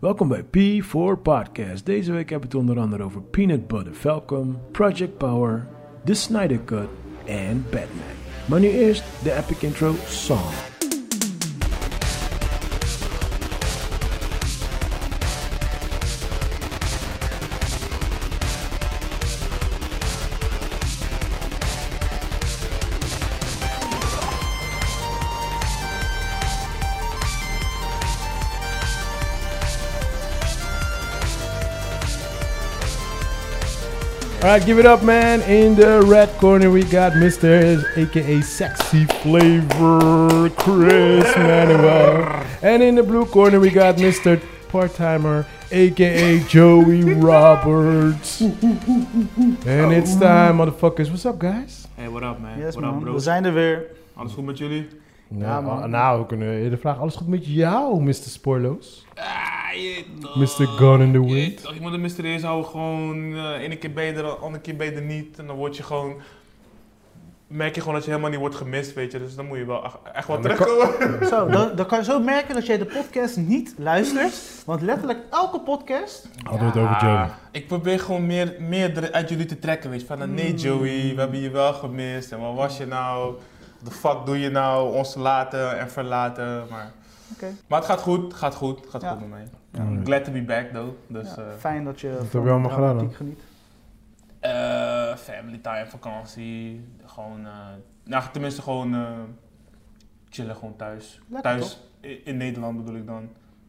Welkom bij P4 Podcast. Deze week hebben we het onder andere over Peanut Butter Falcon, Project Power, The Snyder Cut en Batman. Maar nu eerst de epic intro song. Alright, give it up, man. In the red corner, we got Mr. aka Sexy Flavor, Chris Manuel. And in the blue corner, we got Mr. Part Timer, aka Joey Roberts. And it's time, motherfuckers. What's up, guys? Hey, what up man? Yes what up man, bro? we zijn er weer. Alles goed met jullie? Ja, nou, man. nou, we kunnen eerder vragen. Alles goed met jou, Mr. Spoorloos? Ah, je toch. Mr. Gun in the Je Wind. toch, Je moet het mysterieus houden, gewoon eh ene keer beter, de andere keer beter niet. En dan word je gewoon, merk je gewoon dat je helemaal niet wordt gemist, weet je. Dus dan moet je wel ach- echt wel Ja, maar terugkomen. Zo, dan, dan kan je zo merken dat jij de podcast niet luistert. Want letterlijk elke podcast. Hadden we het over Joey. Ah, Ik probeer gewoon meer, meer er- uit jullie te trekken, weet je. Van, eh, Hmm. nee Joey, we hebben je wel gemist. En wat was je nou? Wat de fuck doe je nou? Ons laten en verlaten, maar... Oké. Maar het gaat goed, het gaat goed, het gaat Ja. goed met mij. Mm. Glad to be back though, dus... Ja, eh, fijn dat je. heb van je allemaal de gedaan, dramatiek geniet. Eh, family time, vakantie. Gewoon, eh, nou tenminste gewoon eh, chillen gewoon thuis. Lekker, thuis i- in Nederland bedoel ik dan.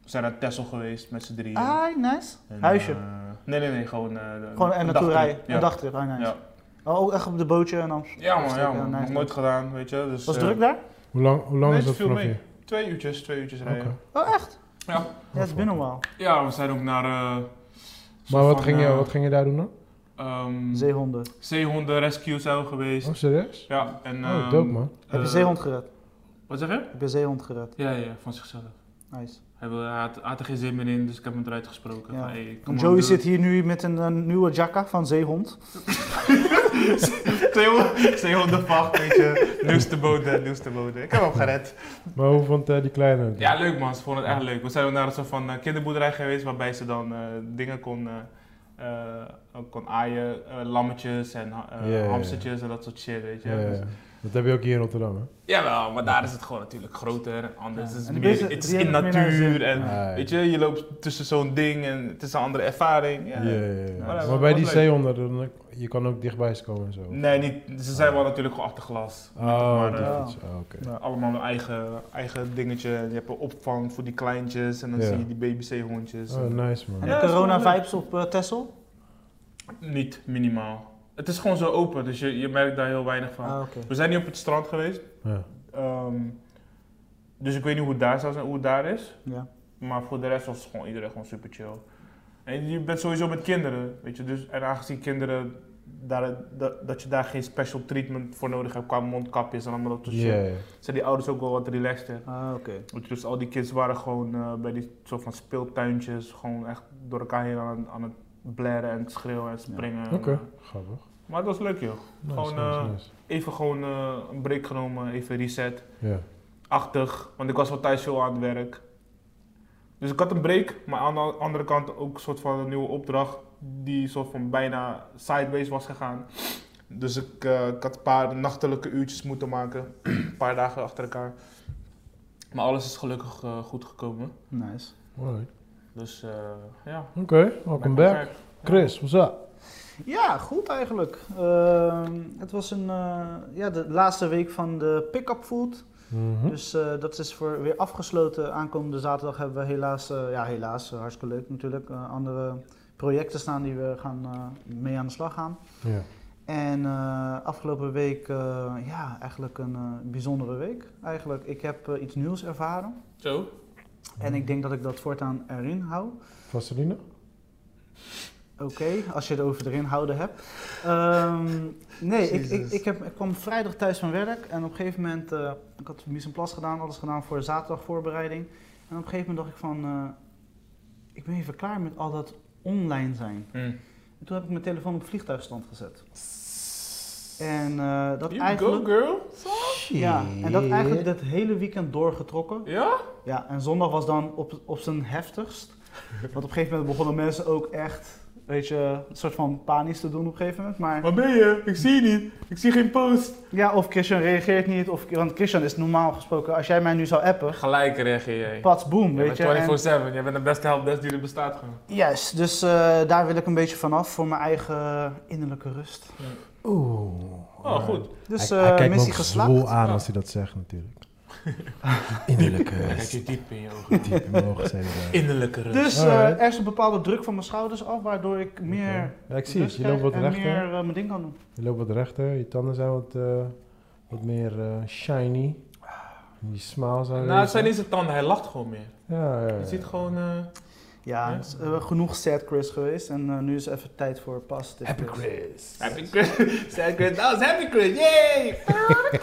We zijn naar Texel geweest met z'n drieën. Ah, nice. En, Huisje. eh, nee, nee, nee, gewoon... eh, Gewoon en een naartoe dagtrip. rijden. Ja. Een dagtrip, ah, nice. Ja. Oh, ook echt op de bootje en dan. Ja man, ja man. nice. Nog nooit gedaan, weet je. Dus, Was het eh, druk daar? Hoe lang, hoe lang nee, is dat het viel vanaf mee. hier? Twee uurtjes, twee uurtjes Oké. rijden. Oh, echt? Ja. Ja, it's been a while. Ja, we zijn ook naar... eh, soort Maar wat van, ging, je, eh, wat ging je daar doen dan? ehm, Zeehonden. zeehonden rescue zijn we geweest. Oh, serieus? Ja, en... Oh, ehm, dope man. Heb je eh, zeehond gered? Wat zeg je? Heb je zeehond gered? Ja, ja, van zichzelf. Nice. Hij, wil, hij had, had er geen zin meer in, dus ik heb hem eruit gesproken. Ja. Van, hey, En come on, Joey dude. zit hier nu met een, eh, nieuwe jacka van zeehond. 200 200 vacht, weet je. Nieuwste bode, nieuwste bode. Ik heb hem gered. Maar hoe vond eh, die kleine het? Ja, leuk man. Ze vonden het echt leuk. We zijn ook naar een soort van eh, kinderboerderij geweest, waarbij ze dan eh, dingen kon, eh, eh, kon aaien. eh, lammetjes en ha- eh, Ja, ja, ja. hamstertjes en dat soort shit, weet je. Ja, ja, Dus- ja. Dat heb je ook hier in Rotterdam, hè? Jawel, maar daar is het gewoon natuurlijk groter en anders. Ja, Het is en die meer- beesten- het is die in hebben het meer naar hun natuur en... zin. Ah, ja. Weet je, je loopt tussen zo'n ding en het is een andere ervaring. Ja, Ja. ja, ja. Maar dat Maar was bij wel die leuk. zeehonden, dan, je kan ook dichtbij ze komen en zo. Nee, niet, ze zijn wel natuurlijk gewoon achter glas. Oh, maar, die eh, fiets. Oh, oké. Ja. allemaal hun eigen, eigen dingetje. Je hebt een opvang voor die kleintjes en dan Ja. zie je die BBC-hondjes. Oh, nice man. En dus, eh, Ja, de is gewoon leuk. corona-vibes op eh, Texel? Niet minimaal. Het is gewoon zo open, dus je, je merkt daar heel weinig van. Ah, oké. We zijn niet op het strand geweest, Ja. ehm, dus ik weet niet hoe het daar zou zijn, hoe het daar is. Ja. Maar voor de rest was gewoon iedereen gewoon super chill. En je bent sowieso met kinderen, weet je. Dus, en aangezien kinderen, daar, dat, dat je daar geen special treatment voor nodig hebt qua mondkapjes en allemaal dat soort shit, Ja, ja. zijn die ouders ook wel wat relaxter. Ah, oké. Want Dus al die kids waren gewoon eh, bij die soort van speeltuintjes, gewoon echt door elkaar heen aan, aan het blaren en het schreeuwen en springen. En, Oké. eh, Grappig. maar het was leuk joh. Nice, Gewoon, nice, eh, nice. Even gewoon eh, een break genomen, even reset. Ja. Achtig, want ik was wel thuis veel aan het werk. Dus ik had een break, maar aan de andere kant ook een soort van een nieuwe opdracht die soort van bijna sideways was gegaan. Dus ik, eh, ik had een paar nachtelijke uurtjes moeten maken, een paar dagen achter elkaar. Maar alles is gelukkig eh, goed gekomen. Nice. Alright. Dus eh, ja. Oké, welcome back. Chris, what's up? Ja, goed eigenlijk. Ehm, het was een, eh, ja, de laatste week van de pick-up food. Hm? Mhm. Dus eh, dat is voor weer afgesloten. Aankomende zaterdag hebben we helaas, eh, ja helaas, eh, hartstikke leuk natuurlijk, eh, andere projecten staan die we gaan eh, mee aan de slag gaan. Ja. En eh, afgelopen week, eh, ja, eigenlijk een eh, bijzondere week. Eigenlijk, ik heb eh, iets nieuws ervaren. Zo? En ik denk dat ik dat voortaan erin hou. Vaseline? Oké, als je het over erin houden hebt. Ehm, nee, ik, ik, Jezus. ik, heb, ik kwam vrijdag thuis van werk en op een gegeven moment, eh, ik had mise en place gedaan, alles gedaan voor zaterdag voorbereiding. En op een gegeven moment dacht ik van, eh, ik ben even klaar met al dat online zijn. Mm. En toen heb ik mijn telefoon op vliegtuigstand gezet. En eh, dat You eigenlijk... go girl? Ja, en dat eigenlijk dat hele weekend doorgetrokken. Ja? Ja, en zondag was dan op, op zijn heftigst. Want op een gegeven moment begonnen mensen ook echt, weet je, een soort van panisch te doen op een gegeven moment. Maar Waar ben je? Ik zie je niet. Ik zie geen post. ja, of Christian reageert niet, of, want Christian is normaal gesproken, als jij mij nu zou appen, Gelijk reageer je. pats boom, Je bent weet je. En- 24-7. Jij bent de beste helpdesk die er bestaat gewoon. Juist, dus eh, daar wil ik een beetje vanaf voor mijn eigen innerlijke rust. Oeh. Oh, goed. Dus hij, hij eh, kijkt me missie ook geslaagd. zwoel aan Ja. als hij dat zegt natuurlijk. Innerlijke Dan kijk rust. je diep in je ogen. eh, Diep in mijn ogen zijn we daar. Innerlijke rust. Dus eh, Alright. er is een bepaalde druk van mijn schouders af, waardoor ik meer Ja, ik zie het. rust Je loopt krijg wat en meer rechter. eh, mijn ding kan doen. Je loopt wat rechter. Je tanden zijn wat, eh, wat meer eh, shiny. Je smiles zijn Nou, het zijn niet zijn tanden. Hij lacht gewoon meer. Ja, ja, ja. Je ziet gewoon... eh, Ja, Ja. het is, eh, genoeg sad Chris geweest en eh, nu is even tijd voor pas. Happy Chris. Happy Chris. Sad Chris. Dat was Happy Chris. Yay!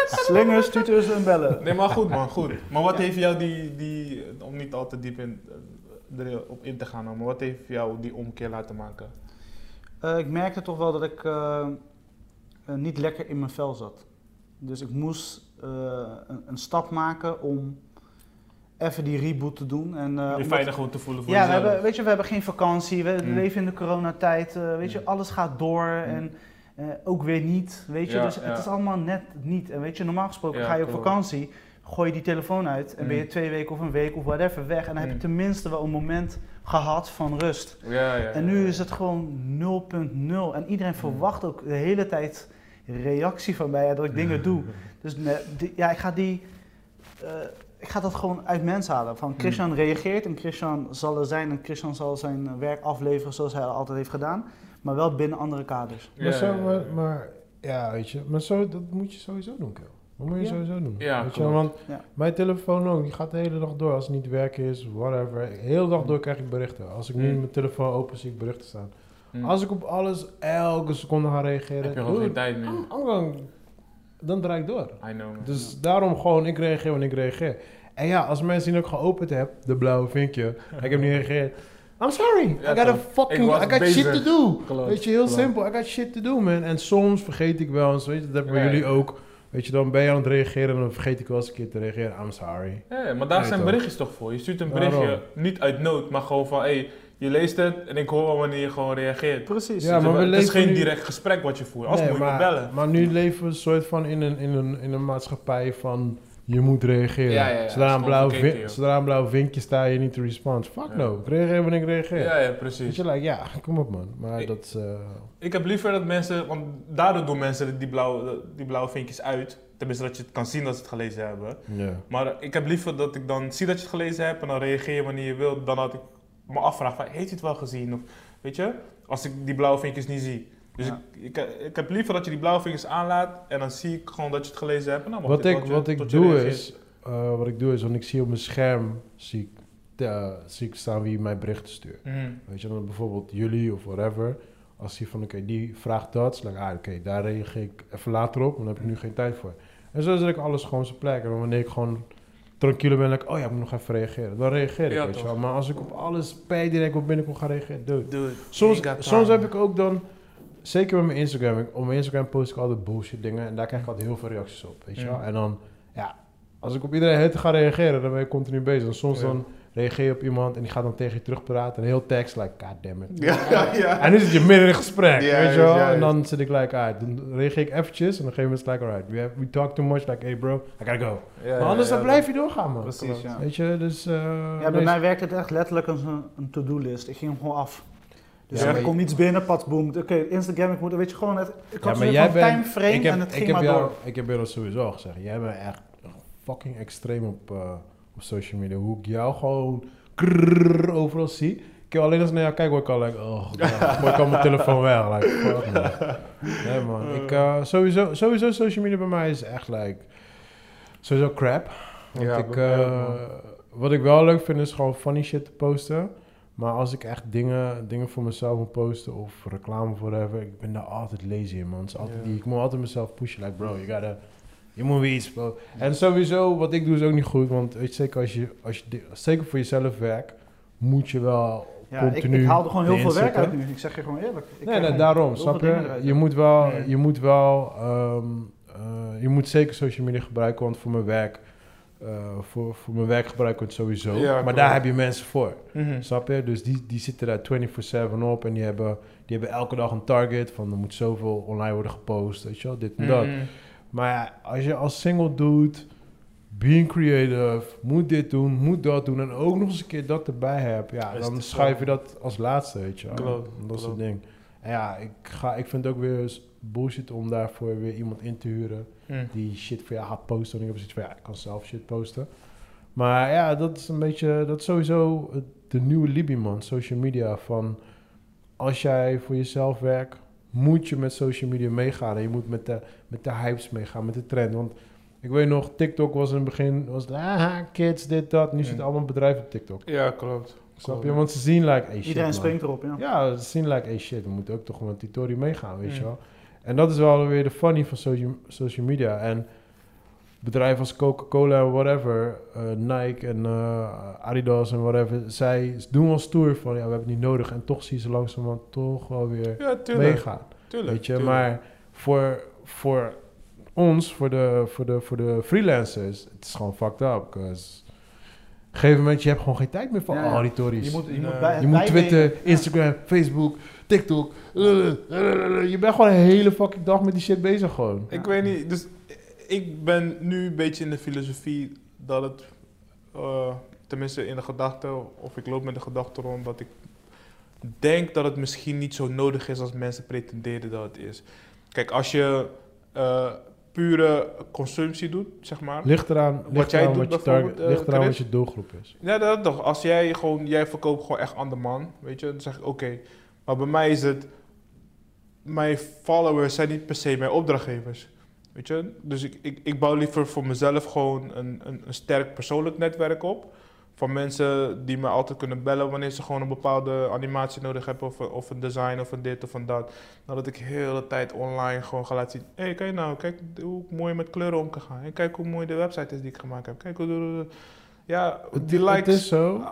Slingers, tutors en bellen. Nee, maar goed man, goed. Maar wat heeft jou die, die om niet al te diep in, eh, erop in te gaan, maar wat heeft jou die omkeer laten maken? Eh, ik merkte toch wel dat ik eh, eh, niet lekker in mijn vel zat. Dus ik moest eh, een, een stap maken om even die reboot te doen. En, eh, Om je omdat- veilig gewoon te voelen voor Ja, we jezelf. hebben, weet je, we hebben geen vakantie, we Mm. leven in de coronatijd, eh, weet je, Mm. alles gaat door en eh, ook weer niet, weet je, Ja, dus ja. het is allemaal net niet. En weet je, normaal gesproken Ja, ga je op klopt. vakantie, gooi je die telefoon uit en Mm. ben je twee weken of een week of whatever weg en dan heb je Mm. tenminste wel een moment gehad van rust. Ja, ja, ja. En nu is het gewoon 0.0 en iedereen Mm. verwacht ook de hele tijd reactie van mij en dat ik dingen doe. Dus ne- die- ja, ik ga die. eh, ik ga dat gewoon uit mensen halen. Van Mm. Christian reageert en Christian zal er zijn en Christian zal zijn eh, werk afleveren zoals hij altijd heeft gedaan, maar wel binnen andere kaders. Maar, zo, ja, maar, maar ja, weet je, maar zo, dat moet je sowieso doen, Kel. Dat moet je Ja. sowieso doen. Ja, weet je, klopt. want Ja. mijn telefoon ook, die gaat de hele dag door als het niet werk is, whatever. De hele dag door krijg ik berichten. Als ik nu Mm. mijn telefoon open, zie ik berichten staan. Mm. Als ik op alles elke seconde ga reageren, heb je gewoon dude, geen tijd meer. I'm- Oh. I'm going- dan draai ik door. I know. man. Dus daarom gewoon, ik reageer wanneer ik reageer. En ja, als mensen die ik geopend heb, de blauwe vinkje, en ik heb niet gereageerd. I'm sorry, Ja, I got a toch. fucking, Ik was I got shit bezig. to do. Klopt, Weet je, heel klopt. simpel. I got shit to do, man. En soms vergeet ik wel eens, weet je, dat heb ik bij Ja, jullie ja. ook. Weet je, dan ben je aan het reageren en dan vergeet ik wel eens een keer te reageren. I'm sorry. Ja, maar daar Nee, zijn toch. berichtjes toch voor. Je stuurt een Daarom. berichtje, niet uit nood, maar gewoon van, hé, hey, je leest het en ik hoor wel wanneer je gewoon reageert. Precies. Ja, maar we het dus is leven geen nu- direct gesprek wat je voert, als Nee, moet je me maar, bellen. maar nu leven we een soort van in een, in een, in een maatschappij van je moet reageren. Ja, ja, ja. Zodra, een Gewoon blauw verkeken, vin- joh. zodra een blauw vinkje sta je niet te respond. Fuck Ja. no, ik reageer wanneer ik reageer. Ja, ja, Weet precies. je, like, ja, kom op man. Maar Ik- dat is... eh, Ik heb liever dat mensen, want daardoor doen mensen die blauwe, die blauwe vinkjes uit. Tenminste, dat je het kan zien dat ze het gelezen hebben. ja. Maar ik heb liever dat ik dan zie dat je het gelezen hebt en dan reageer je wanneer je wilt. Dan had ik me afvraag van, heeft hij het wel gezien? Of, weet je, als ik die blauwe vinkjes niet zie. Dus Ja. ik, ik, ik heb liever dat je die blauwe vinkjes aanlaat en dan zie ik gewoon dat je het gelezen hebt. En dan mag Wat dit ik, tot je- wat ik tot je doe reageert. is, eh, wat ik doe is, want ik zie op mijn scherm, zie ik, eh, zie ik staan wie mij berichten stuurt. Mhm. Weet je, dan bijvoorbeeld jullie of whatever. Als die van, oké, die vraagt dat. is like, ah, oké, daar reageer ik even later op, want daar heb ik nu geen tijd voor. En zo zet ik alles gewoon op zijn plek. En wanneer ik gewoon tranquiller ben, like, oh ja, ik moet nog even reageren. Dan reageer ik, Ja, weet je toch. wel. Maar als ik op alles per direct op binnenkom ga reageren, dude. Dude, Soms, you got soms time. heb ik ook dan, zeker met mijn Instagram, ik- op mijn Instagram post ik altijd bullshit dingen en daar krijg ik altijd heel veel reacties op, weet je wel. Ja. En dan, ja, als ik op iedereen heel te ga reageren, dan ben ik continu bezig. En soms Ja. dan reageer je op iemand en die gaat dan tegen je terugpraten en heel tekst, like, god damn it. Ja, ja, ja. En nu zit je midden in een gesprek, Ja, weet je wel. juist, En dan zit ik like, alright, dan reageer ik eventjes en op een gegeven moment is het like, alright, we, have- we talk too much, like, hey bro, I gotta go. Ja, maar anders ja, dan ja, blijf je doorgaan, man. Precies, ja. Weet je, dus... eh, Ja, bij nee, mij werkte het echt letterlijk als een, een to-do list. Ik ging hem gewoon af. Dus Ja, er maar komt iets binnen, pats boem. Oké, Instagram, ik moet, weet je gewoon, het, ik had zo'n jij van bent- time frame ik heb- en het ik ging heb maar jou, door. Ik heb jou dat sowieso al gezegd. Jij bent echt fucking extreem op, eh, op social media. Hoe ik jou gewoon krrrr overal zie. Ik heb alleen als ik naar jou kijk, word ik al like, oh god, gooi ik al mijn telefoon weg. Like, fuck man. Nee man, ik, eh, sowieso, sowieso social media bij mij is echt like, sowieso crap. Want Ja, ik, bij mij eh, ook, man. wat ik wel leuk vind is gewoon funny shit te posten. Maar als ik echt dingen, dingen voor mezelf moet posten of reclame voor whatever, ik ben daar altijd lazy in, man. Het is altijd Ja. die, ik moet altijd mezelf pushen. Like, bro, you gotta, je moet weer iets, bro. En sowieso, wat ik doe is ook niet goed, want weet je, zeker als je, als je di- zeker voor jezelf werkt, moet je wel Ja, ik, continu ik haal er gewoon heel erin veel werk zitten. uit nu. Ik zeg je gewoon eerlijk. Ik krijg Nee, nee, gewoon daarom, heel snap veel dingen je? eruit. Je moet wel, Nee. je moet wel, ehm, eh, je moet zeker social media gebruiken, want voor mijn werk eh, voor, voor mijn werk gebruik ik het sowieso. Ja, maar klopt. daar heb je mensen voor. Mhm. Snap je? Dus die, die zitten daar 24-7 op en die hebben, die hebben elke dag een target van er moet zoveel online worden gepost, weet je wel, dit en dat. Mhm. Maar ja, als je als single doet, being creative, moet dit doen, moet dat doen en ook nog eens een keer dat erbij hebt, ja, Is dan het schuif zo. je dat als laatste, weet je wel. Klopt, Dat is het klopt. ding. En ja, ik, ga, ik vind het ook weer eens bullshit om daarvoor weer iemand in te huren Mhm. die shit voor jou gaat posten. En ik heb zoiets van, ja, ik kan zelf shit posten. Maar ja, dat is een beetje, dat is sowieso het- de nieuwe Libby, man. Social media, van als jij voor jezelf werkt, moet je met social media meegaan. En je moet met de, met de hypes meegaan, met de trend. Want ik weet nog, TikTok was in het begin, was het, ah, kids, dit, dat. Nu Mm. zitten allemaal bedrijven op TikTok. Ja, klopt. Snap je? Want ze zien, like, hey, shit, Iedereen man. springt erop, ja. Ja, ze zien like, hey shit, we moeten ook toch met die Tory meegaan, weet je Mm. wel. En dat is wel weer de funny van social, social media. En bedrijven als Coca-Cola en whatever, eh, Nike en eh, Adidas en whatever, zij doen wel stoer van, ja, we hebben het niet nodig. En toch zien ze langzamerhand toch wel weer Ja, tuurlijk. meegaan, tuurlijk weet je. tuurlijk. Maar voor, voor ons, voor de, voor, de, voor de freelancers, het is gewoon fucked up. 'cause op een gegeven moment, je hebt gewoon geen tijd meer voor Ja, al die Tories. Je moet, je Eh, moet, bij, Je moet bijbenen. Twitter, Ja. Instagram, Facebook, TikTok. Je bent gewoon een hele fucking dag met die shit bezig gewoon. Ik Ja. weet niet, dus ik ben nu een beetje in de filosofie dat het, eh, tenminste in de gedachte, of ik loop met de gedachte rond dat ik denk dat het misschien niet zo nodig is als mensen pretenderen dat het is. Kijk, als je eh, pure consumptie doet, zeg maar. Ligt eraan, ligt jij eraan doet wat, je, bijvoorbeeld, target, eh, ligt eraan wat Chris? je doelgroep is. Ja, dat toch. Als jij gewoon, jij verkoopt gewoon echt aan de man, weet je, dan zeg ik oké. Maar bij mij is het, mijn followers zijn niet per se mijn opdrachtgevers, weet je. Dus ik, ik, ik bouw liever voor mezelf gewoon een, een, een sterk persoonlijk netwerk op. Van mensen die me altijd kunnen bellen wanneer ze gewoon een bepaalde animatie nodig hebben, of, een- of een design, of een dit of een dat. Dan dat ik heel de tijd online gewoon ga laten zien. Hé, hey, kijk nou, kijk hoe mooi je met kleuren om kan gaan. En kijk hoe mooi de website is die ik gemaakt heb. Kijk hoe. Ja, Het, die likes. eh, het is zo.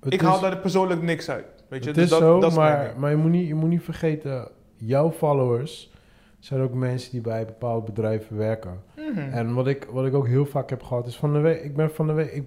Het Ik is, haal daar persoonlijk niks uit. Weet je, het dus is dat, zo, dat is mijn maar, ding. maar je, moet niet, je moet niet vergeten, jouw followers zijn ook mensen die bij bepaalde bedrijven werken. Mhm. En wat ik, wat ik ook heel vaak heb gehad is van de week, ik ben van de week, ik,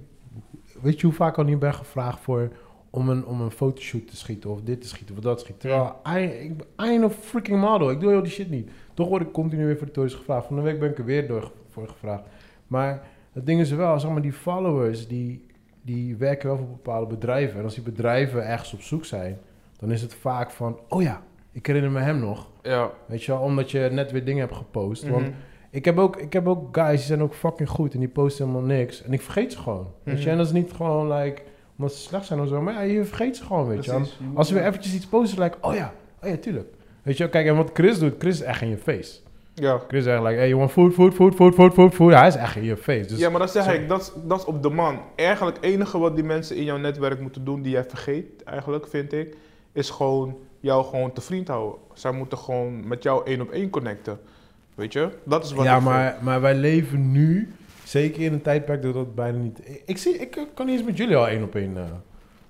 weet je hoe vaak ik al niet ben gevraagd voor om een, om een fotoshoot te schieten of dit te schieten of dat te schieten. Terwijl, I, ik, I ain't a freaking model, ik doe heel die shit niet. Toch word ik continu weer voor de toys gevraagd. Van de week ben ik er weer door, voor gevraagd. Maar het ding is wel, zeg maar, die followers die, die werken wel voor bepaalde bedrijven. En als die bedrijven ergens op zoek zijn, dan is het vaak van, oh ja, ik herinner me hem nog. ja. Weet je wel, omdat je net weer dingen hebt gepost. Want Mhm. ik heb, ook, ik heb ook guys die zijn ook fucking goed en die posten helemaal niks. En ik vergeet ze gewoon. Weet je, Mhm. en dat is niet gewoon like, omdat ze slecht zijn of zo, maar ja, je vergeet ze gewoon, weet je. Precies. En Je moet- Als ze weer eventjes iets posten, like, oh ja, oh ja, tuurlijk. Weet je, kijk, en wat Chris doet, Chris is echt in je face. Ja. Chris is echt like, hey, you want food, food, food, food, food, food, food. Hij is echt in je face. Dus ja, maar dat zeg sorry. ik, dat is, dat is op de man. Eigenlijk het enige wat die mensen in jouw netwerk moeten doen, die jij vergeet eigenlijk, vind ik, is gewoon jou gewoon te vriend houden. Zij moeten gewoon met jou één op één connecten. Weet je? Dat is wat Ja, ik vind. maar, maar wij leven nu, zeker in een tijdperk dat dat bijna niet... Ik, ik zie, ik kan niet eens met jullie al één op één eh,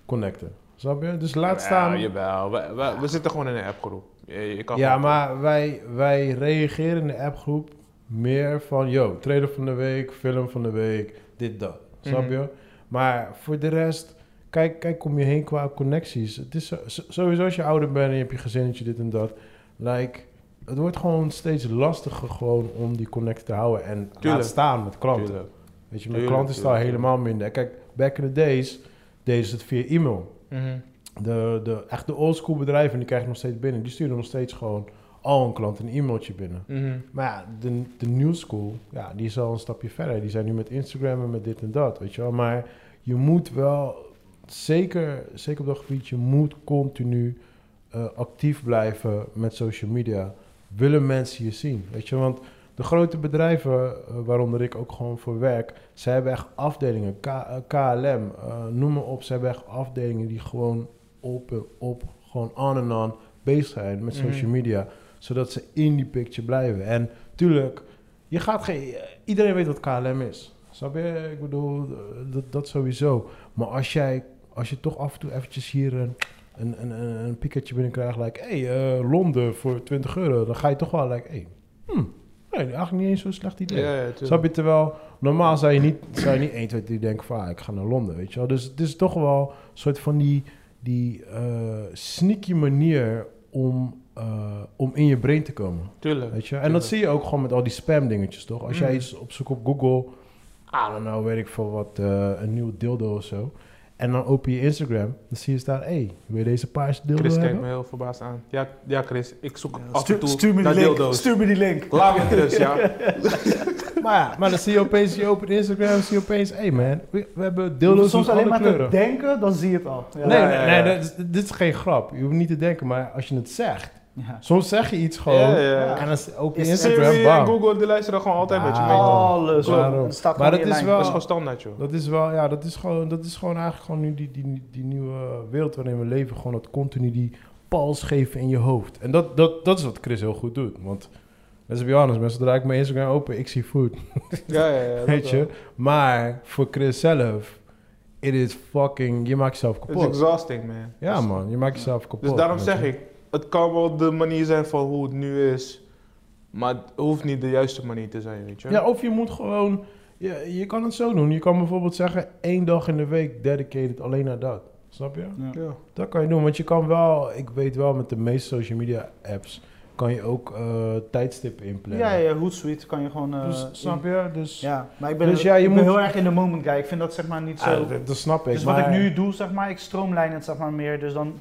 connecten. Snap je? Dus laat staan... Ja, jawel. We, we, we zitten gewoon in een appgroep. Je, je kan Ja, gewoon- maar wij, wij reageren in de appgroep meer van... Yo, trailer van de week, film van de week, dit, dat. Snap Mhm. je? Maar voor de rest, kijk, kijk om je heen qua connecties. Het is zo- zo- sowieso als je ouder bent en je hebt je gezinnetje, dit en dat. Like, het wordt gewoon steeds lastiger gewoon om die connect te houden. En Tuurlijk. laat staan met klanten. Tuurlijk. Weet je, mijn Tuurlijk, klant is daar tuurlijk, helemaal minder. Kijk, back in the days, deden ze het via e-mail. Mhm. De, de, echt de oldschool bedrijven, die krijgen nog steeds binnen. Die sturen nog steeds gewoon al een klant een e-mailtje binnen. Mhm. Maar ja, de, de new school, ja, die is al een stapje verder. Die zijn nu met Instagram en met dit en dat, weet je wel. Maar je moet wel, zeker, zeker op dat gebied, je moet continu eh, actief blijven met social media. Willen mensen je zien, weet je. Want de grote bedrijven, eh, waaronder ik ook gewoon voor werk, zij hebben echt afdelingen. K- eh, KLM, eh, noem maar op. Ze hebben echt afdelingen die gewoon op en op, gewoon on en on bezig zijn met social Mhm. media. Zodat ze in die picture blijven. En tuurlijk, je gaat geen, eh, iedereen weet wat KLM is. Snap je? Ik bedoel, eh, dat, dat sowieso. Maar als jij, als je toch af en toe eventjes hier een, een, een, een, een piketje binnenkrijgt, like, hé, hey, eh, Londen voor 20 euro, dan ga je toch wel, like, hé, hey, nee, eigenlijk niet eens zo'n slecht idee. Ja, ja, tuurlijk. Snap je, terwijl normaal zou je niet, zou je niet 1, 2, 3 denken van ah, ik ga naar Londen, weet je wel. Dus het is toch wel een soort van die, die eh, sneaky manier om, eh, om in je brein te komen, Tuurlijk. weet je. En dat zie je ook gewoon met al die spam dingetjes, toch? Als jij Mm. iets opzoekt op Google, ah, dan nou weet ik veel wat, eh, een nieuw dildo of zo. En dan open je Instagram, dan zie je staan, hé, hey, wil je deze paarse dildo Chris kijkt hebben? me heel verbaasd aan. Ja, ja Chris, ik zoek Ja, af en stuur, toe stuur me die naar link. dildo's. Stuur me die link. Laat me in rust, ja. Maar ja, Maar dan zie je opeens, je opent Instagram, zie je opeens, hey man, we, we hebben je hoeft dildo's soms met alleen alle maar kleuren. te denken, dan zie je het al. Ja. Nee, Ja, nee, ja, nee, ja. dat is- dit is geen grap. Je hoeft niet te denken, maar als je het zegt. Ja. Soms zeg je iets gewoon. Ja, ja, ja. En dan s- open je Is Instagram, Siri en bam. Google, die luisteren gewoon altijd met je Ah. mee. Alles. Waarom? hoor. Het staat Maar gewoon dat in is Dat wel- is gewoon standaard, joh. Dat is wel, ja, dat is gewoon, dat is gewoon eigenlijk gewoon nu die, die, die nieuwe wereld waarin we leven. Gewoon dat continu die pals geven in je hoofd. En dat, dat, dat is wat Chris heel goed doet. Want, let's be honest, mensen, zodra ik mijn Instagram open, ik zie food. Ja, ja, ja. dat eh, Weet je? wel. Maar voor Chris zelf, it is fucking, je maakt jezelf Het is kapot. exhausting, man. Ja Dus- man, je maakt jezelf kapot. Dus daarom weet zeg je. ik, het kan wel de manier zijn van hoe het nu is. Maar het hoeft niet de juiste manier te zijn, weet je. Ja, of je moet gewoon... Je, je kan het zo doen. Je kan bijvoorbeeld zeggen... één dag in de week dedicated alleen naar dat. Snap je? Ja. Dat kan je doen. Want je kan wel... Ik weet wel, met de meeste social media apps... kan je ook eh, tijdstippen inplannen. Ja, Dus ja, Hootsuite kan je gewoon... eh, Dus, snap je? Dus, in- Ja, maar ik ben, Dus ja, je ik ben moet- heel erg in de moment guy. Ik vind dat zeg maar niet zo... Ah, dat, dat snap ik. Dus wat ik maar- nu doe, zeg maar, ik stroomlijn het zeg maar meer. Dus dan,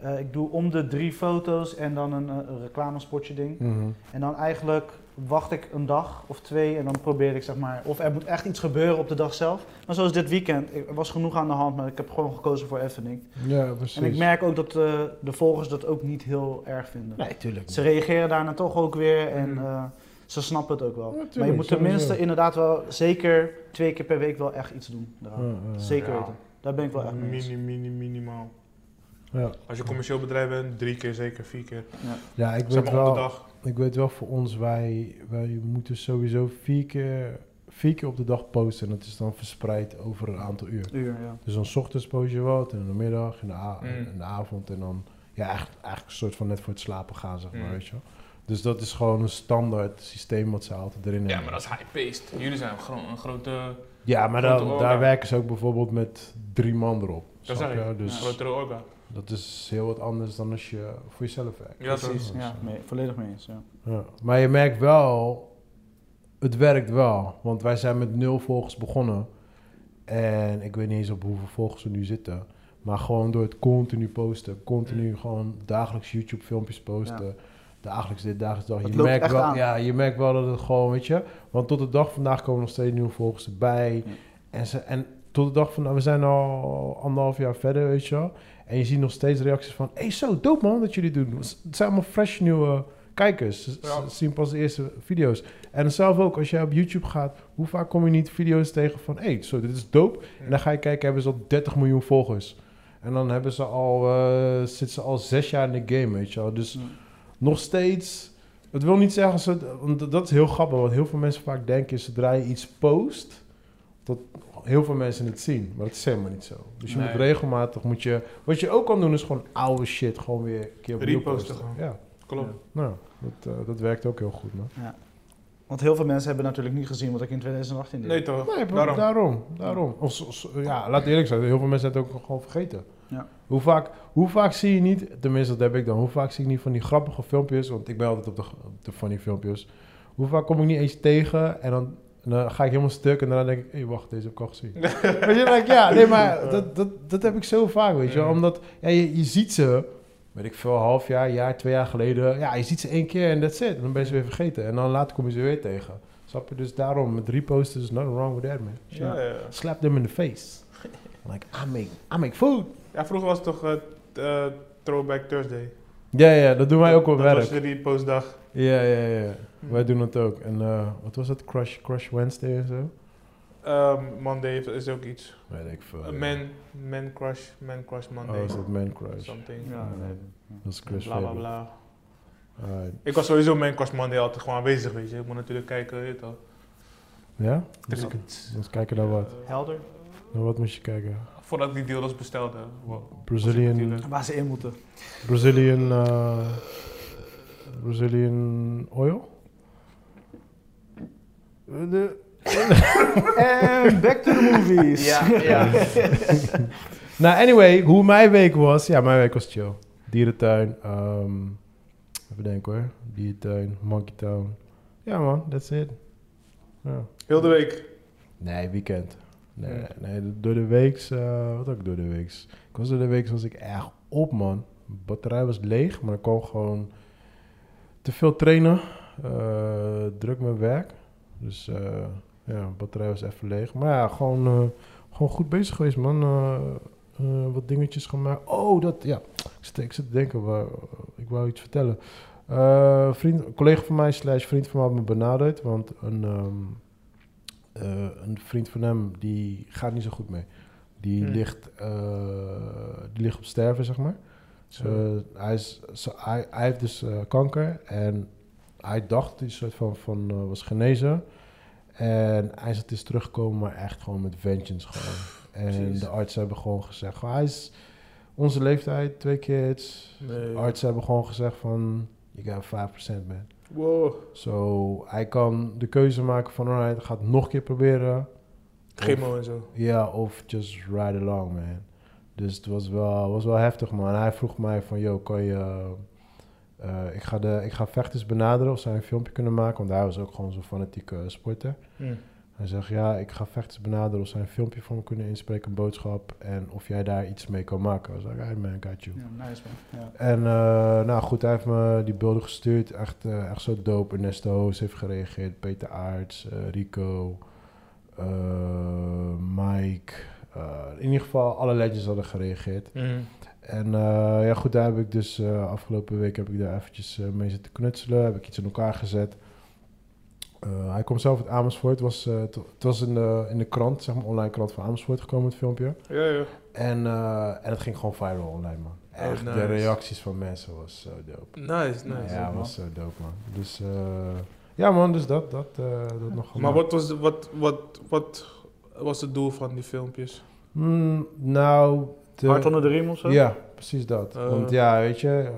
eh, ik doe om de drie foto's en dan een, eh, een reclamespotje ding. Mhm. En dan eigenlijk wacht ik een dag of twee en dan probeer ik zeg maar, of er moet echt iets gebeuren op de dag zelf. Maar zoals dit weekend, ik- er was genoeg aan de hand, maar ik heb gewoon gekozen voor Effening. Ja, precies. En ik merk ook dat eh, de volgers dat ook niet heel erg vinden. Nee, tuurlijk. Ze reageren daarna toch ook weer en Hmm. Mm. eh, ze snappen het ook wel. tuurlijk, maar je moet sowieso. tenminste inderdaad wel zeker twee keer per week wel echt iets doen. eraan. Ja, ja. Zeker Ja. weten. Daar ben ik wel echt mee eens. Mini, mini, minimaal. Ja. Als je commercieel bedrijf bent, drie keer, zeker vier keer. Ja, ik Zeg weet maar om de wel... dag. Ik weet wel voor ons, wij, wij moeten sowieso vier keer, vier keer op de dag posten. En dat is dan verspreid over een aantal uur. Uur, ja. Dus dan 's ochtends post je wat, en in de middag, in de, a- Mm. in de avond en dan... Ja, eigenlijk, eigenlijk een soort van net voor het slapen gaan, zeg maar, Mm. weet je wel. Dus dat is gewoon een standaard systeem wat ze altijd erin hebben. Ja, maar dat is high-paced. Jullie zijn gro- een grote, Ja, maar Grote daar- orga. daar werken ze ook bijvoorbeeld met drie man erop. Dat snap zeg ik. je? een Dus grotere orga. dat is heel wat anders dan als je voor jezelf werkt. Ja, precies. precies. Ja. Ja, mee- volledig mee eens. Ja. Ja. Maar je merkt wel, het werkt wel. Want wij zijn met nul volgers begonnen. En ik weet niet eens op hoeveel volgers we nu zitten. Maar gewoon door het continu posten. Continu Mm. gewoon dagelijks YouTube filmpjes posten. Dagelijks dit, dagelijks dat. Het Je loopt merkt, echt wel, aan. ja, je merkt wel dat het gewoon, weet je. Want tot de dag vandaag komen nog steeds nieuwe volgers erbij. Ja. En, ze, en tot de dag vandaag, we zijn al anderhalf jaar verder, weet je wel. En je ziet nog steeds reacties van... hey, zo, dope man dat jullie doen. Het zijn allemaal fresh nieuwe kijkers. Ze ze Ja. zien pas de eerste video's. En zelf ook, als jij op YouTube gaat... hoe vaak kom je niet video's tegen van... hey, zo, dit is dope. En dan ga je kijken, hebben ze al 30 miljoen volgers. En dan hebben ze al, eh, zitten ze al zes jaar in de game, weet je wel. Dus Ja. nog steeds... Het wil niet zeggen, zo- want dat- dat is heel grappig. Wat heel veel mensen vaak denken is, zodra je iets post... dat heel veel mensen het zien. Maar dat is helemaal niet zo. Dus je Nee. moet regelmatig, moet je... Wat je ook kan doen, is gewoon oude shit gewoon weer een keer opnieuw Reposten posten. gewoon. Ja, Klopt. nou, dat, eh, dat werkt ook heel goed, man. Want heel veel mensen hebben natuurlijk niet gezien wat ik in 2018 deed. Nee toch? Nee, bro, daarom. Daarom. daarom, Of s- s- ja, laat eerlijk zijn, heel veel mensen hebben het ook gewoon vergeten. Ja. Hoe, vaak, hoe vaak zie je niet, tenminste dat heb ik dan, hoe vaak zie ik niet van die grappige filmpjes, want ik ben altijd op de, op de funny filmpjes. Hoe vaak kom ik niet eens tegen en dan, en dan ga ik helemaal stuk en daarna denk ik, hé wacht, deze heb ik al gezien. weet je, dan denk ik, ja, nee, maar dat, dat, dat heb ik zo vaak, weet je wel. Ja. Omdat ja, je, je ziet ze, weet ik veel, half jaar, jaar, twee jaar geleden, ja, je ziet ze één keer en that's it. En dan ben je ze weer vergeten en dan later kom je ze weer tegen. Snap je? Dus daarom, met reposten is nothing wrong with that, man. Ja, ja, ja. Slap them in the face. like, I make, I make food. Ja, vroeger was het toch eh, t- eh, Throwback Thursday. Ja, ja, dat doen wij ook op dat werk. was de repostdag. Ja, ja, ja. Hm. Wij doen het ook. En eh, wat was dat? Crush, Crush Wednesday en zo? Ehm Monday heeft- is ook iets. Weet ik veel. Eh, Oh, ja. man, man Crush, Man Crush Monday. Oh, is dat Man Crush? Something. Ja, nee. Dat is Crush Bla bla Faber. bla. Alright. Ik was sowieso Man Crush Monday altijd gewoon aanwezig, weet je. Ik moet natuurlijk kijken, weet je toch. Ja? Dus Dus, ik- eens kijken naar wat. Eh, Helder. Naar Nou, wat moest je kijken? Voordat ik die dealers bestelde. wa- Brazilian, natuurlijk. Waar ze in moeten. Brazilian, eh, Brazilian oil? De- En back to the movies. Ja, ja. Nou, anyway, hoe mijn week was. Ja, mijn week was chill. Dierentuin. ehm, even denken hoor. Dierentuin, Monkey Town. Ja man, that's it. Ja. Heel de week. Nee, weekend. Nee, nee, door de weeks, eh, wat ook door de weeks. Ik was door de weeks was ik echt op, man. batterij was leeg, maar ik kon gewoon te veel trainen. eh, druk mijn werk. Dus eh, ja, batterij was even leeg. Maar ja, gewoon, eh, gewoon goed bezig geweest, man. Eh, eh, wat dingetjes gemaakt. Oh, dat, ja. Ik zit, ik zit te denken, waar, ik wou iets vertellen. Eh, vriend, een collega van mij slash vriend van mij had me benaderd, want een... ehm, eh, een vriend van hem die gaat niet zo goed mee. Die, Hmm. ligt, eh, die ligt op sterven, zeg maar. Dus, eh, hij, is, zo- hij, hij heeft dus eh, kanker en hij dacht dat hij soort van, van eh, was genezen. En hij is het is teruggekomen, maar echt gewoon met vengeance gewoon. En Precies. de artsen hebben gewoon gezegd, gewoon, hij is onze leeftijd, twee kids. Nee. Artsen hebben gewoon gezegd van, je got 5% man. Wow. Zo, hij kan de keuze maken van, alright, ik ga het nog een keer proberen. Chemo en zo. Ja, of just ride along, man. Dus het was wel, was wel heftig, man. Hij vroeg mij van, yo, kan je... eh, ik, ga de, ik ga vechters benaderen of zij een filmpje kunnen maken. Want hij was ook gewoon zo'n fanatieke sporter. Hmm. Hij zegt, ja, ik ga vechters benaderen of zij een filmpje voor me kunnen inspreken, een boodschap. En of jij daar iets mee kan maken. Ik was like, hey man, got you. Ja, nice man. Ja. En eh, nou goed, hij heeft me die beelden gestuurd. Echt, eh, echt zo dope. Ernesto Hoos heeft gereageerd. Peter Aerts, eh, Rico, eh, Mike. Eh, in ieder geval, alle legends hadden gereageerd. Mhm. En eh, ja goed, daar heb ik dus eh, afgelopen week heb ik daar eventjes eh, mee zitten knutselen. Heb ik iets in elkaar gezet. Eh, hij komt zelf uit Amersfoort. Het was, eh, het- het was in, de, in de krant, zeg maar online krant van Amersfoort gekomen, het filmpje. Ja, ja. En, eh, en het ging gewoon viral online, man. Oh, Echt, de nice. reacties van mensen was zo dope. Nice, nice. ja, man. was zo dope, man. Dus, eh, ja, man, dus dat, dat, eh, dat nog Maar gemaakt. wat was, de- wat, wat, wat was het doel van die filmpjes? Hmm, nou... de- Hard onder de riem of zo? Ja, precies dat. Eh. Want ja, weet je, eh,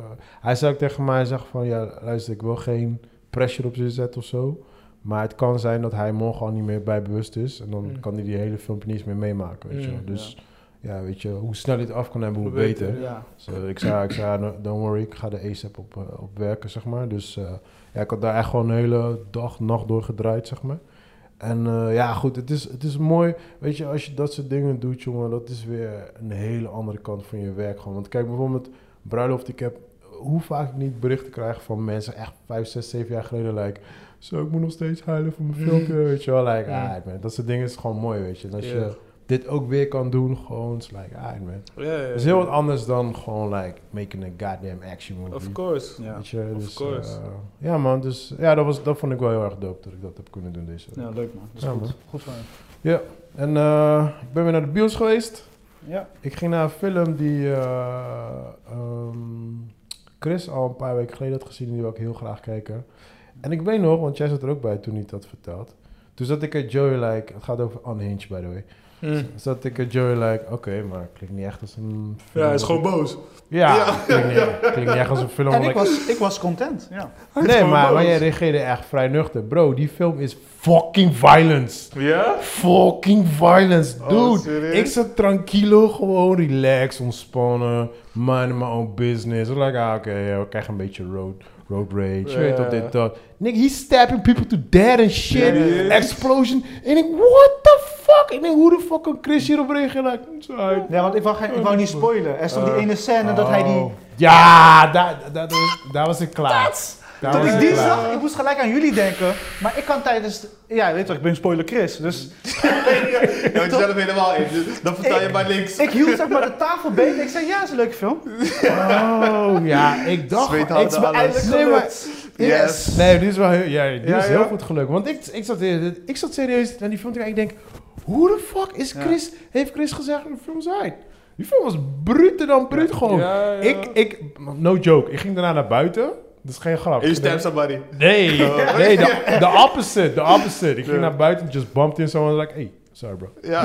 hij zei ook tegen mij, hij zegt van, ja, luister, ik wil geen pressure op ze zetten of zo. Maar het kan zijn dat hij morgen al niet meer bij bewust is. En dan Mm. kan hij die hele filmpje niet eens meer meemaken, weet je. Mm, dus ja. weet je, hoe sneller je het af kan hebben, hoe Hoe beter, beter. Ja. Zo, Dus, eh, ik zei, ik zei, "No, don't worry, ik ga de ASAP op, eh, op werken, zeg maar. Dus eh, ja, ik had daar echt gewoon een hele dag, nacht door gedraaid, zeg maar. En eh, ja, goed, het is, het is mooi. Weet je, als je dat soort dingen doet, jongen, dat is weer een hele andere kant van je werk gewoon. Want kijk, bijvoorbeeld bruiloft, ik heb hoe vaak ik niet berichten krijg van mensen, echt vijf, zes, zeven jaar geleden, like, zo, ik moet nog steeds huilen voor mijn filmpje, weet je wel. Like, Mm. ah, man, dat soort dingen is gewoon mooi, weet je. En als Ja. je dit ook weer kan doen, gewoon, it's like, ah, Ja, man. ja. Het is heel wat anders dan gewoon like making a goddamn action movie. Of course. Ja. Weet je, of dus, course. eh, ja man, dus ja, dat, was, dat vond ik wel heel erg dope dat ik dat heb kunnen doen deze week. ja, leuk man. Dat is Ja, goed. man. Goed van je. En eh, ik ben weer naar de bios geweest. Ja. Ik ging naar een film die eh, ehm, Chris al een paar weken geleden had gezien en die wil ik heel graag kijken. En ik weet nog, want jij zat er ook bij toen hij het had verteld. Toen zat ik er Joey like, het gaat over Unhinged by the way. Mm. Zat ik er Joey like, oké, maar het klinkt niet echt als een film. Ja, hij is gewoon boos. Ja, Klinkt, niet, klinkt niet echt als een film. En waar ik ik- was, ik was content. Ja. nee, gewoon maar, maar boos. jij reageerde echt vrij nuchter. Bro, die film is fucking violence. Ja? Fucking violence, Oh, dude. serieus? ik zat tranquilo, gewoon relax, ontspannen. Mind my own business. Ik like, ah, oké, ja, ik krijg een beetje road, road rage. Je weet Ja. toch dit, dat. Nick, he's stabbing people to death and shit. Serieus? Explosion. En ik, what the fuck? Ik denk, hoe de fuck kan Chris hierop reageren? Like, "It's alright." Oh. Nee, want ik wou, geen- ik wou niet spoilen. Er stond die ene scène dat hij die... Eh. Oh. Ja, daar daar- daar was- daar was ik klaar. Daar Dat was ik die klaar. zag, ik moest gelijk aan jullie denken. Maar ik kan tijdens... Ja, weet toch, ik ben spoiler Chris, dus... Je houdt jezelf helemaal in. dus Dan vertel je Ik- maar niks. Ik hield zeg maar de tafel beet. Ik zei, ja, is een leuke film. Oh, ja, ik dacht... Zweet ik houdt zag- alles. eigenlijk nee, maar- Yes. Nee, dit is wel heel, ja, dit Ja, is ja. heel goed gelukt. Want ik, ik, zat, ik zat serieus naar die film te kijken. Ik denk, hoe de fuck is Ja. Chris, heeft Chris gezegd dat de film is uit? Die film was bruter dan bruut gewoon. Ja, ja. Ik, ik, no joke, ik ging daarna naar buiten. Dat is geen grap. You stab somebody. Nee, nee, de, de opposite, de opposite. Ik ging naar buiten, just bumped in someone, like, hey, Sorry bro. Ja.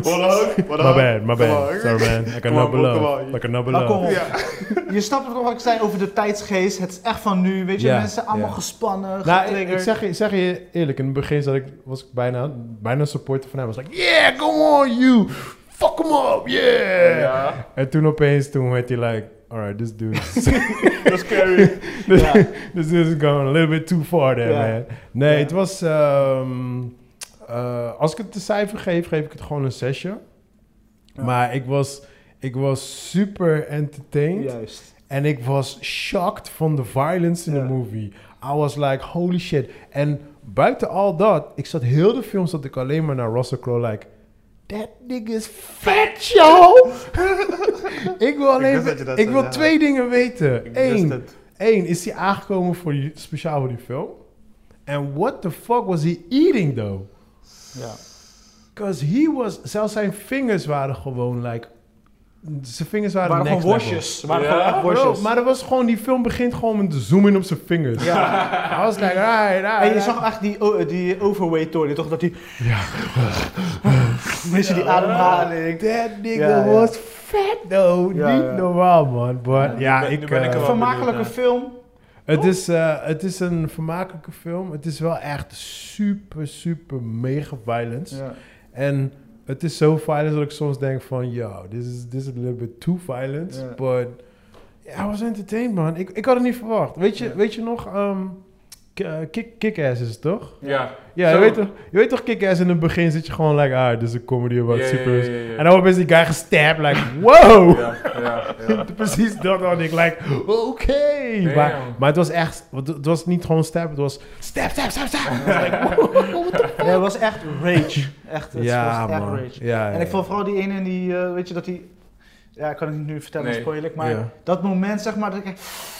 bro. What up? What My up? bad, Come my bad. on. Sorry man. I can Come on, not bro, come below. on. I can not Maar kom below. op. Ja. Je snapt toch wat ik zei over de tijdsgeest. Het is echt van nu. Weet je, Ja, mensen allemaal ja. gespannen, Nou, ik, getriggerd. ik zeg, je- ik zeg je eerlijk, in het begin zat ik, was ik bijna, bijna supporter van hem. was like, yeah, come on you, fuck him up, yeah. Ja. En toen opeens, toen werd hij like, alright, this dude, is- Dat is scary. this, Ja. this is going a little bit too far there, Ja. man. Nee, Ja. het was, ehm, eh, als ik het de cijfer geef, geef ik het gewoon een zesje. Ja. Maar ik was, ik was super entertained. Juist. En ik was shocked van de violence in Ja. de movie. I was like, holy shit. En buiten al dat, ik zat heel de film, zat ik alleen maar naar Russell Crowe like... That nigga's fat, yo! ik wil alleen... wist dat je dat ik zou wil zeggen. twee dingen weten. Wist Eén, het. één, is hij aangekomen voor die, speciaal voor die film? En what the fuck was he eating, though? Ja. Because he was... Zelfs zijn vingers waren gewoon like... Zijn vingers waren, Het waren gewoon next level. worstjes. Het waren Ja? gewoon echt Bro, worstjes. maar dat was gewoon, die film begint gewoon met de zoom in op zijn vingers. I was like, alright, alright. En je zag echt die, o- die overweight toren, toch? Dat die... Ja. Weet je, die ademhaling. That nigga Ja, ja. was fat though. Ja, Niet ja. normaal, man. But, ja, ben- ik, nu ben ik eh, er Een wel vermakelijke benieuwd film. het, is, eh, het is een vermakelijke film. Het is wel echt super, super mega violence. En het is zo violent dat ik soms denk van... Yo, this is, this is a little bit too violent. Ja. But yeah, I was entertained, man. Ik, ik had het niet verwacht. Weet je, weet je nog... ehm, K- eh, kick, kick-ass is het, toch? Ja. Ja, je Zo. weet, toch, je weet toch, kick-ass in het begin zit je gewoon like, ah, dit is een comedy about Ja, ja, super. ja, ja, ja. En dan opeens die guy gestabbed, like, wow! Ja, ja, ja. Precies dat had ik, like, oké! Maar, Damn. maar het was echt, want het was niet gewoon stab, het was stab, stab, stab, stab! Ik was like, wow, what the fuck? Ja, het was echt rage. Echt, het Ja, was echt man. rage. Ja, En ik vond vooral die ene in die, eh, weet je, dat die... Ja, ik kan het niet nu vertellen, Nee. spoiler, maar Ja. dat moment, zeg maar, dat ik echt-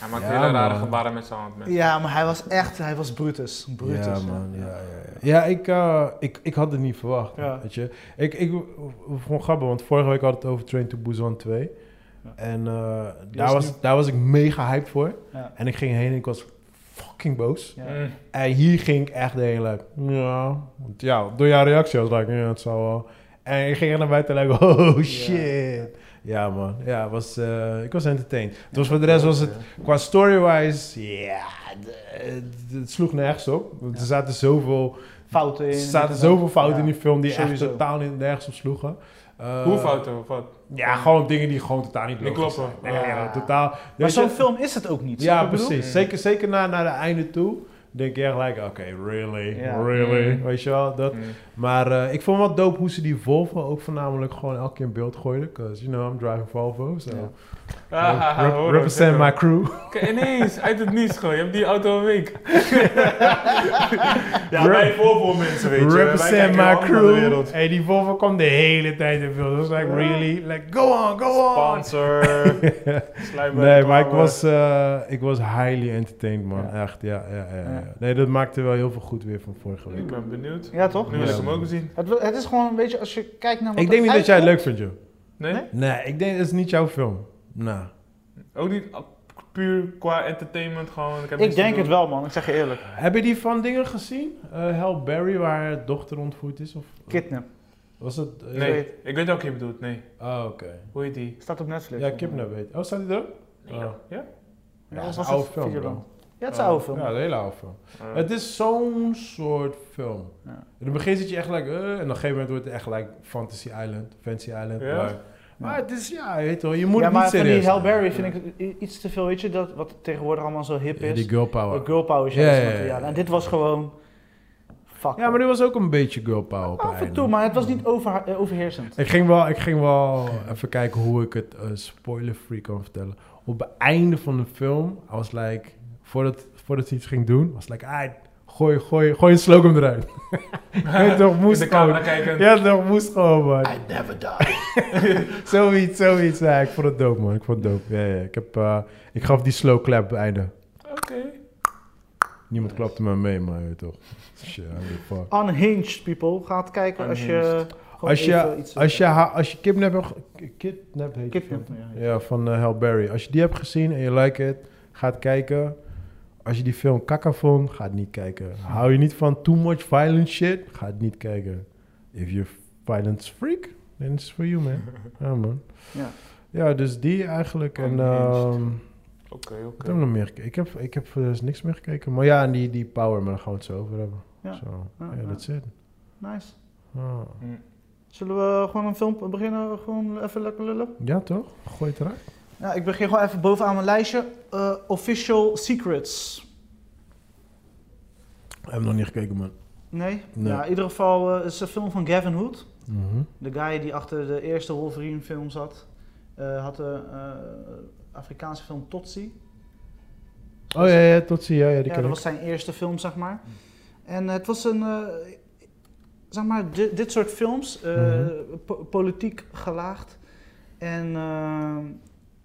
Hij maakt Ja, hele rare man. gebaren met zijn hand, man. Ja, maar hij was echt, hij was Brutus. Brutus. Ja, man. Ja, ja, ja. ja ik, eh, ik, ik had het niet verwacht. Ja. Weet je? Ik, ik vond het grappig, want vorige week had het over Train to Busan 2. Ja. En eh, Die daar, is was, nu- daar was ik mega hyped voor. Ja. En ik ging heen en ik was fucking boos. Ja. Mm. En hier ging ik echt de hele like, ja. Want ja, door jouw reactie was ik, like, ja, het zou wel. En ik ging er naar buiten en like, oh shit. Ja, man, ja, het was, eh, ik was entertained. Het was Dus voor de rest was het, qua story-wise, ja, de- het- het sloeg nergens op. Want Ja. er zaten zoveel, Fouten in. er zaten zoveel fouten Ja. in die film die Sowieso. echt totaal niet- nergens op sloegen. Eh, Hoe fouten of wat? Ja, gewoon dingen die gewoon totaal niet Die logisch kloppen. zijn. Ja, ja, Ah. totaal. Maar Weet je- zo'n film is het ook niet. snap ja, je wat ik bedoel? Mm. precies. Zeker, zeker naar, naar de einde toe. Denk je echt, like, oké, really, Ja. really. Mm. Weet je wel, dat. Mm. Maar eh, ik vond het wel dope hoe ze die Volvo ook voornamelijk gewoon elke keer in beeld gooiden. Because, you know, I'm driving Volvo, so. Ja. Ah, ah, ah, Rep- hoor, represent hoor. my crew. Kijk, ineens, uit het niets gewoon. Je hebt die auto een week. Rep- voor voor mensen, represent kijken my allemaal naar de crew. wereld. Hey, die Volvo kwam de hele tijd in beeld. Dat was like, really, like, go on, go on. Sponsor. Slijmwerk, Nee, maar ik reclame. was, eh, ik was highly entertained, man. Ja. Echt, ja, ja, ja, ja. Ja. Nee, dat maakte wel heel veel goed weer van vorige week. Ik ben benieuwd. Ja, toch? Nu wil Ja. ik hem ook zien. Het, het is gewoon een beetje, als je kijkt naar wat Ik denk niet er dat jij het uitkomt- leuk vindt, joh. Nee? Nee? Nee, ik denk dat is niet jouw film. Nou. Ook niet ah, puur qua entertainment gewoon. Ik, heb Ik niks te denk doen. het wel, man. Ik zeg je eerlijk. Heb je die van dingen gezien? Eh Hell Berry, waar haar dochter ontvoerd is? Of Kidnap. was het? eh, Nee, ik weet ook wie je bedoelt. Nee. Oh, oké. Hoe heet die? Staat op Netflix. Ja, Kidnap weet. Oh, staat die er? Ja. Ja? Oh. Ja? Ja, dat was is een het oude film, video bro. dan. Ja, het is een oude film. Oh. Ja, een hele oude film. Eh, Ah. Eh, Het is zo'n soort film. Ja. In het begin zit je echt like, eh, en op een gegeven moment wordt het echt like Fantasy Island, Fancy Island. Ja? Maar, maar het is, ja, je weet wel, je moet ja, het niet maar van die serieus Halle nemen. Berry vind ik i- iets te veel, weet je, dat, wat tegenwoordig allemaal zo hip Ja, is. die girl Door power. girl power Ja, ja, ja, materiaal. ja. En dit was gewoon... Fuck. Ja, maar dit was ook een beetje girl power op Af en einde. toe, maar het was niet over, eh, overheersend. Ik ging wel, ik ging wel even kijken hoe ik het eh, spoiler-free kan vertellen. Op het einde van de film, I was like, voordat, voordat ze iets ging doen, was like, ah, gooi, gooi, gooi een slogan eruit. Je toch, In moest de camera gewoon. kijken. Ja, toch, moest gewoon, man. I never die. Zoiets, zoiets. Ja, ik vond het dope, man. Ik vond het dope. Ja, ja. Ik, heb, eh, ik gaf die slow clap op het einde. Oké. Niemand klapte me mee, maar je weet toch. Shit, I give a fuck. Unhinged, people. Gaat kijken als je... gewoon Als even je, iets- eh, als je, ha- als je kidnap hebt... ge- Kidnap heet die Kidnap, film. ja. Ja, van eh Halle Berry. Als je die hebt gezien en je like it, gaat kijken. als je die film kakka vond, ga het niet kijken. Hou je niet van too much violent shit, ga het niet kijken. If you're violence freak, then it's for you, man. Ja, man. Ja. Ja, dus die eigenlijk. En Unhinged. ehm, Oké, wat oké. heb ik nog meer gekeken? Ik heb, ik heb voor de rest niks meer gekeken. Maar ja, en die, die power, maar daar gaan we het zo over hebben. Ja. Zo. Ja, Ja, ja. that's it. Nice. Ah. Zullen we gewoon een film beginnen? Gewoon even lekker lullen? Ja, toch? Gooi het eruit. Ja, ik begin gewoon even bovenaan mijn lijstje. Eh, Official Secrets. Ik heb nog niet gekeken, man. Nee? Nee. Ja, in ieder geval eh, het is een film van Gavin Hood. Mhm. De guy die achter de eerste Wolverine film zat, eh, had de eh, Afrikaanse film Totsi. Oh ja, ja, tot zie. Ja, ja, die Ja, ken dat ik. was zijn eerste film, zeg maar. En het was een, eh, zeg maar, di- dit soort films, eh, Mhm. po- politiek gelaagd. En eh,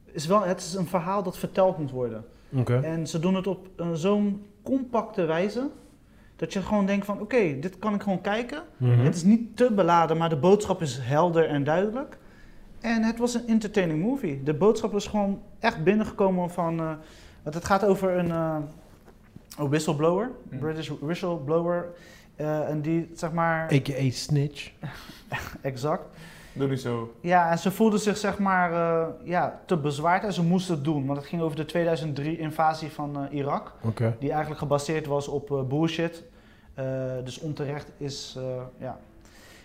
is wel, het is een verhaal dat verteld moet worden. Oké. En ze doen het op een zo'n compacte wijze, dat je gewoon denkt van, oké, dit kan ik gewoon kijken. Mhm. Het is niet te beladen, maar de boodschap is helder en duidelijk. En het was een entertaining movie. De boodschap is gewoon echt binnengekomen van. eh, want het gaat over een, eh, een whistleblower, Hmm. British whistleblower. eh, en die, zeg maar, A.k.a. Snitch. exact. Doe niet zo. Ja, en ze voelden zich, zeg maar, eh, ja, te bezwaard en ze moesten het doen. Want het ging over de 2003-invasie van eh, Irak. Oké. Die eigenlijk gebaseerd was op eh, bullshit. Eh, dus onterecht is, eh, ja.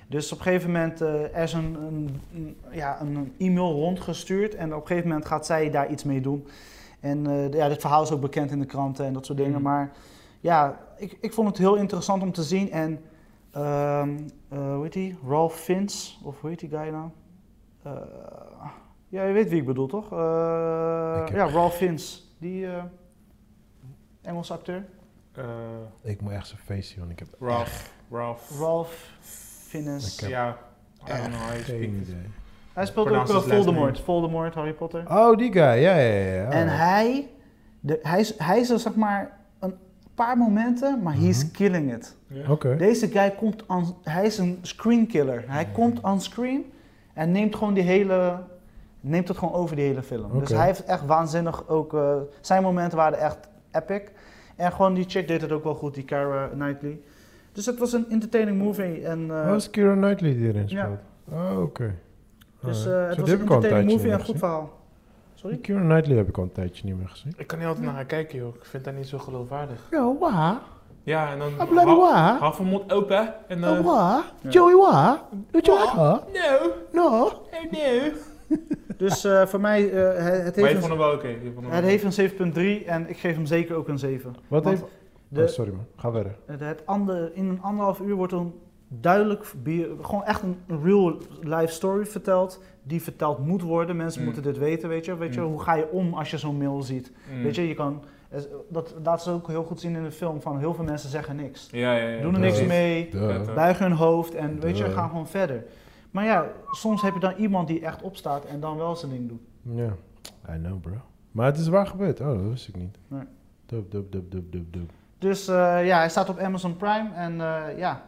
Dus op een gegeven moment eh, er is een, een, een- ja, een een e-mail rondgestuurd en op een gegeven moment gaat zij daar iets mee doen. En eh, ja, dit verhaal is ook bekend in de kranten en dat soort dingen. Mhm. Maar ja, ik, ik vond het heel interessant om te zien. En ehm, eh, hoe heet die? Ralph Fiennes, of hoe heet die guy nou? Eh, ja, je weet wie ik bedoel, toch? Eh, Ik heb- Ja, Ralph Fiennes. Die eh, Engelse acteur. Eh, Ik moet echt zijn face zien, want ik heb Ralph. Ralph. Ralph Fiennes. Ik heb- Ja. I don't know how you speak geen it. idee. Hij speelt ook Pronounce eh, his last Voldemort. Voldemort, Harry Potter. Oh, die guy. Ja, ja, ja. ja. En Oh. hij, de, hij, is, hij is er zeg maar een paar momenten, maar he's Mhm. killing it. Ja. Oké. Deze guy komt on, hij is een screenkiller. Hij komt on screen en neemt gewoon die hele, neemt het gewoon over die hele film. Dus Oké. hij heeft echt waanzinnig ook, eh, zijn momenten waren echt epic. En gewoon die chick deed het ook wel goed, die Cara Knightley. Dus het was een entertaining movie en eh, Oh, is Keira Knightley die erin Ja. speelt? Oh, oké. dus, Alright. eh, oh, het Zo, die was een heb ik al entertaining tijdje movie en niet goed meer verhaal. Sorry? gezien. Keira Knightley heb ik al een tijdje niet meer gezien. Ik kan niet altijd naar haar kijken, joh. Ik vind dat niet zo geloofwaardig. Yo, wa? Ja, en dan... bloody hou- wa? Hou van mond open. En Oh, dan... wa? Joey, wa? Doet je Wa? wat? no. No. Oh, no. Dus eh, voor mij, eh, het, Maar je heeft vond een, hem wel oké. Je vond hem het wel heeft een 7.3 en ik geef hem zeker ook een Dus 7. Wat Want heeft... de- Oh, sorry man, ga verder. Het, Eh, het ander, in een anderhalf uur wordt een duidelijk, bi- gewoon echt een real life story verteld. Die verteld moet worden. Mensen Mm. moeten dit weten, weet je. Weet je, Mm. hoe ga je om als je zo'n mail ziet? Mm. Weet je, je kan, eh, dat laat ze ook heel goed zien in de film, van heel veel mensen zeggen niks. Ja, ja, ja. Doen er dat niks is- mee. Duh. buigen hun hoofd en weet je, Duh. gaan gewoon verder. Maar ja, soms heb je dan iemand die echt opstaat en dan wel zijn ding doet. Ja. I know bro. Maar het is waar gebeurd. Oh, dat wist ik niet. Nee. Dup, dup, dup, dup, dup, dup. Dus eh, ja, hij staat op Amazon Prime en eh, ja,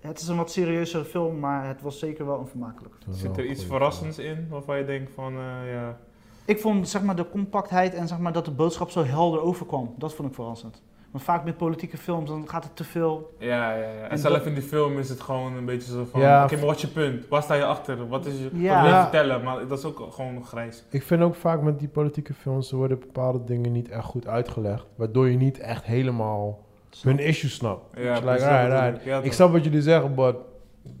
het is een wat serieuzere film, maar het was zeker wel een vermakelijke film. Dat was Zit wel er een iets goeie verrassends in waarvan je denkt van, eh, ja... Ik vond zeg maar de compactheid en zeg maar dat de boodschap zo helder overkwam, dat vond ik verrassend. Want vaak met politieke films dan gaat het te veel. Ja, ja, ja. En, En zelf dat- in die film is het gewoon een beetje zo van, Ja. oké, maar wat is je punt? Waar sta je achter? Wat is je... Wat Ja. wil je Ja. vertellen? Maar dat is ook gewoon grijs. Ik vind ook vaak met die politieke films, er worden bepaalde dingen niet echt goed uitgelegd. Waardoor je niet echt helemaal hun issues snapt. Ja, It's like, precies, alright, dat alright. bedoel ik. Ja, Ik toch. snap wat jullie zeggen, but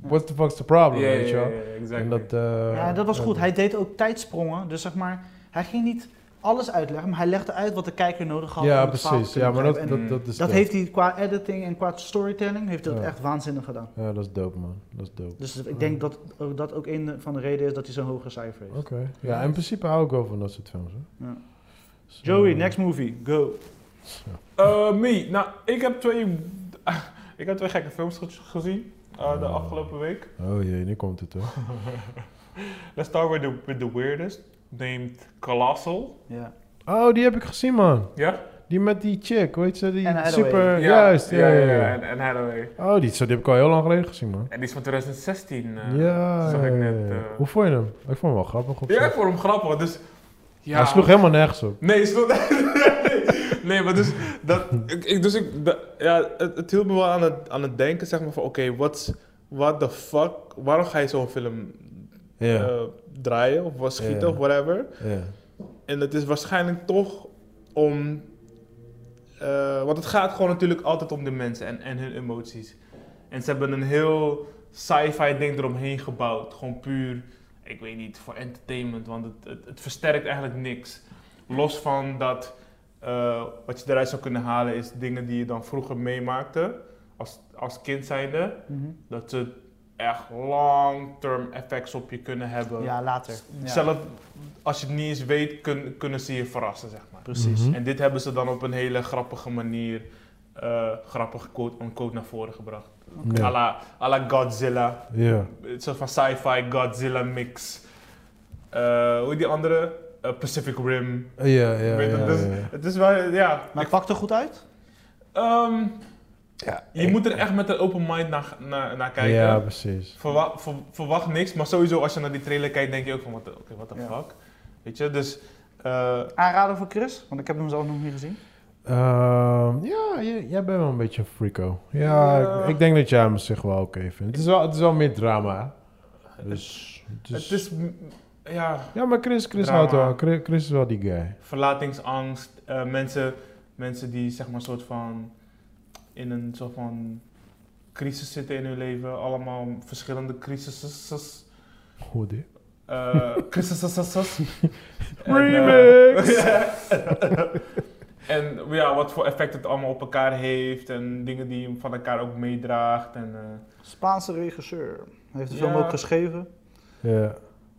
what's the fuck's the problem, Ja, weet je ja, wel? ja, ja, exactly. En dat, eh, Ja, dat was ja, goed. Hij deed ook tijdsprongen, dus zeg maar, hij ging niet alles uitleggen, maar hij legde uit wat de kijker nodig had. Ja, om het verhaal te precies. kunnen Ja, maar begrijpen. dat, begrijpen. dat, dat En eh, is dat dope. heeft hij qua editing en qua storytelling, heeft hij dat Ja. echt waanzinnig gedaan. Ja, dat is dope, man. Dat is dope. Dus ik denk dat ook- dat ook een van de redenen is dat hij zo'n hoge cijfer heeft. Oké. Ja, in principe hou ik wel van dat soort films, hè. Ja. Zo, Joey, eh, next movie, go. Eh, me. Nou, ik heb twee... ik heb twee gekke films ge- gezien eh, de Oh. afgelopen week. Oh jee, nu komt het, hoor. Let's start with the, with the weirdest. Named Colossal. Ja. Oh, die heb ik gezien, man. Ja? Die met die chick, weet je, die Anne Hathaway. super... Eh, Juist, ja, ja, ja. En, en Hathaway. Oh, die, zo, die heb ik al heel lang geleden gezien, man. En die is van 2016. eh, ja, zag ik ja, net. ja. eh. Hoe vond je hem? Ik vond hem wel grappig op Ja, zich. ik vond hem grappig, dus... Hij sloeg helemaal nergens op. Nee, sloeg... Nee, maar dus, dat, ik, ik- dus ik, dat- ja, het, het hield me wel aan het, aan het denken, zeg maar, van oké, what's- what the fuck, waarom ga je zo'n film Ja, eh, draaien of wat schieten Ja. of whatever? Eh. ja. En het is waarschijnlijk toch om, eh, want het gaat gewoon natuurlijk altijd om de mensen en, en hun emoties. En ze hebben een heel sci-fi ding eromheen gebouwd, gewoon puur, ik weet niet, voor entertainment, want het, het, het versterkt eigenlijk niks. Los van dat eh, wat je eruit zou kunnen halen is dingen die je dan vroeger meemaakte als, als kind zijnde. Mhm. Dat ze echt long-term effects op je kunnen hebben. Ja, later. S- Ja. Zelf als je het niet eens weet, kun- kunnen ze je verrassen, zeg maar. Precies. Mhm. En dit hebben ze dan op een hele grappige manier, eh grappig quote-unquote, naar voren gebracht. A, Ja. la, à la Godzilla. Ja. Een soort van sci-fi Godzilla mix. Eh, hoe heet die andere? Eh, Pacific Rim. Ja, Oh, ja, ja, Weet je, ja, dus- ja. Het is wel, ja. Maar het pakt er goed uit? Ehm, Ja, je moet er echt met een open mind naar, naar, naar kijken. Ja, precies. Verwa- ver- verwacht niks, maar sowieso als je naar die trailer kijkt, denk je ook van, wat de- oké, what the Ja. fuck? Weet je, dus... eh, Aanraden voor Chris? Want ik heb hem zelf nog niet gezien. Ehm, ja, j- jij bent wel een beetje een freako. Ja, Ja. Ik, ik denk dat jij hem zich wel oké vindt. Het is wel, het is wel meer drama. hè. Dus, het is- het is, mm, ja, ja, maar Chris, Chris Drama. houdt wel. Chris, Chris is wel die guy. verlatingsangst. eh, mensen, mensen die, zeg maar, soort van... in een soort van crisis zitten in hun leven. Allemaal verschillende crisises. Goed, hè? eh crisises. En, eh, Remix! en ja, wat voor effect het allemaal op elkaar heeft. En dingen die je van elkaar ook meedraagt. En, eh, Spaanse regisseur. Hij heeft de film Ja. ook geschreven.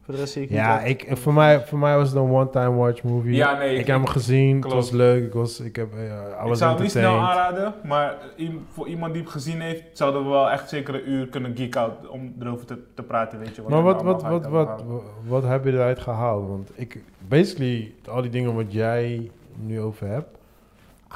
Ja, Voor de rest zie ik ja niet. ik, voor, mij, voor mij was het een one-time watch movie. Ja, nee. ik heb hem gezien, klopt. het was leuk. Ik, was, ik, heb, eh, I Ik was zou het niet snel entertained. aanraden, maar i- voor iemand die het gezien heeft, zouden we wel echt zeker een uur kunnen geek out om erover te, te praten, weet je. Maar we wat, allemaal wat, uit wat, hebben wat, gehaald. wat, heb je eruit gehaald? Want ik, basically, al die dingen wat jij nu over hebt,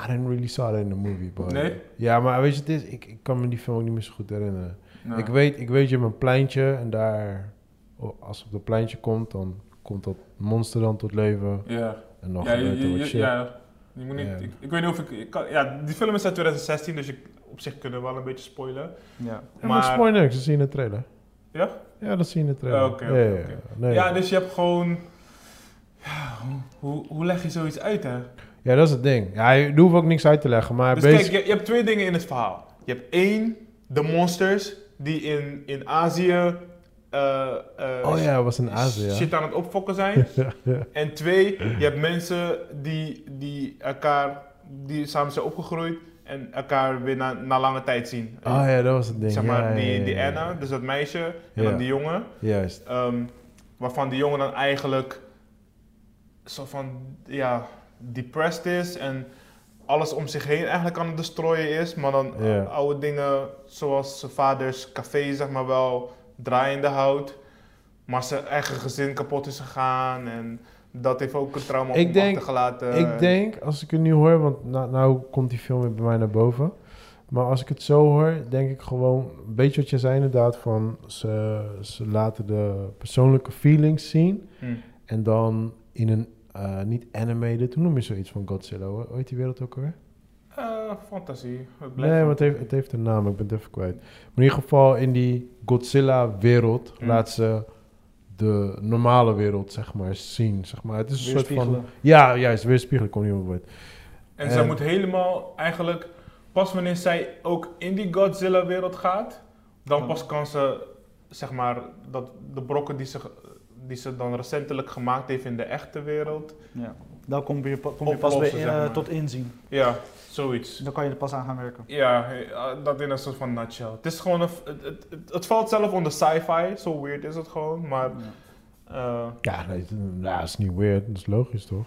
I didn't really saw that in the movie, boy. Nee? Ja, maar weet je, het is, ik, ik kan me die film ook niet meer zo goed herinneren. Nou, Ik, weet, ik weet, je hebt een pleintje en daar, oh, als het op dat pleintje komt, dan komt dat monster dan tot leven. Ja, En dan ja, je, gebeurt er je- wat je- shit. ja. Je moet niet, Ja. ik, ik weet niet of ik, ik kan, ja, die film is uit 2016, dus ik, op zich kunnen we wel een beetje spoilen. Ja. Ja, maar maar- spoil niks, dat zie je in de trailer. Ja? Ja, dat zie je in de trailer. Oh, oké, oké, Ja, ja, oké. ja. Nee. Ja, dus je hebt gewoon, ja, hoe- hoe, hoe leg je zoiets uit, hè? Ja, dat is het ding. Ja, je je hoeft ook niks uit te leggen, maar Dus kijk, basic- je, je hebt twee dingen in het verhaal. Je hebt één, de monsters die in, in Azië... eh, eh, Oh ja, was in Azië. shit aan het opfokken zijn. ja. Ja. en twee, je hebt mensen die, die elkaar, die samen zijn opgegroeid en elkaar weer na, na lange tijd zien. Oh ja, dat was het ding. Zeg Ja, maar, ja, die, ja, die ja, ja. Anna, dus dat meisje, en Ja. dan die jongen. Juist. ehm, waarvan die jongen dan eigenlijk zo van, ja, depressed is en alles om zich heen eigenlijk aan het destroyen is. Maar dan Ja. ou- oude dingen zoals zijn vaders café, zeg maar wel, draaiende houdt. Maar zijn eigen gezin kapot is gegaan en dat heeft ook een trauma Ik om denk- achtergelaten. ik denk, als ik het nu hoor, want na- nou komt die film weer bij mij naar boven. Maar als ik het zo hoor, denk ik gewoon een beetje wat je zei inderdaad, van ze, ze laten de persoonlijke feelings zien. Hm. En dan in een eh, niet animated, hoe noem je zoiets van Godzilla? hoor? Hoe heet die wereld ook alweer? Eh, fantasie. Het blijft Nee, maar wel- het heeft, het heeft een naam, ik ben het even kwijt. Maar in ieder geval, in die Godzilla-wereld Mm. Hm. laat ze de normale wereld, zeg maar, zien. Zeg maar. Het is een soort van... Weerspiegelen. Ja, juist, weerspiegelen, kon niet op het woord. En zij En- moet helemaal eigenlijk, pas wanneer zij ook in die Godzilla-wereld gaat, dan Oh. pas kan ze, zeg maar, dat de brokken die ze, die ze dan recentelijk gemaakt heeft in de echte wereld. ja. Dan kom je, pa- kom je pas Oplossen, weer in, zeg eh, maar. tot inzien. Ja, zoiets. Dan kan je er pas aan gaan werken. Ja, eh, dat in een soort van nutshell. Het is gewoon een, f- het, het, het, het valt zelf onder sci-fi, zo weird is het gewoon, maar... Ja. eh, Ja, nee, het- nou, dat is niet weird. Dat is logisch, toch?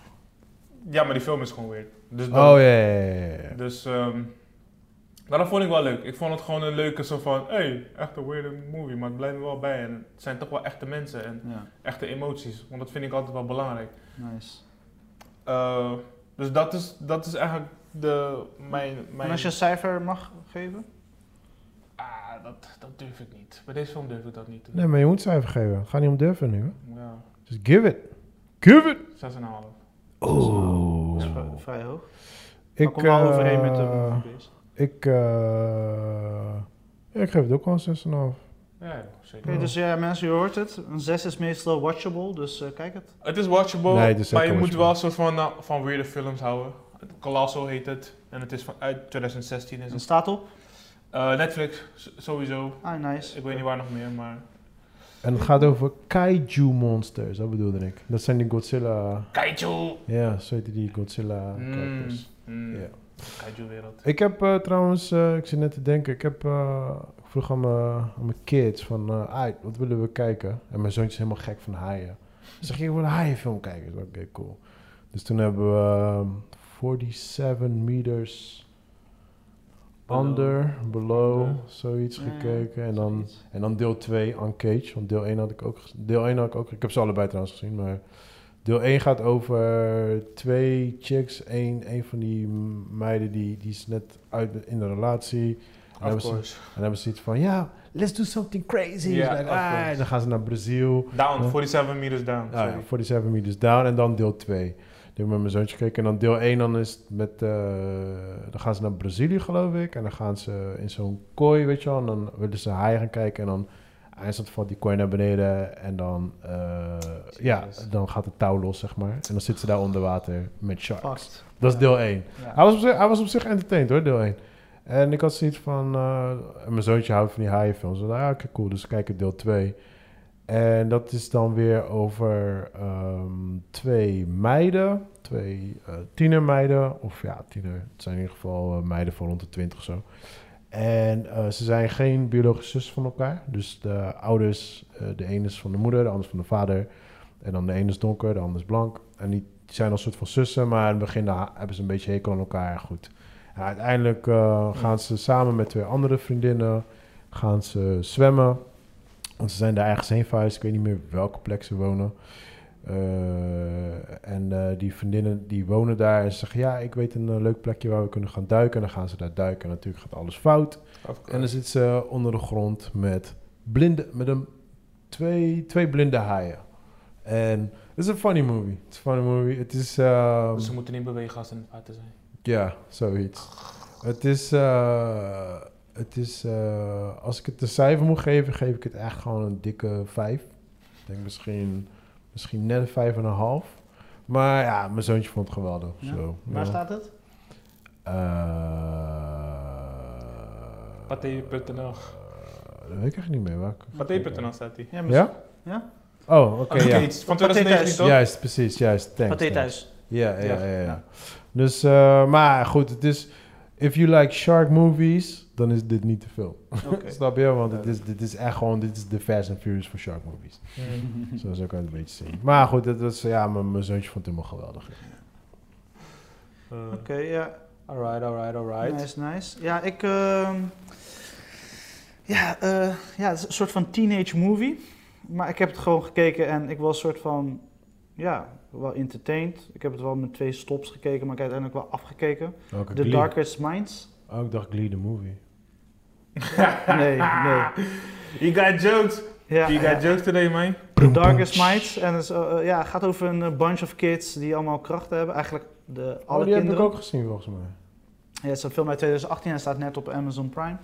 ja, maar die film is gewoon weird. Dus dan- Oh, ja, ja, ja, ja. Dus ehm dat vond ik wel leuk. Ik vond het gewoon een leuke zo van, hey, echt een weird movie, maar het blijft me wel bij. En het zijn toch wel echte mensen en Ja, echte emoties, want dat vind ik altijd wel belangrijk. nice. Eh, dus dat is, dat is eigenlijk de, mijn... mijn En als je een cijfer mag geven? Ah, dat, dat durf ik niet. Bij deze film durf ik dat niet te doen. Nee, maar je moet cijfer geven. Ga niet om durven nu, hè. Ja, Dus give it. Give it! 6,5. Oh. Dat is vri- vrij hoog. Ja, Ik kom wel eh, overeen met de Ik, eh, ja, ik geef het ook wel een 6,5. Ja, zeker. Oké, dus ja, mensen, je hoort het. Een 6 is meestal watchable, dus eh, kijk het. Het is watchable, Nee, het is maar je zeker moet wel een soort van, eh, van weirde films houden. Colossal heet het. En het is van, uit 2016. Is Het het. staat op. Eh, Netflix, s- sowieso. Ah, nice. Ik weet niet waar nog meer, maar... En het gaat over kaiju monsters, dat bedoelde ik. Dat zijn die Godzilla, Kaiju! ja, zo heette die Godzilla Mm. characters. Mm. Ja. Kaiju-wereld. Ik heb eh, trouwens, eh, ik zit net te denken, ik heb eh, ik vroeg aan mijn, aan mijn kids van, eh, "Ai, wat willen we kijken? En mijn zoontje is helemaal gek van haaien. Dus zeg ik, ik wil een haaienfilm kijken. Ik zei, Oké, cool. Dus toen hebben we ehm, 47 meters Below. under, below, Under. zoiets Ja, ja, gekeken. En dan, zoiets. en dan deel 2, Uncaged. Want deel 1 had ik ook, gez- deel 1 had ik ook, ik heb ze allebei trouwens gezien, maar... Deel 1 gaat over twee chicks. Eén een van die meiden die, die is net uit in de relatie. En dan hebben Of ze- course. en dan hebben ze iets van, ja, let's do something crazy. Ja, Like, of ah, course. en dan gaan ze naar Brazil. Down, Ja. 47 meters down. Ah, sorry. ja, 47 meters down en dan deel 2. Die heb ik met mijn zoontje gekeken. En dan deel 1 dan is het met, eh, dan gaan ze naar Brazilië geloof ik. En dan gaan ze in zo'n kooi, weet je wel. En dan willen ze haaien gaan kijken. En dan eindstand valt die kooi naar beneden. En dan, eh, ja, dan gaat het touw los, zeg maar. En dan zitten ze daar onder water met sharks. Fucked. Dat is deel 1. Ja. Hij was, op zich, hij was op zich entertained hoor, deel 1. En ik had zoiets van... eh, en mijn zoontje houdt van die haaienfilms. Dus, nou ja, oké, cool. Dus we kijken deel 2. En dat is dan weer over ehm, twee meiden. Twee eh, tienermeiden. Of ja, tiener. Het zijn in ieder geval eh, meiden van rond de 20 of zo. En eh, ze zijn geen biologische zus van elkaar. Dus de ouders, eh, de ene is van de moeder, de ander is van de vader. En dan de ene is donker, de ander is blank. En die die zijn al een soort van zussen, maar in het begin ha- hebben ze een beetje hekel aan elkaar. Goed. En uiteindelijk eh, gaan ze samen met twee andere vriendinnen gaan ze zwemmen. Want ze zijn daar ergens heen verhuisd. Ik weet niet meer welke plek ze wonen. Eh, en eh, die vriendinnen die wonen daar en ze zeggen... ja, ik weet een eh, leuk plekje waar we kunnen gaan duiken. En dan gaan ze daar duiken en natuurlijk gaat alles fout. Of En course. dan zit ze onder de grond met, blinde, met een, twee, twee blinde haaien. En het is een funny movie. Het is een funny movie. Het is... ehm, Dus Ze moeten niet bewegen als ze in het water zijn. ja, zoiets. Het is, eh, het is eh, als ik het een cijfer moet geven, geef ik het echt gewoon een dikke vijf. Ik denk misschien, misschien net een vijf en een half. Maar ja, mijn zoontje vond het geweldig. Ja? Zo, Waar ja. staat het? Eh, Pathé.nl. dat weet ik echt niet meer. Waar ik- Pathé.nl staat die. Ja? maar- Ja? Ja? Oh, oké, Oké, ja. iets Van Pathé 2019 toch? Juist, precies, juist. Thanks, Pathé thanks. thuis. Ja, ja, Ja. ja. ja, Ja. Dus, eh, maar goed, het is... If you like shark movies, dan is dit niet te veel. Oké. Snap je? Want het is, dit is echt gewoon... Dit is de Fast and Furious voor shark movies. Zo zou ik het een beetje zien. Maar goed, dat was... Ja, mijn, mijn zoontje vond het helemaal geweldig. Eh, Oké, ja. Alright, alright, alright. Nice, nice. Ja, ik... ehm, Ja, eh, ja, het is een soort van teenage movie. Maar ik heb het gewoon gekeken en ik was soort van... Ja, wel entertained. Ik heb het wel met twee stops gekeken, maar ik heb uiteindelijk wel afgekeken. Ook The Darkest Minds. Oh, ik dacht Glee the movie. Nee, nee. You got jokes. Ja, You ja. got jokes today, man. The Darkest Minds. En het is, eh, eh, ja, het gaat over een eh, bunch of kids die allemaal krachten hebben. Eigenlijk de, alle oh, die heb kinderen. ik ook gezien volgens mij. Ja, het is een film uit 2018 en staat net op Amazon Prime.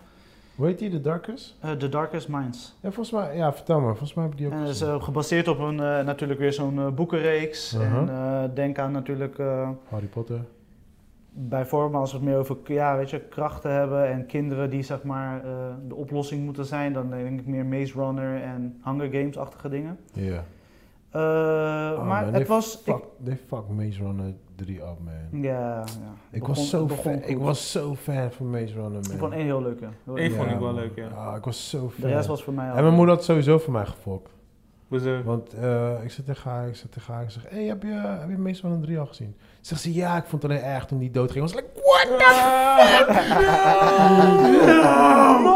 Hoe heet die, The Darkest? Eh, The Darkest Minds. Ja, volgens mij... Ja, vertel maar. Volgens mij heb ik die ook En dat is gezien. eh, gebaseerd op een, eh, natuurlijk weer zo'n eh, boekenreeks. Uh-huh. En eh, denk aan natuurlijk eh, Harry Potter. bijvoorbeeld als we het meer over ja, weet je, krachten hebben en kinderen die zeg maar eh, de oplossing moeten zijn. Dan denk ik meer Maze Runner en Hunger Games-achtige dingen. Ja. Eh, Oh, maar het man, they was... ik- Fuck, they fuck Maze Runner 3 up, man. ja, ja. Ik Begon- was, zo begon fan, goed. ik was zo fan van Maze Runner, Ik man. vond één heel leuke. Heel Eén leuk. vond ik wel man. leuk, ja. Ah, ik was zo fan. De rest was voor mij al. En mijn moeder had sowieso voor mij gefokt. Hoezo? Want eh, ik zat tegen haar, ik zat tegen haar, ik zeg... Hé, hey, heb je, heb je Maze Runner 3 al gezien? Zegt ze, ja, ik vond het alleen erg toen die doodging. Ik was like, what the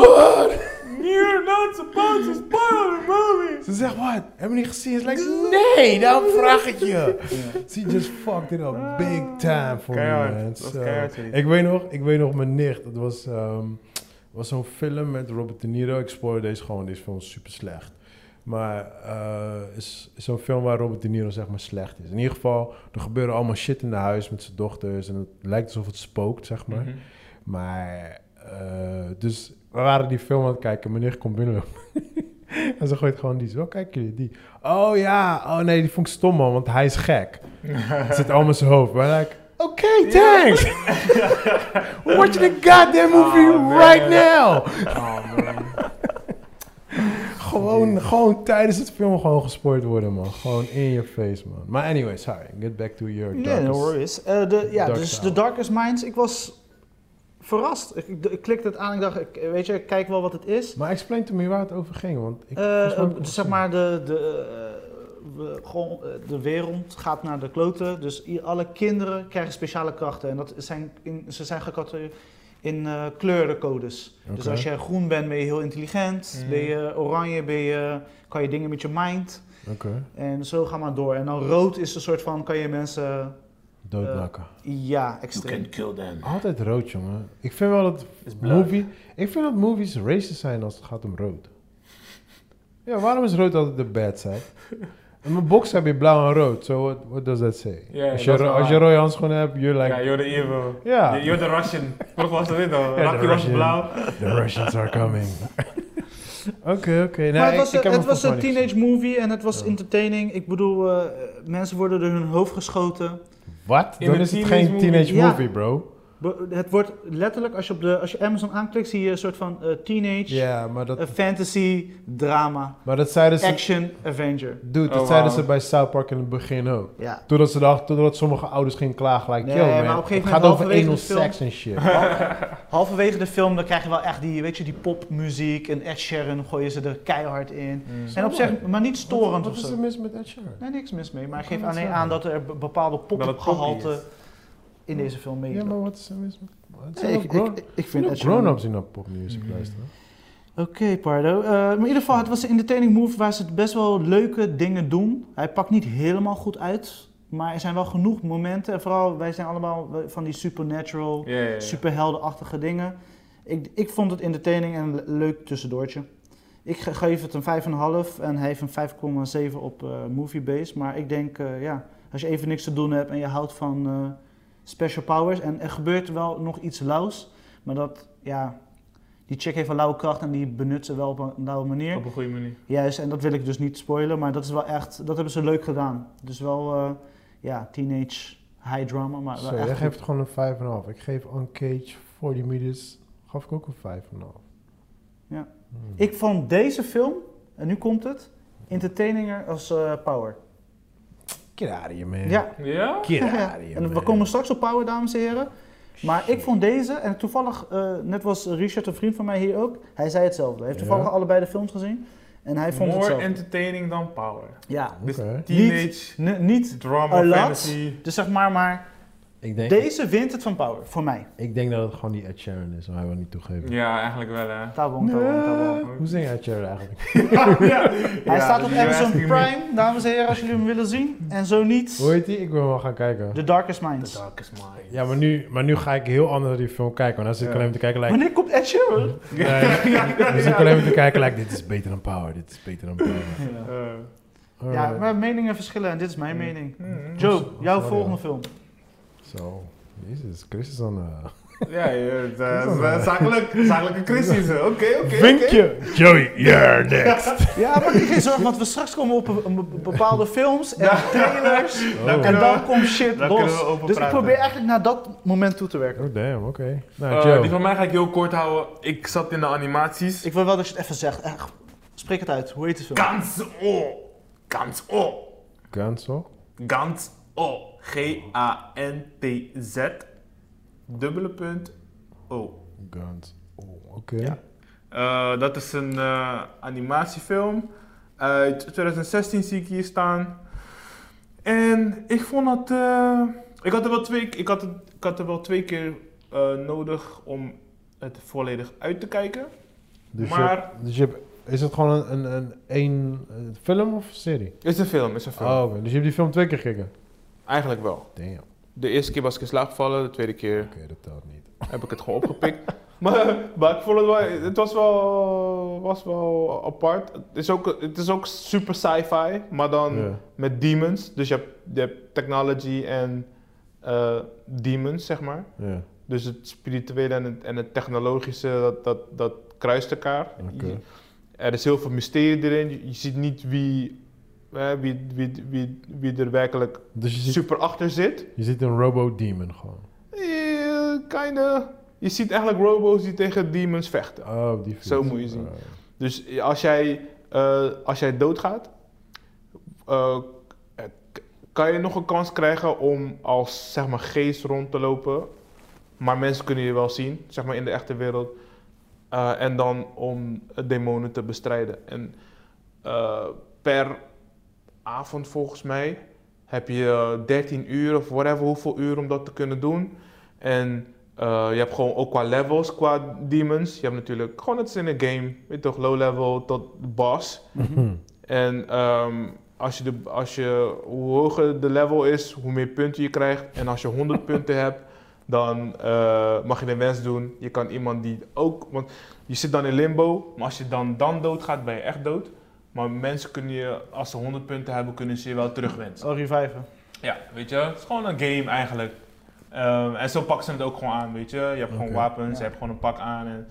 fuck? You're not supposed to spoil the movie! Ze zegt, wat? Hebben we niet gezien? Ze is like, nee, daarom vraag ik je. She just fucked it up big time for Keihard. me, man. Dat was Zo. keihard, weet je. Ik weet nog, ik weet nog mijn nicht. Het was, ehm, was zo'n film met Robert De Niro. Ik spoor deze gewoon, deze film is super slecht. Maar eh is is zo'n film waar Robert De Niro zeg maar slecht is. In ieder geval, er gebeuren allemaal shit in de huis met zijn dochters. En het lijkt alsof het spookt, zeg maar. Mhm. Maar, eh, dus we waren die film aan het kijken. Meneer komt binnenlopen. en ze gooit gewoon die. Zo, kijk jullie, die. Oh ja, oh nee, die vond ik stom man, want hij is gek. Mhm. het zit allemaal in zijn hoofd. Maar like, oké, thanks. We're Watching the goddamn movie Oh, Ah, man. right now. Oh man. Gewoon, gewoon tijdens het film gewoon gespoord worden, man. Gewoon in je face, man. Maar anyway, sorry. Get back to your Nee, no darkest... worries. Eh, de, ja, Dark dus Side. The Darkest Minds. Ik was verrast. Ik, ik, ik klikte het aan en ik dacht, ik, weet je, ik kijk wel wat het is. Maar explain to me waar het over ging, want ik... Eh, volgens mij heb ik eh, het zeg gezien. maar, de, de, eh, we- gewoon, eh, de wereld gaat naar de kloten. Dus i- alle kinderen krijgen speciale krachten. En dat zijn in, ze zijn gecategoriseerd in eh, kleurencodes. Dus Oké. als je groen bent, ben je heel intelligent. Mm. Ben je oranje, ben je, kan je dingen met je mind. Oké, En zo ga maar door. En dan rood is een soort van, kan je mensen... doodmaken. Ja, extreem. kill them. Altijd rood, jongen. Ik vind wel dat Is blauw. movie, ik vind dat movies racist zijn als het gaat om rood. Ja, waarom is rood altijd de bad side? In mijn box heb je blauw en rood, so what, what does that say? Ja, als, je, dat is ro- wel als je waar. rode handschoenen hebt, you're Ja, like, you're the evil. ja, You- You're the Russian. Wat was dat dit dan? de Rocky was Russian. blauw. the Russians are coming. Oké, oké. Nee, maar het ik- was, ik heb een- hem het was volgens mij een niet teenage movie en het was Ja. entertaining. Ik bedoel, eh, mensen worden door hun hoofd geschoten. gezien. Wat? In Dan een is het teenage geen movie? teenage Ja. movie, bro. Be- Het wordt letterlijk, als je, op de, als je Amazon aanklikt, zie je een soort van eh, teenage, Ja, maar eh, dat, fantasy, drama, maar dat zeiden ze... action, Avenger. Dude, dat Oh, zeiden wauw. ze bij South Park in het begin ook. Ja. Totdat, ze dacht, totdat sommige ouders gingen klagen, like, Nee, yo maar man, op een gegeven moment het gaat over halverwege anal de film- sex en shit. Halverwege de film dan krijg je wel echt die, weet je, die popmuziek en Ed Sheeran gooien ze er keihard in. Mm. En op zich, maar niet storend Wat of is er zo. mis met Ed Sheeran? Nee, niks mis mee. Maar Ik kan geef het alleen zeggen. aan dat er be- bepaalde het poppy popgehalte is. in deze film Ja, meedoen. maar wat is er mis met... Het Nee, zijn ook grown- vind zijn ook Ed Sheeran- grown-ups die naar popmuziek Mhm. Mm-hmm. luisteren. Oké, Pardo. Eh, maar in ieder geval, het was een entertaining move waar ze best wel leuke dingen doen. Hij pakt niet helemaal goed uit, maar er zijn wel genoeg momenten. En vooral, wij zijn allemaal van die supernatural, Ja, ja, ja. superheldenachtige dingen. Ik, ik vond het entertaining en een le- leuk tussendoortje. Ik ge- geef het een 5,5 en hij heeft een 5,7 op eh Moviebase. Maar ik denk, eh, ja, als je even niks te doen hebt en je houdt van eh, special powers... en er gebeurt wel nog iets lauws, maar dat, ja... Die chick heeft een lauwe kracht en die benut ze wel op een lauwe manier. Op een goede manier. Juist, en dat wil ik dus niet spoilen, maar dat is wel echt... Dat hebben ze leuk gedaan. Dus wel, eh, ja, teenage high drama, maar wel Zo, echt jij goed. geeft gewoon een 5,5. Ik geef On Cage 40 Meters, gaf ik ook een 5,5. Ja. Hmm. Ik vond deze film, en nu komt het, entertainer als eh, Power. Get out of here, man. Ja. Ja? Get out of here, en we man. komen straks op Power, dames en heren. Maar ik vond deze, en toevallig, eh, net was Richard, een vriend van mij hier ook, hij zei hetzelfde. Hij heeft toevallig Ja. allebei de films gezien en hij vond More hetzelfde. entertaining dan power. Dus Ja, Oké. Teenage, N- niet, drama, a lot. fantasy. dus zeg maar, maar Ik, denk, deze wint het van Power, voor mij. ik denk dat het gewoon die Ed Sheeran is, maar hij wil niet toegeven. Ja, eigenlijk wel hè. Tabon, tabon, tabon. Nee. Hoe zing Ed Sheeran eigenlijk? Hij Ja, staat dus op die Amazon wijziging nu. Prime, dames en heren, als jullie hem willen zien. En zo Hoe niet, heet die? Ik wil hem wel gaan kijken. The Darkest Minds. The darkest mind. Ja, maar nu, maar nu ga ik heel anders naar die film kijken. Want dan zit ik Ja. alleen maar te kijken, like, Wanneer komt Ed Sheeran? nee, dan zit ik alleen maar te kijken, like, dit is beter dan Power, dit is beter dan Power. Eh, Ja, Alright. maar meningen verschillen en dit is mijn Mm. mening. mm. Joe, jouw sorry, volgende film. hoor. Zo, jezus, Chris is aan eh Ja, ja, dat is wel is waar. wel zakelijk. Zakelijke crisis. hè. Oké, oké. Vinkje! Joey, you're next! Ja, maar geen zorgen, want we straks komen op een- een be- bepaalde films en trailers. Oh, En oh dan komt shit daar kunnen los. we over Dus ik praten. probeer eigenlijk naar dat moment toe te werken. Oh, damn, oké. Nou, Eh, Joe. die van mij ga ik heel kort houden. Ik zat in de animaties. Ik wil wel dat je het even zegt. Echt, spreek het uit. Hoe heet de film? Gans O. Gans O. Gansel? Gans O. G-A-N-T-Z. Dubbele punt O. Gans. Oh, oké. Ja. Eh, dat is een eh, animatiefilm. Uit 2016 zie ik hier staan. En ik vond dat. eh, ik, had er wel twee, ik, had het, ik had er wel twee keer eh, nodig om het volledig uit te kijken. Dus, Maar- je, dus je hebt- is het gewoon een, een, een, een, eh, film of serie? Is een film, is een film. Oh, oké. dus je hebt die film twee keer gekeken? Eigenlijk wel. Damn, oké, De eerste keer was ik in slaap gevallen, de tweede keer dat telt niet. heb ik het gewoon opgepikt. Maar, maar ik vond het wel, het was wel, was wel apart. Het is ook, het is ook super sci-fi, maar dan Ja. met demons. Dus je hebt, je hebt technology en eh, demons, zeg maar. Ja. Dus het spirituele en het, en het technologische, dat, dat, dat kruist elkaar. Oké. Je- Er is heel veel mysterie erin. Je, je ziet niet wie, hè, wie, wie, wie, wie er werkelijk Dus je ziet, super achter zit. je ziet een robo-demon gewoon. Eh, kinda. Je ziet eigenlijk robots die tegen demons vechten. Oh, die fiets. Zo moet je zien. Ah. Dus als jij, eh, als jij doodgaat, eh, k- kan je nog een kans krijgen om als zeg maar, geest rond te lopen. Maar mensen kunnen je wel zien, zeg maar in de echte wereld. Eh, en dan om demonen te bestrijden. En eh, per avond volgens mij heb je eh, 13 uur of whatever, hoeveel uur om dat te kunnen doen. En eh, je hebt gewoon ook qua levels, qua demons. Je hebt natuurlijk gewoon, het is in een game, weet toch, low level tot boss. En ehm, als je de, als je, hoe hoger de level is, hoe meer punten je krijgt. En als je 100 punten hebt, dan eh, mag je een wens doen. Je kan iemand die ook, want je zit dan in limbo, maar als je dan, dan doodgaat, ben je echt dood. Maar mensen kunnen je, als ze 100 punten hebben, kunnen ze je wel terugwensen. Oh, reviven. Ja, weet je, het is gewoon een game eigenlijk. Ehm, en zo pakken ze het ook gewoon aan, weet je. Je hebt gewoon Oké. wapens, Ja. je hebt gewoon een pak aan en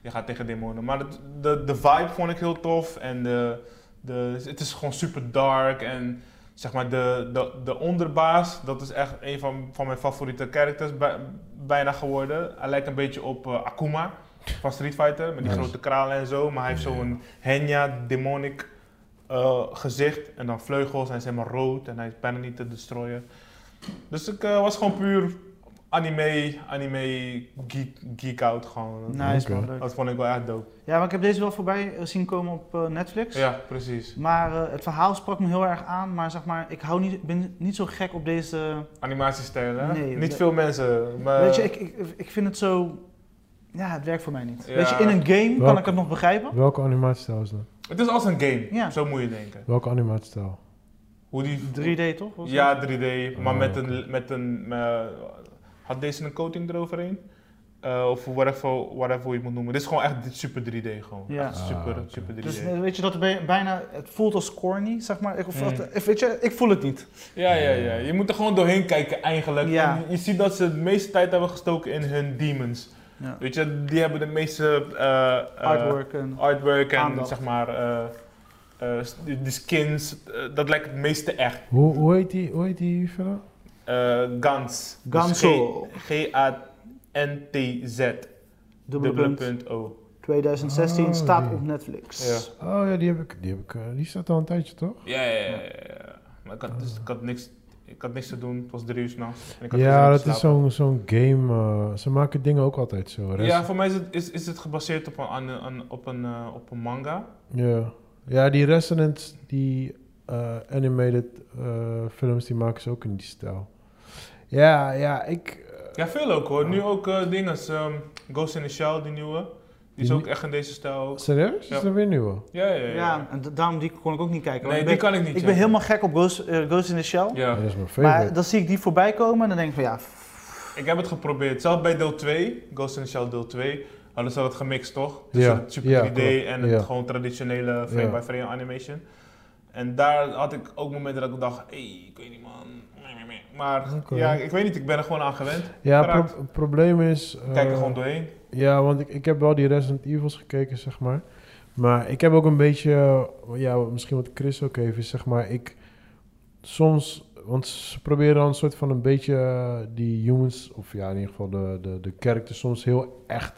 je gaat tegen demonen. Maar het- de, de vibe vond ik heel tof en de, de, het is gewoon super dark en zeg maar de, de, de onderbaas, dat is echt een van, van mijn favoriete characters bij- bijna geworden. Hij lijkt een beetje op eh, Akuma van Street Fighter, met die Nice. grote kralen en zo. Maar hij heeft zo'n Henya demonic eh, gezicht en dan vleugels en hij is helemaal rood en hij is bijna niet te destroyen. Dus ik eh, was gewoon puur anime, anime geek, geek out gewoon. Nice, Oké. man. Leuk. Dat vond ik wel echt dope. Ja, maar ik heb deze wel voorbij eh, zien komen op eh, Netflix. Ja, precies. Maar eh, het verhaal sprak me heel erg aan. Maar zeg maar, ik hou niet, ben niet zo gek op deze... eh, Animatiestijl, hè? Nee, niet we- veel mensen, maar... Weet je, ik, ik, ik vind het zo... Ja, het werkt voor mij niet. Ja. Weet je, in een game kan Welk- ik het nog begrijpen. Welke animatiestijl is dat? Het is als een game, Ja. zo moet je denken. Welke animatiestijl? Hoe die... 3D toch? Was het? Ja, 3D, maar Oh, met oké. een... Met een eh, had deze een coating eroverheen? Eh, of whatever, whatever je het moet noemen. Dit is gewoon echt super 3D gewoon. Ja. Echt super, Ah, oké. super 3D. Dus eh, weet je, dat er bij- bijna, het voelt als corny, zeg maar. Ik, of, Mm. dat- weet je, ik voel het niet. Ja, ja, ja. Je moet er gewoon doorheen kijken eigenlijk. Ja. En je ziet dat ze de meeste tijd hebben gestoken in hun demons. Ja. Weet je, die hebben de meeste eh, eh, Artwork en... artwork en Aandacht. zeg maar eh, eh, s- die, die skins. eh, dat lijkt het meeste echt. Hoe, hoe heet die, hoe heet die fella? Eh Gans. Dus Ganzo. G- G-A-N-T-Z. Dubbele punt. O. 2016 Oh, staat die. op Netflix. Ja. Oh ja, die heb ik, die heb ik, eh, die staat al een tijdje toch? Ja, ja, ja, ja, ja. Maar ik had, dus, ik had niks. Ik had niks te doen, het was drie uur s'nachts. dus Ja, dat is zo'n zo'n game. eh, ze maken dingen ook altijd zo. Rest- Ja, voor mij is het, is, is het gebaseerd op een, an- an- op een, eh, op een manga. Ja, ja die Resonance, die eh, animated eh, films, die maken ze ook in die stijl. Ja, ja, ik... eh, Ja, veel ook hoor. Nu ook eh dingen. ehm, Ghost in the Shell, die nieuwe. Die is Die- ook echt in deze stijl. ook. serieus? Is Ja. er weer nieuwe? Ja, ja, ja. Ja, en d- daarom die kon ik ook niet kijken. want Nee, ik die ben, kan ik niet. ik ja. ben helemaal gek op Ghost, eh, Ghost in the Shell. Ja, Ja, dat is mijn Maar favorite. dan zie ik die voorbij komen en dan denk ik van ja, ik heb het geprobeerd. Zelfs bij deel 2, Ghost in the Shell deel 2, hadden ze dat gemixt toch? Tussen Ja, het super ja, 3D klopt. en het Ja. gewoon traditionele frame-by-frame Ja. animation. En daar had ik ook momenten dat ik dacht, hé, hey, ik weet niet man. Maar Oké. ja, ik weet niet, ik ben er gewoon aan gewend. ja, pro- geraakt. het probleem is... eh, Ik kijk er gewoon doorheen. Ja, want ik, ik heb wel die Resident Evils gekeken, zeg maar. Maar ik heb ook een beetje, eh, ja, misschien wat Chris ook even, zeg maar. Ik soms, want ze proberen dan een soort van een beetje eh, die humans, of ja, in ieder geval de, de, de characters, soms heel echt,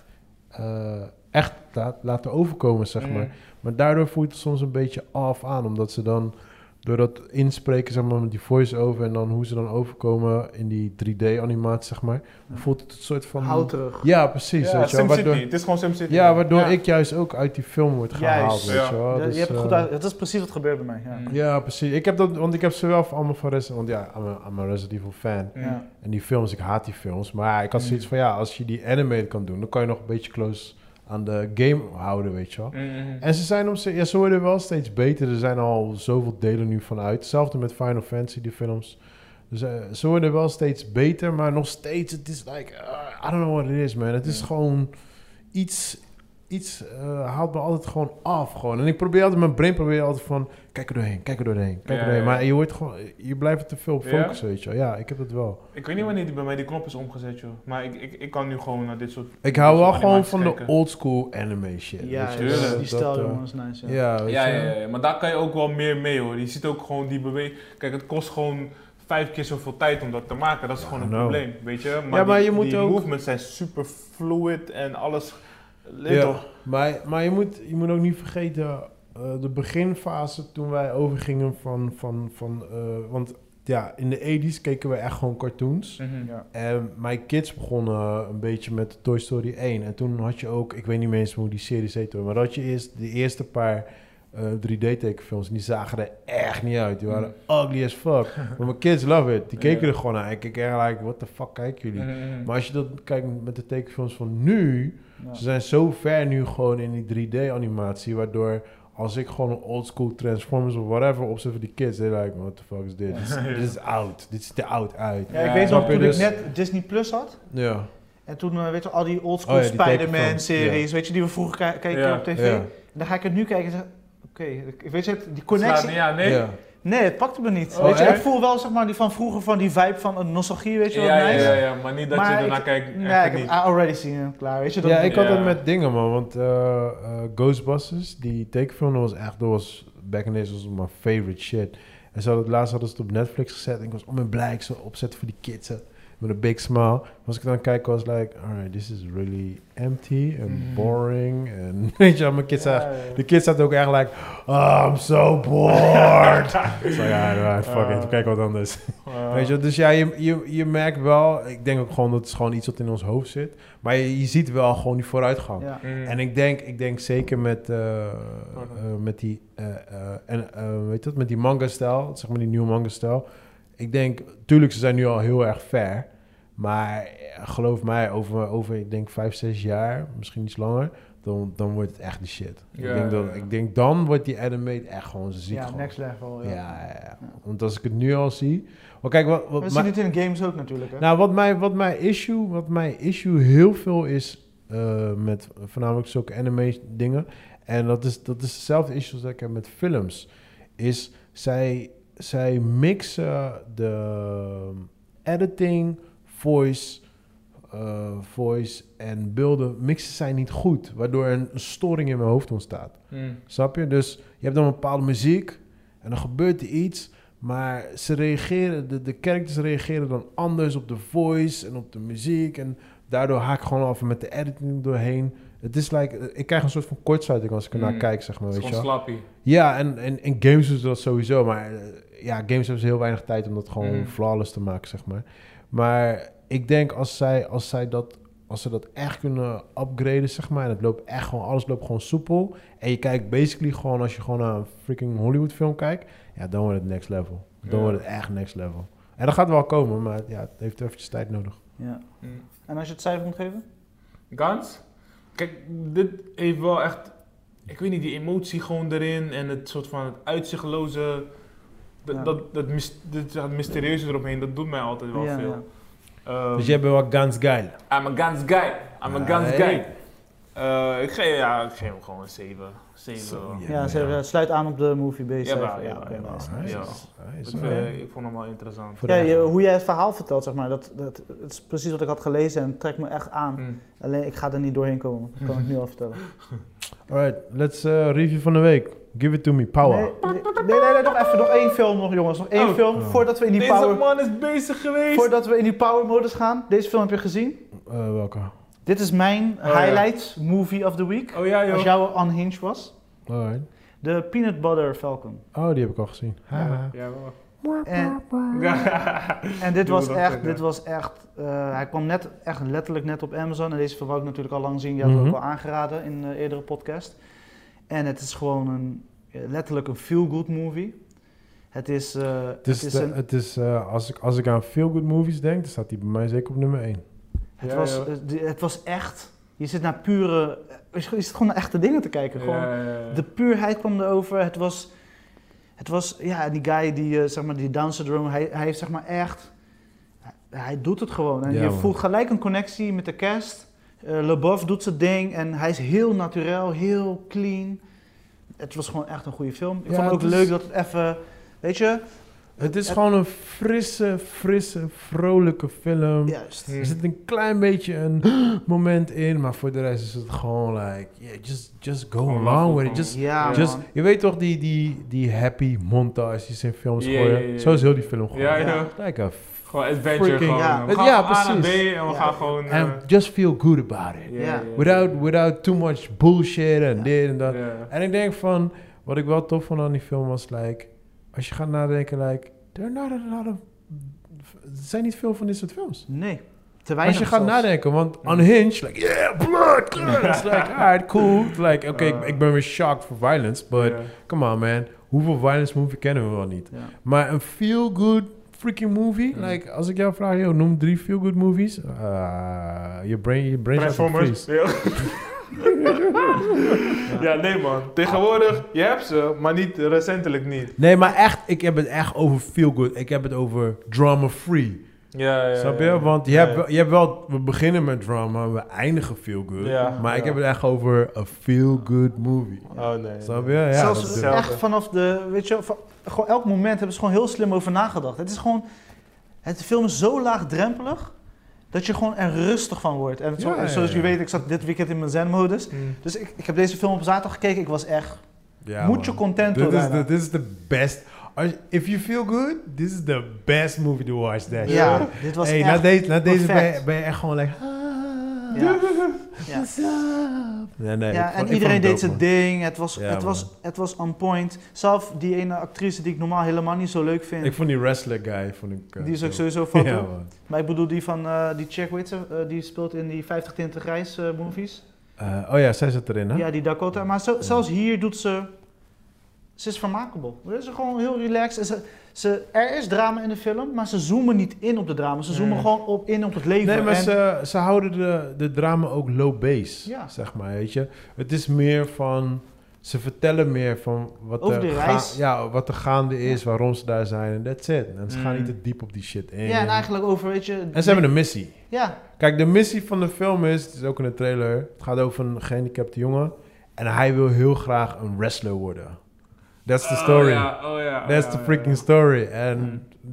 eh, echt laat- laten overkomen, zeg Mm. maar. Maar daardoor voelt het soms een beetje af aan, omdat ze dan door dat inspreken, zeg maar, met die voice-over en dan hoe ze dan overkomen in die 3D-animatie, zeg maar, voelt het een soort van. houd terug. Ja, precies. Ja, weet je wel, SimCity. waardoor- Het is gewoon SimCity. ja, waardoor Ja. ik juist ook uit die film word gehaald. Juist, weet ja. je wel. Ja, Dus, je hebt het goed eh, uit, dat is precies wat gebeurt bij mij. Ja. Mm. Ja, precies. Ik heb dat, want ik heb zowel van allemaal van Resident Want ja, I'm a- I'm a Resident Evil fan. Mm. Ja. En die films, ik haat die films. Maar ja, ik had Mm. zoiets van, ja, als je die animated kan doen... dan kan je nog een beetje close aan de game houden, weet je wel. Mm. En ze zijn om ze, ja, ze worden wel steeds beter. Er zijn al zoveel delen nu vanuit. Hetzelfde met Final Fantasy, die films. Dus eh, ze worden wel steeds beter, maar nog steeds, het is like, ah, I don't know what it is, man. Het is gewoon, iets, iets eh, haalt me altijd gewoon af. Gewoon. En ik probeer altijd, mijn brain probeer altijd van, kijk er doorheen, kijk er doorheen, kijk Ja, er doorheen. ja. Maar je, wordt gewoon, je blijft er te veel op Ja? focussen, weet je wel. Ja, ik heb dat wel. Ik weet niet wanneer die bij mij die knop is omgezet, joh. Maar ik, ik, ik kan nu gewoon naar dit soort... Ik hou wel Animaties gewoon van de kijken. old school anime shit. Ja, weet je tuurlijk. wel. dus die Dat, stijl eh, jongens, nice. Ja. Ja, weet Oh, Ja, je ja, wel. ja, ja. maar daar kan je ook wel meer mee, hoor. Je ziet ook gewoon die beweging... Kijk, het kost gewoon vijf keer zoveel tijd om dat te maken. Dat is gewoon een I know. probleem, weet je. Maar, Ja, maar die, je moet die ook- movements zijn super fluid en alles... Leuk Ja, toch? Maar, maar je, moet, je moet ook niet vergeten, eh, de beginfase toen wij overgingen van... van, van eh, want ja, in de 80s keken we echt gewoon cartoons. Mhm. En mijn kids begonnen een beetje met Toy Story 1. En toen had je ook, ik weet niet meer eens hoe die series heet hoor, maar dat je eerst de eerste paar eh, 3D-tekenfilms. En die zagen er echt niet uit. Die waren ugly as fuck. Maar mijn kids love it. Die keken er gewoon naar. Ik keek echt like, what the fuck kijken jullie? Mhm. Maar als je dat kijkt met de tekenfilms van nu, Ja. ze zijn zo ver nu gewoon in die 3D-animatie, waardoor als ik gewoon een oldschool Transformers of whatever opzet voor die kids, they're like, what the fuck is dit? Dit is- Dit is oud. Dit ziet er oud uit. Ja, ik Ja, weet snap nog, je toen ik dus? net Disney Plus had, Ja. en toen, eh, weet je, al die oldschool Oh ja, die Spider-Man-series, tekenfilm, weet je, die we vroeger ki- keken Ja. op tv. Ja. En dan ga ik het nu kijken en zeg, oké, ik weet je, het, die Slaat connectie, niet aan, nee. Ja. nee, het pakte me niet. Oh, weet je, echt? ik voel wel, zeg maar, die van vroeger, van die vibe van een nostalgie, weet je, Ja, wat ja, nice. ja, ja, maar niet dat je Maar ernaar ik- kijkt. Nee, echt ik heb I niet. already seen hem klaar, weet je. Dat ja, ik had Ja. dat met dingen, man. Want eh, eh, Ghostbusters, die tekenfilm, dat was echt, dat was back in the days, was mijn favorite shit. En ze hadden het laatst hadden ze het op Netflix gezet. En ik was om mijn blij, ik zo opzetten voor die kids. hè, Met een big smile. Maar als ik dan kijk, was like, alright, this is really empty and Mm. boring. En weet je, wel, mijn kids zagen- de kids zaten ook echt like, oh, I'm so bored. Ik was like, alright, alright, fuck it, we kijken wat anders. Oh. Weet je, wel, dus ja, je, je, je merkt wel, ik denk ook gewoon dat het gewoon iets wat in ons hoofd zit. Maar je, je ziet wel gewoon die vooruitgang. Ja. Mm. En ik denk, ik denk zeker met, eh, eh, Pardon. met die, eh, eh, en, eh, weet je dat, met die manga-stijl, zeg maar die nieuwe manga-stijl. Ik denk, tuurlijk, ze zijn nu al heel erg ver. Maar eh, geloof mij, over, over ik denk vijf, zes jaar, misschien iets langer, dan, dan wordt het echt de shit. Ja, ik, denk dat, ja, ja. ik denk dan wordt die anime echt gewoon ziek. Ja, gewoon. next level. Ja, Ja. ja, ja. Want als ik het nu al zie. Maar kijk, wat, we wat, zien mijn, het in de games ook natuurlijk. Hè? nou, wat, mijn, wat, mijn issue, wat mijn issue heel veel is eh, met voornamelijk zulke anime-dingen. En dat is, dat is hetzelfde issue als dat ik heb met films. Is zij, zij mixen de ehm, editing, voice, eh, voice en beelden. Mixen zij niet goed, waardoor een storing in mijn hoofd ontstaat. Mm. Snap je? Dus je hebt dan een bepaalde muziek en dan gebeurt er iets, maar ze reageren, de, de characters reageren dan anders op de voice en op de muziek en daardoor haak ik gewoon af met de editing doorheen. Het is like, eh, ik krijg een soort van kortsluiting als ik ernaar Mm. kijk, zeg maar, Het is weet je gewoon wel. slappy. Ja, en, en, en games doen ze dat sowieso, maar eh, ja, games hebben ze heel weinig tijd om dat gewoon Mm. flawless te maken, zeg maar. Maar ik denk als zij, als zij dat, als ze dat echt kunnen upgraden, zeg maar, en het loopt echt gewoon, alles loopt gewoon soepel. En je kijkt basically gewoon als je gewoon naar een freaking Hollywood film kijkt, ja, dan wordt het next level. Dan Ja. wordt het echt next level. En dat gaat wel komen, maar ja, het heeft eventjes tijd nodig. Ja. Mm. En als je het cijfer moet geven? Gans? Kijk, dit heeft wel echt... Ik weet niet, die emotie gewoon erin en het soort van het uitzichtloze... Dat, Ja. dat, dat, mys- dat- dat mysterieuze eromheen, dat doet mij altijd wel Ja, veel. ja. Ehm, Dus jij bent wel Guns Geil. I'm a Gans guy. I'm a Gans Hey. guy. Eh, ik, geef, ja, ik geef hem gewoon een 7. 7. Zo, ja. ja. Ja, ze- het sluit aan op de movie base. Jawel, cijfer. jawel, oké, jawel. nice. Nice. Ja. Nice. Dat, eh, ik vond hem wel interessant. Voor de Ja, je- rest. hoe jij het verhaal vertelt, zeg maar, dat, dat, het is precies wat ik had gelezen en het trekt me echt aan. Mm. Alleen ik ga er niet doorheen komen, dat kan ik nu al vertellen. Alright, let's eh, review van de week. Give it to me, power. Nee, nee, nee, nee, nee, nog even, nog één film nog jongens, nog één Oh. film voordat we in die Deze power, man is bezig geweest. voordat we in die power modus gaan. Deze film heb je gezien. Eh, welke? Dit is mijn Oh, ja. highlight movie of the week. Oh ja, Als joh. jouw unhinged was, Alright. de Peanut Butter Falcon. Oh, die heb ik al gezien. Haha. Ja, wel. Eh, En, Ja. en dit Doe was dat echt, zeker. dit was echt, eh, hij kwam net, echt letterlijk net op Amazon. En deze film wou ik natuurlijk al lang zien, je had Mhm. het ook al aangeraden in een eerdere podcast. En het is gewoon een, eh, letterlijk een feel-good movie. Het is, eh, Het is, Dus de- een, het is eh, als, ik, als ik aan feel good movies denk, dan staat die bij mij zeker op nummer 1. Het, Ja, was, eh, ja. het- die- het was echt. Je zit naar pure. eh, Je zit gewoon naar echte dingen te kijken. Gewoon, Ja, ja, ja. De puurheid kwam erover. Het was. Het was. Ja, die guy die. eh, zeg maar, die Down syndrome. Hij, hij heeft zeg maar echt. Hij, hij doet het gewoon. En Ja, je man. voelt gelijk een connectie met de cast. Eh LeBeouf doet zijn ding en hij is heel natuurlijk, heel clean. Het was gewoon echt een goede film. Ik Ja, vond het ook het is- leuk dat het even, weet je, Het is gewoon een frisse, frisse, vrolijke film. juist. Hm. Er zit een klein beetje een moment in, maar voor de rest is het gewoon like, yeah, just, just go Gewoon along lachen, with it. gewoon. Just, Ja, just, man. je weet toch die, die, die happy montages in films Ja, gooien? ja, ja, ja. Zo is heel die film gewoon. Ja, ja. ja. Like a Gewoon adventure Freaking- gewoon. Ja. We gaan Ja, van A naar precies. B en we Ja. gaan gewoon... eh, And just feel good about it. ja, Ja. ja, ja. Without, without too much bullshit en Ja. dit en dat. Ja. En ik denk van, wat ik wel tof vond aan die film was, like, als je gaat nadenken, like, there are not a lot of, er zijn niet veel van dit soort films. Nee, te Als weinig je gaat zelfs. nadenken, want unhinged, like, yeah, blood, guns, like, alright, cool. Like, oké, ik, Eh. ik ben weer shocked voor violence, but Ja. come on man, hoeveel violence movie kennen we wel niet? Ja. Maar een feel-good freaking movie, like, als ik jou vraag, yo, noem drie feel-good movies, eh, je brain, je brain gaat op Transformers. vries. Ja. ja, nee man. Tegenwoordig, je hebt ze, maar niet recentelijk niet. Nee, maar echt, ik heb het echt over feel-good, ik heb het over drama-free. Ja, ja, Snap ja, je? ja. Want je, Ja, hebt, Eh, ja. wel- je hebt wel, we beginnen met drama, we eindigen feel-good. Ja, maar ik ja. heb het echt over een feel-good movie. Oh nee. Snap je? Ja, Zelfs dat is- Hetzelfde. echt vanaf de, weet je, van- gewoon elk moment hebben ze gewoon heel slim over nagedacht. Het is gewoon, het film is zo laagdrempelig dat je gewoon er rustig van wordt. En zo- Ja, ja, zoals ja. je weet, ik zat dit weekend in mijn zen-modus. Mm. Dus ik, ik heb deze film op zaterdag gekeken. Ik was echt Ja, Moet man. je content Dit is worden. de- Dit is de best. als- If you feel good, this is the best movie to watch. That Ja, shit. dit was hey, nou, echt na deze, na deze ben, je, perfect. ben je echt gewoon like. ah, Ja. Ja. What's up? Nee, nee, ik Ja, vond- en ik iedereen vond het deed zijn dope, ding. Het was, Ja, het, was, man. het was on point. Zelf die ene actrice die ik normaal helemaal niet zo leuk man. vind. Ik vond die wrestler guy. Vond ik, eh, die is ook dope. sowieso foto. Ja, man. Maar ik bedoel die van eh, die chick, weet je, eh, die speelt in die 50 Tinten Grijs eh, movies. Eh, oh ja, zij zat erin, hè? Ja, die Dakota. Maar zo- zelfs hier doet ze... Ze is vermaakbaar. Ze is gewoon heel relaxed. En Ze, ze, er is drama in de film, maar ze zoomen niet in op de drama. Ze zoomen Mm. gewoon op, in op het leven. Nee, maar En- ze, ze houden de, de drama ook low base, Ja. zeg maar, weet je. Het is meer van, ze vertellen meer van wat, Over er, die ga- reis. ja, wat er gaande is, waarom ze daar zijn en that's it. En ze gaan niet te diep op die shit in. Mm. Ja, en eigenlijk over, weet je... En ze hebben een missie. Ja, Kijk, de missie van de film is, het is ook in de trailer, het gaat over een gehandicapte jongen. En hij wil heel graag een wrestler worden. That's the story. Oh ja, oh ja. oh That's ja, the oh ja, freaking story. And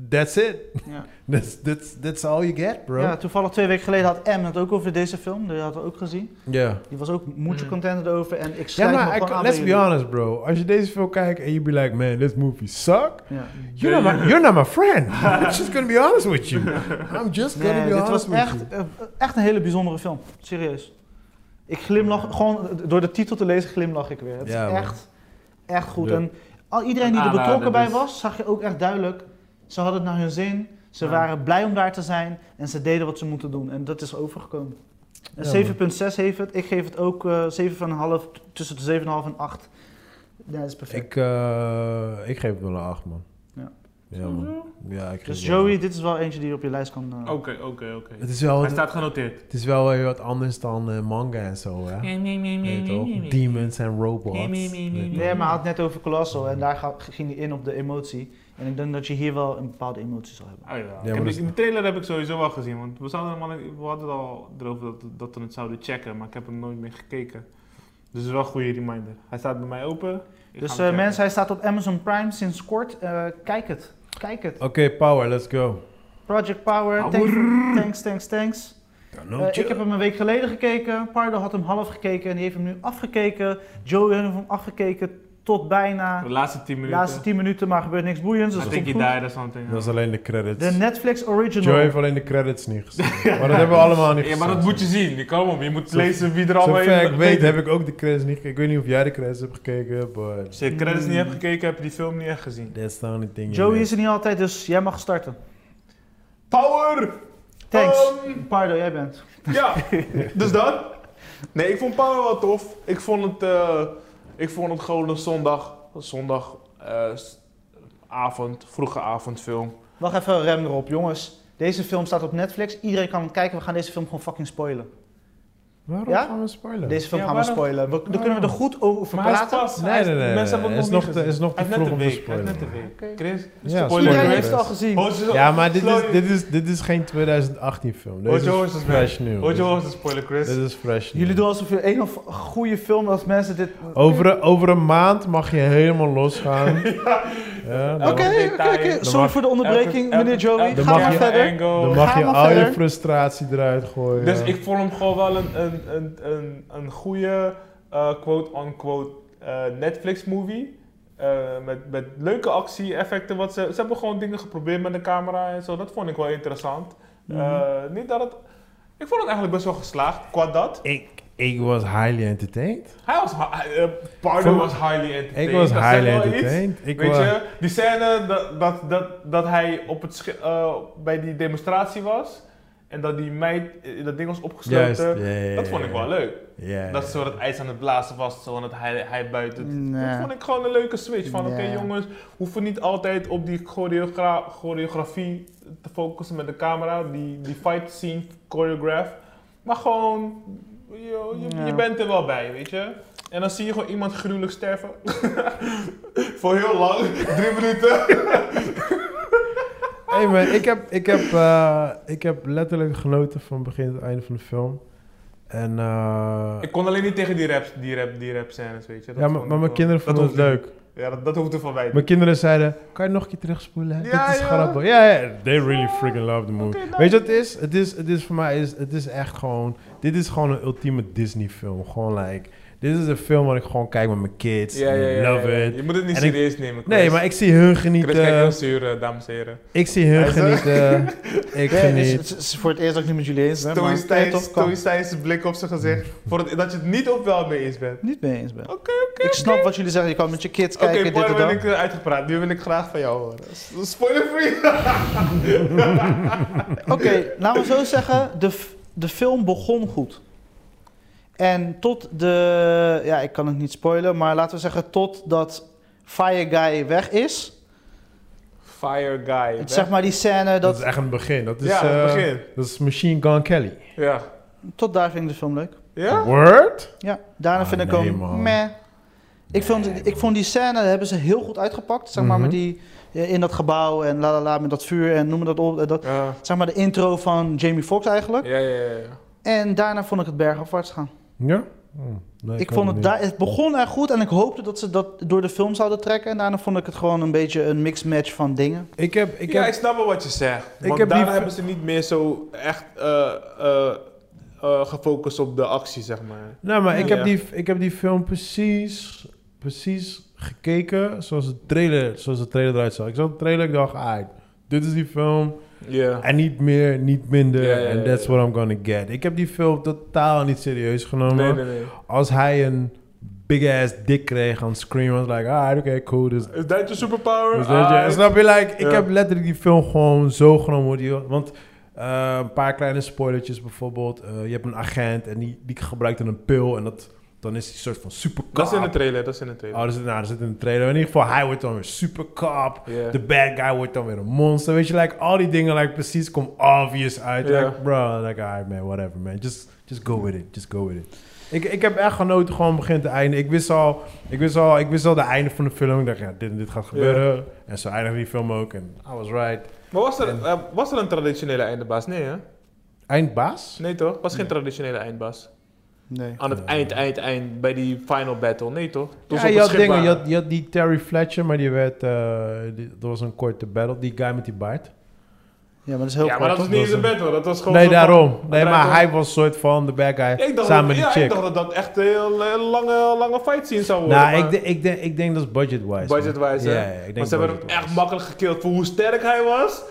that's it. Mm. ja. That's, that's, that's all you get, bro. Ja, toevallig twee weken geleden had M het ook over deze film. Die had we ook gezien. Ja. Die was ook mucho content erover. En ik Mm. Ja, sluit me maar gewoon I- aan let's bij be jullie. honest, bro. Als je deze film kijkt en je be like, man, this movie suck. Ja. You're, not, my, you're not my friend. I'm just gonna be honest with you. I'm just gonna Nee, be dit was honest with you. echt, eh, echt een hele bijzondere film. Serieus. Ik glimlach, gewoon door de titel te lezen glimlach ik weer. Het Ja, is man. echt, echt goed. Ja. En al, iedereen die er Aanrader betrokken bij dus. was, zag je ook echt duidelijk. Ze hadden het naar hun zin. Ze Ja. waren blij om daar te zijn. En ze deden wat ze moeten doen. En dat is overgekomen. Een Ja, 7,6 heeft het. Ik geef het ook eh 7,5. t- Tussen de 7,5 en 8. Ja, dat is perfect. Ik, eh, ik geef het wel een 8, man. Ja. Ja, man. Ja, ik geef Dus het wel een Joey, acht. dit is wel eentje die je op je lijst kan. eh, Oké, oké, oké. Het is wel, Hij staat genoteerd. het is wel weer wat anders dan eh, manga en zo, hè? Weet je toch? Demons en robots. Nee, maar hij had het net over Colossal en daar ga- ging hij in op de emotie. En ik denk dat je hier wel een bepaalde emotie zal hebben. Oh, ja. Ik maar heb- dat is- de trailer heb ik sowieso wel gezien, want we, zouden hem al, we hadden het al erover dat, dat we het zouden checken, maar ik heb hem nooit meer gekeken. Dus het is wel een goede reminder. Hij staat bij mij open. Ik Dus ga eh, hem checken. mensen, hij staat op Amazon Prime sinds kort. Eh, kijk het, kijk het. Oké, power, let's go. Project Power, thank- thanks, thanks, thanks. Eh, ik heb hem een week geleden gekeken. Pardo had hem half gekeken en die heeft hem nu afgekeken. Joey heeft hem afgekeken tot bijna De laatste 10 de minuten. laatste 10 minuten, maar er gebeurt niks boeiends. Dus I dat think he komt goed. died or something. Dat is alleen de credits. De Netflix original. Joey heeft alleen de credits niet gezien. maar dat hebben we allemaal niet Ja, gezien. maar dat moet je zien. Je kan op, je moet Zo- lezen wie er allemaal Zover ik in- weet heb ik ook de credits niet gekeken. Ik weet niet of jij de credits hebt gekeken, but Als je de credits niet hebt gekeken, heb je die film niet echt gezien. that's the only thing. Joey is er niet altijd, dus jij mag starten. Power! Thanks. Ehm, Pardo, jij bent. ja, dus dat. Nee, ik vond Power wel tof. Ik vond het, eh, ik vond het gewoon een zondag, zondag eh, s- avond, vroege avondfilm. Wacht even, rem erop, jongens. Deze film staat op Netflix. Iedereen kan hem kijken. We gaan deze film gewoon fucking spoilen. Waarom Ja? Oh. gaan we spoilen? Deze film Ja, gaan we waarom- spoilen. We, dan kunnen we er goed over Maar hij is praten. pas. Nee, hij nee, nee, Mensen nee, hebben het hem is nog nog niet te- gezien. is nog te Hij heeft net vroeg om een te week. Hij heeft net een spoilen. week. Oké. Chris, Ja, spoiler. spoiler Iedereen alert. heeft het al gezien. Hoort je- Ja, maar dit is, Slow- dit is, dit is geen 2018 film. Hoort Dit je is horses, man. fresh nieuw. Hoort je wel eens een spoiler, Chris? Dit is fresh nieuw. Jullie doen alsof je een of goede film als mensen dit. Over, een- over een maand mag je helemaal losgaan. ja, dan, Oké, oké, oké. Dan Sorry mag- voor de onderbreking, Elke- elke- meneer Joey. elke- Dan mag Ga maar je- verder. angle. dan mag Ga je maar al je verder. frustratie eruit gooien. Oh, Dus ik vond hem gewoon wel een, een, een, een, een goede eh, quote-unquote eh, Netflix-movie. Eh, met, met leuke actie-effecten. Wat ze, ze hebben gewoon dingen geprobeerd met de camera en zo. Dat vond ik wel interessant. Eh, niet dat het... Ik vond het eigenlijk best wel geslaagd, qua dat. ik, ik was highly entertained. Hij was... hi- eh, Pardo Vond- was highly entertained. Ik was Dat zegt highly wel iets. entertained. Ik Weet was, je, die scène dat, dat, dat, dat hij op het schi- eh, bij die demonstratie was... En dat die meid, eh, dat ding was opgesloten. Juist, ja, ja, ja, Dat vond ik wel ja. leuk. Ja, Dat zo dat ijs aan het blazen was, zo en dat hij, hij buiten. Nee. Dat vond ik gewoon een leuke switch. Van oké Ja. jongens, hoeven niet altijd op die choreogra- choreografie te focussen met de camera, die, die fight scene choreograph. Maar gewoon, je, je, Ja. je bent er wel bij, weet je. En dan zie je gewoon iemand gruwelijk sterven. Voor heel lang, drie minuten. Hey man, ik heb, ik, heb, eh, ik heb letterlijk genoten van begin tot einde van de film. En, eh, Ik kon alleen niet tegen die rap, die rap, die rap scènes, weet je. Dat ja, vond maar, ik maar mijn wel- kinderen dat vonden het hoefde- leuk. Ja, dat, dat hoefde van mij. Mijn kinderen zeiden, kan je nog een keer terugspoelen? Ja, Dit is ja. grappig. Ja, ja, they really freaking love the movie. Oké, nice. Weet je wat het is? Het is, het is voor mij, is, het is echt gewoon, dit is gewoon een ultieme Disney film. Gewoon like, dit is een film waar ik gewoon kijk met mijn kids. Ja, ja, ja, Love ja, ja. it. Je moet het niet En ik- serieus nemen, Chris. Nee, maar ik zie hun Chris kijkt heel genieten. zuur, eh, dames en heren. Ik zie hun genieten. Ik Nee, dit is- geniet. Het is voor het eerst dat ik niet met jullie eens ben. maar- Toy Nee, toch, Stijn's- kan. Toy Stijn's blik op zijn gezicht. Voor het, dat je het niet op wel mee eens bent. Niet mee eens ben. Oké, oké. Ik snap wat jullie zeggen. Je kan met je kids Oké, kijken, dit Paul, en ben dat. ik eh, uitgepraat. Nu wil ik graag van jou horen. S- Spoiler free. Oké, laten we zo zeggen, de, f- de film begon goed. En tot de, ja, ik kan het niet spoilen, maar laten we zeggen totdat Fire Guy weg is. Fire guy. Het, zeg maar die scène, Dat dat, is echt een begin. Dat is, ja, het eh, begin. dat is Machine Gun Kelly. Ja. tot daar vind ik de film leuk. Ja? Word? Ja, daarna Ah, vind ik nee, hem man. meh. Ik vond, ik vond die scène, daar hebben ze heel goed uitgepakt. Zeg maar Mhm. met die, eh, in dat gebouw en la la la, met dat vuur en noem maar dat op. eh, Dat, Ja. zeg maar de intro van Jamie Foxx eigenlijk. Ja, ja, ja, ja. En daarna vond ik het bergafwaarts gaan. Ja? Hm, nee, ik kan vond het, niet. daar, het begon erg goed en ik hoopte dat ze dat door de film zouden trekken. En daarna vond ik het gewoon een beetje een mixed match van dingen. Ik heb, ik ja, heb, ik snap wel wat je zegt. Ik want heb die daar v- hebben ze niet meer zo echt eh, eh, eh, gefocust op de actie, zeg maar. nou, maar ik, Ja. heb die, ik heb die film precies, precies gekeken zoals de trailer, zoals de trailer eruit zag. Ik zag de trailer, ik dacht, ah, dit is die film. Ja. En niet meer, niet minder. Ja, ja, ja, and that's ja. what I'm gonna get. Ik heb die film totaal niet serieus genomen. Nee, nee, nee. Als hij een big ass dick kreeg aan Scream, was ik like, ah, oké, cool. Dus Is dat je superpower? Dus dat je- Ah, snap je? Like, ik Ja. heb letterlijk die film gewoon zo genomen. hoe die- Want eh, een paar kleine spoilertjes bijvoorbeeld. eh, je hebt een agent en die, die gebruikt dan een pil. En dat, dan is hij een soort van supercop. Dat is in de trailer, dat is in de trailer. Oh, dat zit, nou, dat zit in de trailer. In ieder geval, hij wordt dan weer supercop. Ja. Ah, De bad guy wordt dan weer een monster. Weet je, like, al die dingen like, precies komen obvious uit. Ja. Like, bro, like, alright man, whatever man. Just, just go with it, just go with it. Ik, ik heb echt genoten gewoon begin te einde. Ik wist al, ik wist al, ik wist al de einde van de film. Ik dacht, ja, dit en dit gaat gebeuren. En zo eindigde die film ook. En I was right. Maar was er, eh, was er een traditionele eindbaas? Nee, hè? Eindbaas? Nee toch? Was geen traditionele eindbaas. Nee. Aan het eind, eind, eind bij die final battle. Nee toch? Toen ze ja, op het je had schip dingen. Je waren. had, je had die Terry Fletcher, maar die werd, eh, die- dat was een korte battle. Die guy met die baard. Ja, maar dat is heel Ja, kort, maar dat toch? was niet eens een Dat battle. Dat was gewoon. Nee, zo van- daarom. het Nee, draait om- maar hij was soort van de bad guy. Ja, ik dacht dat, samen met ja, die Ik chick. dacht dat dat echt een heel, eh, lange, lange fight scene zou worden. Nou, ik, maar- denk- ik, denk, ik denk dat is budget-wise. Budget-wise, hè? Ja, ja, ik denk Want ze hebben hem budget-wise. echt makkelijk gekild voor hoe sterk hij was.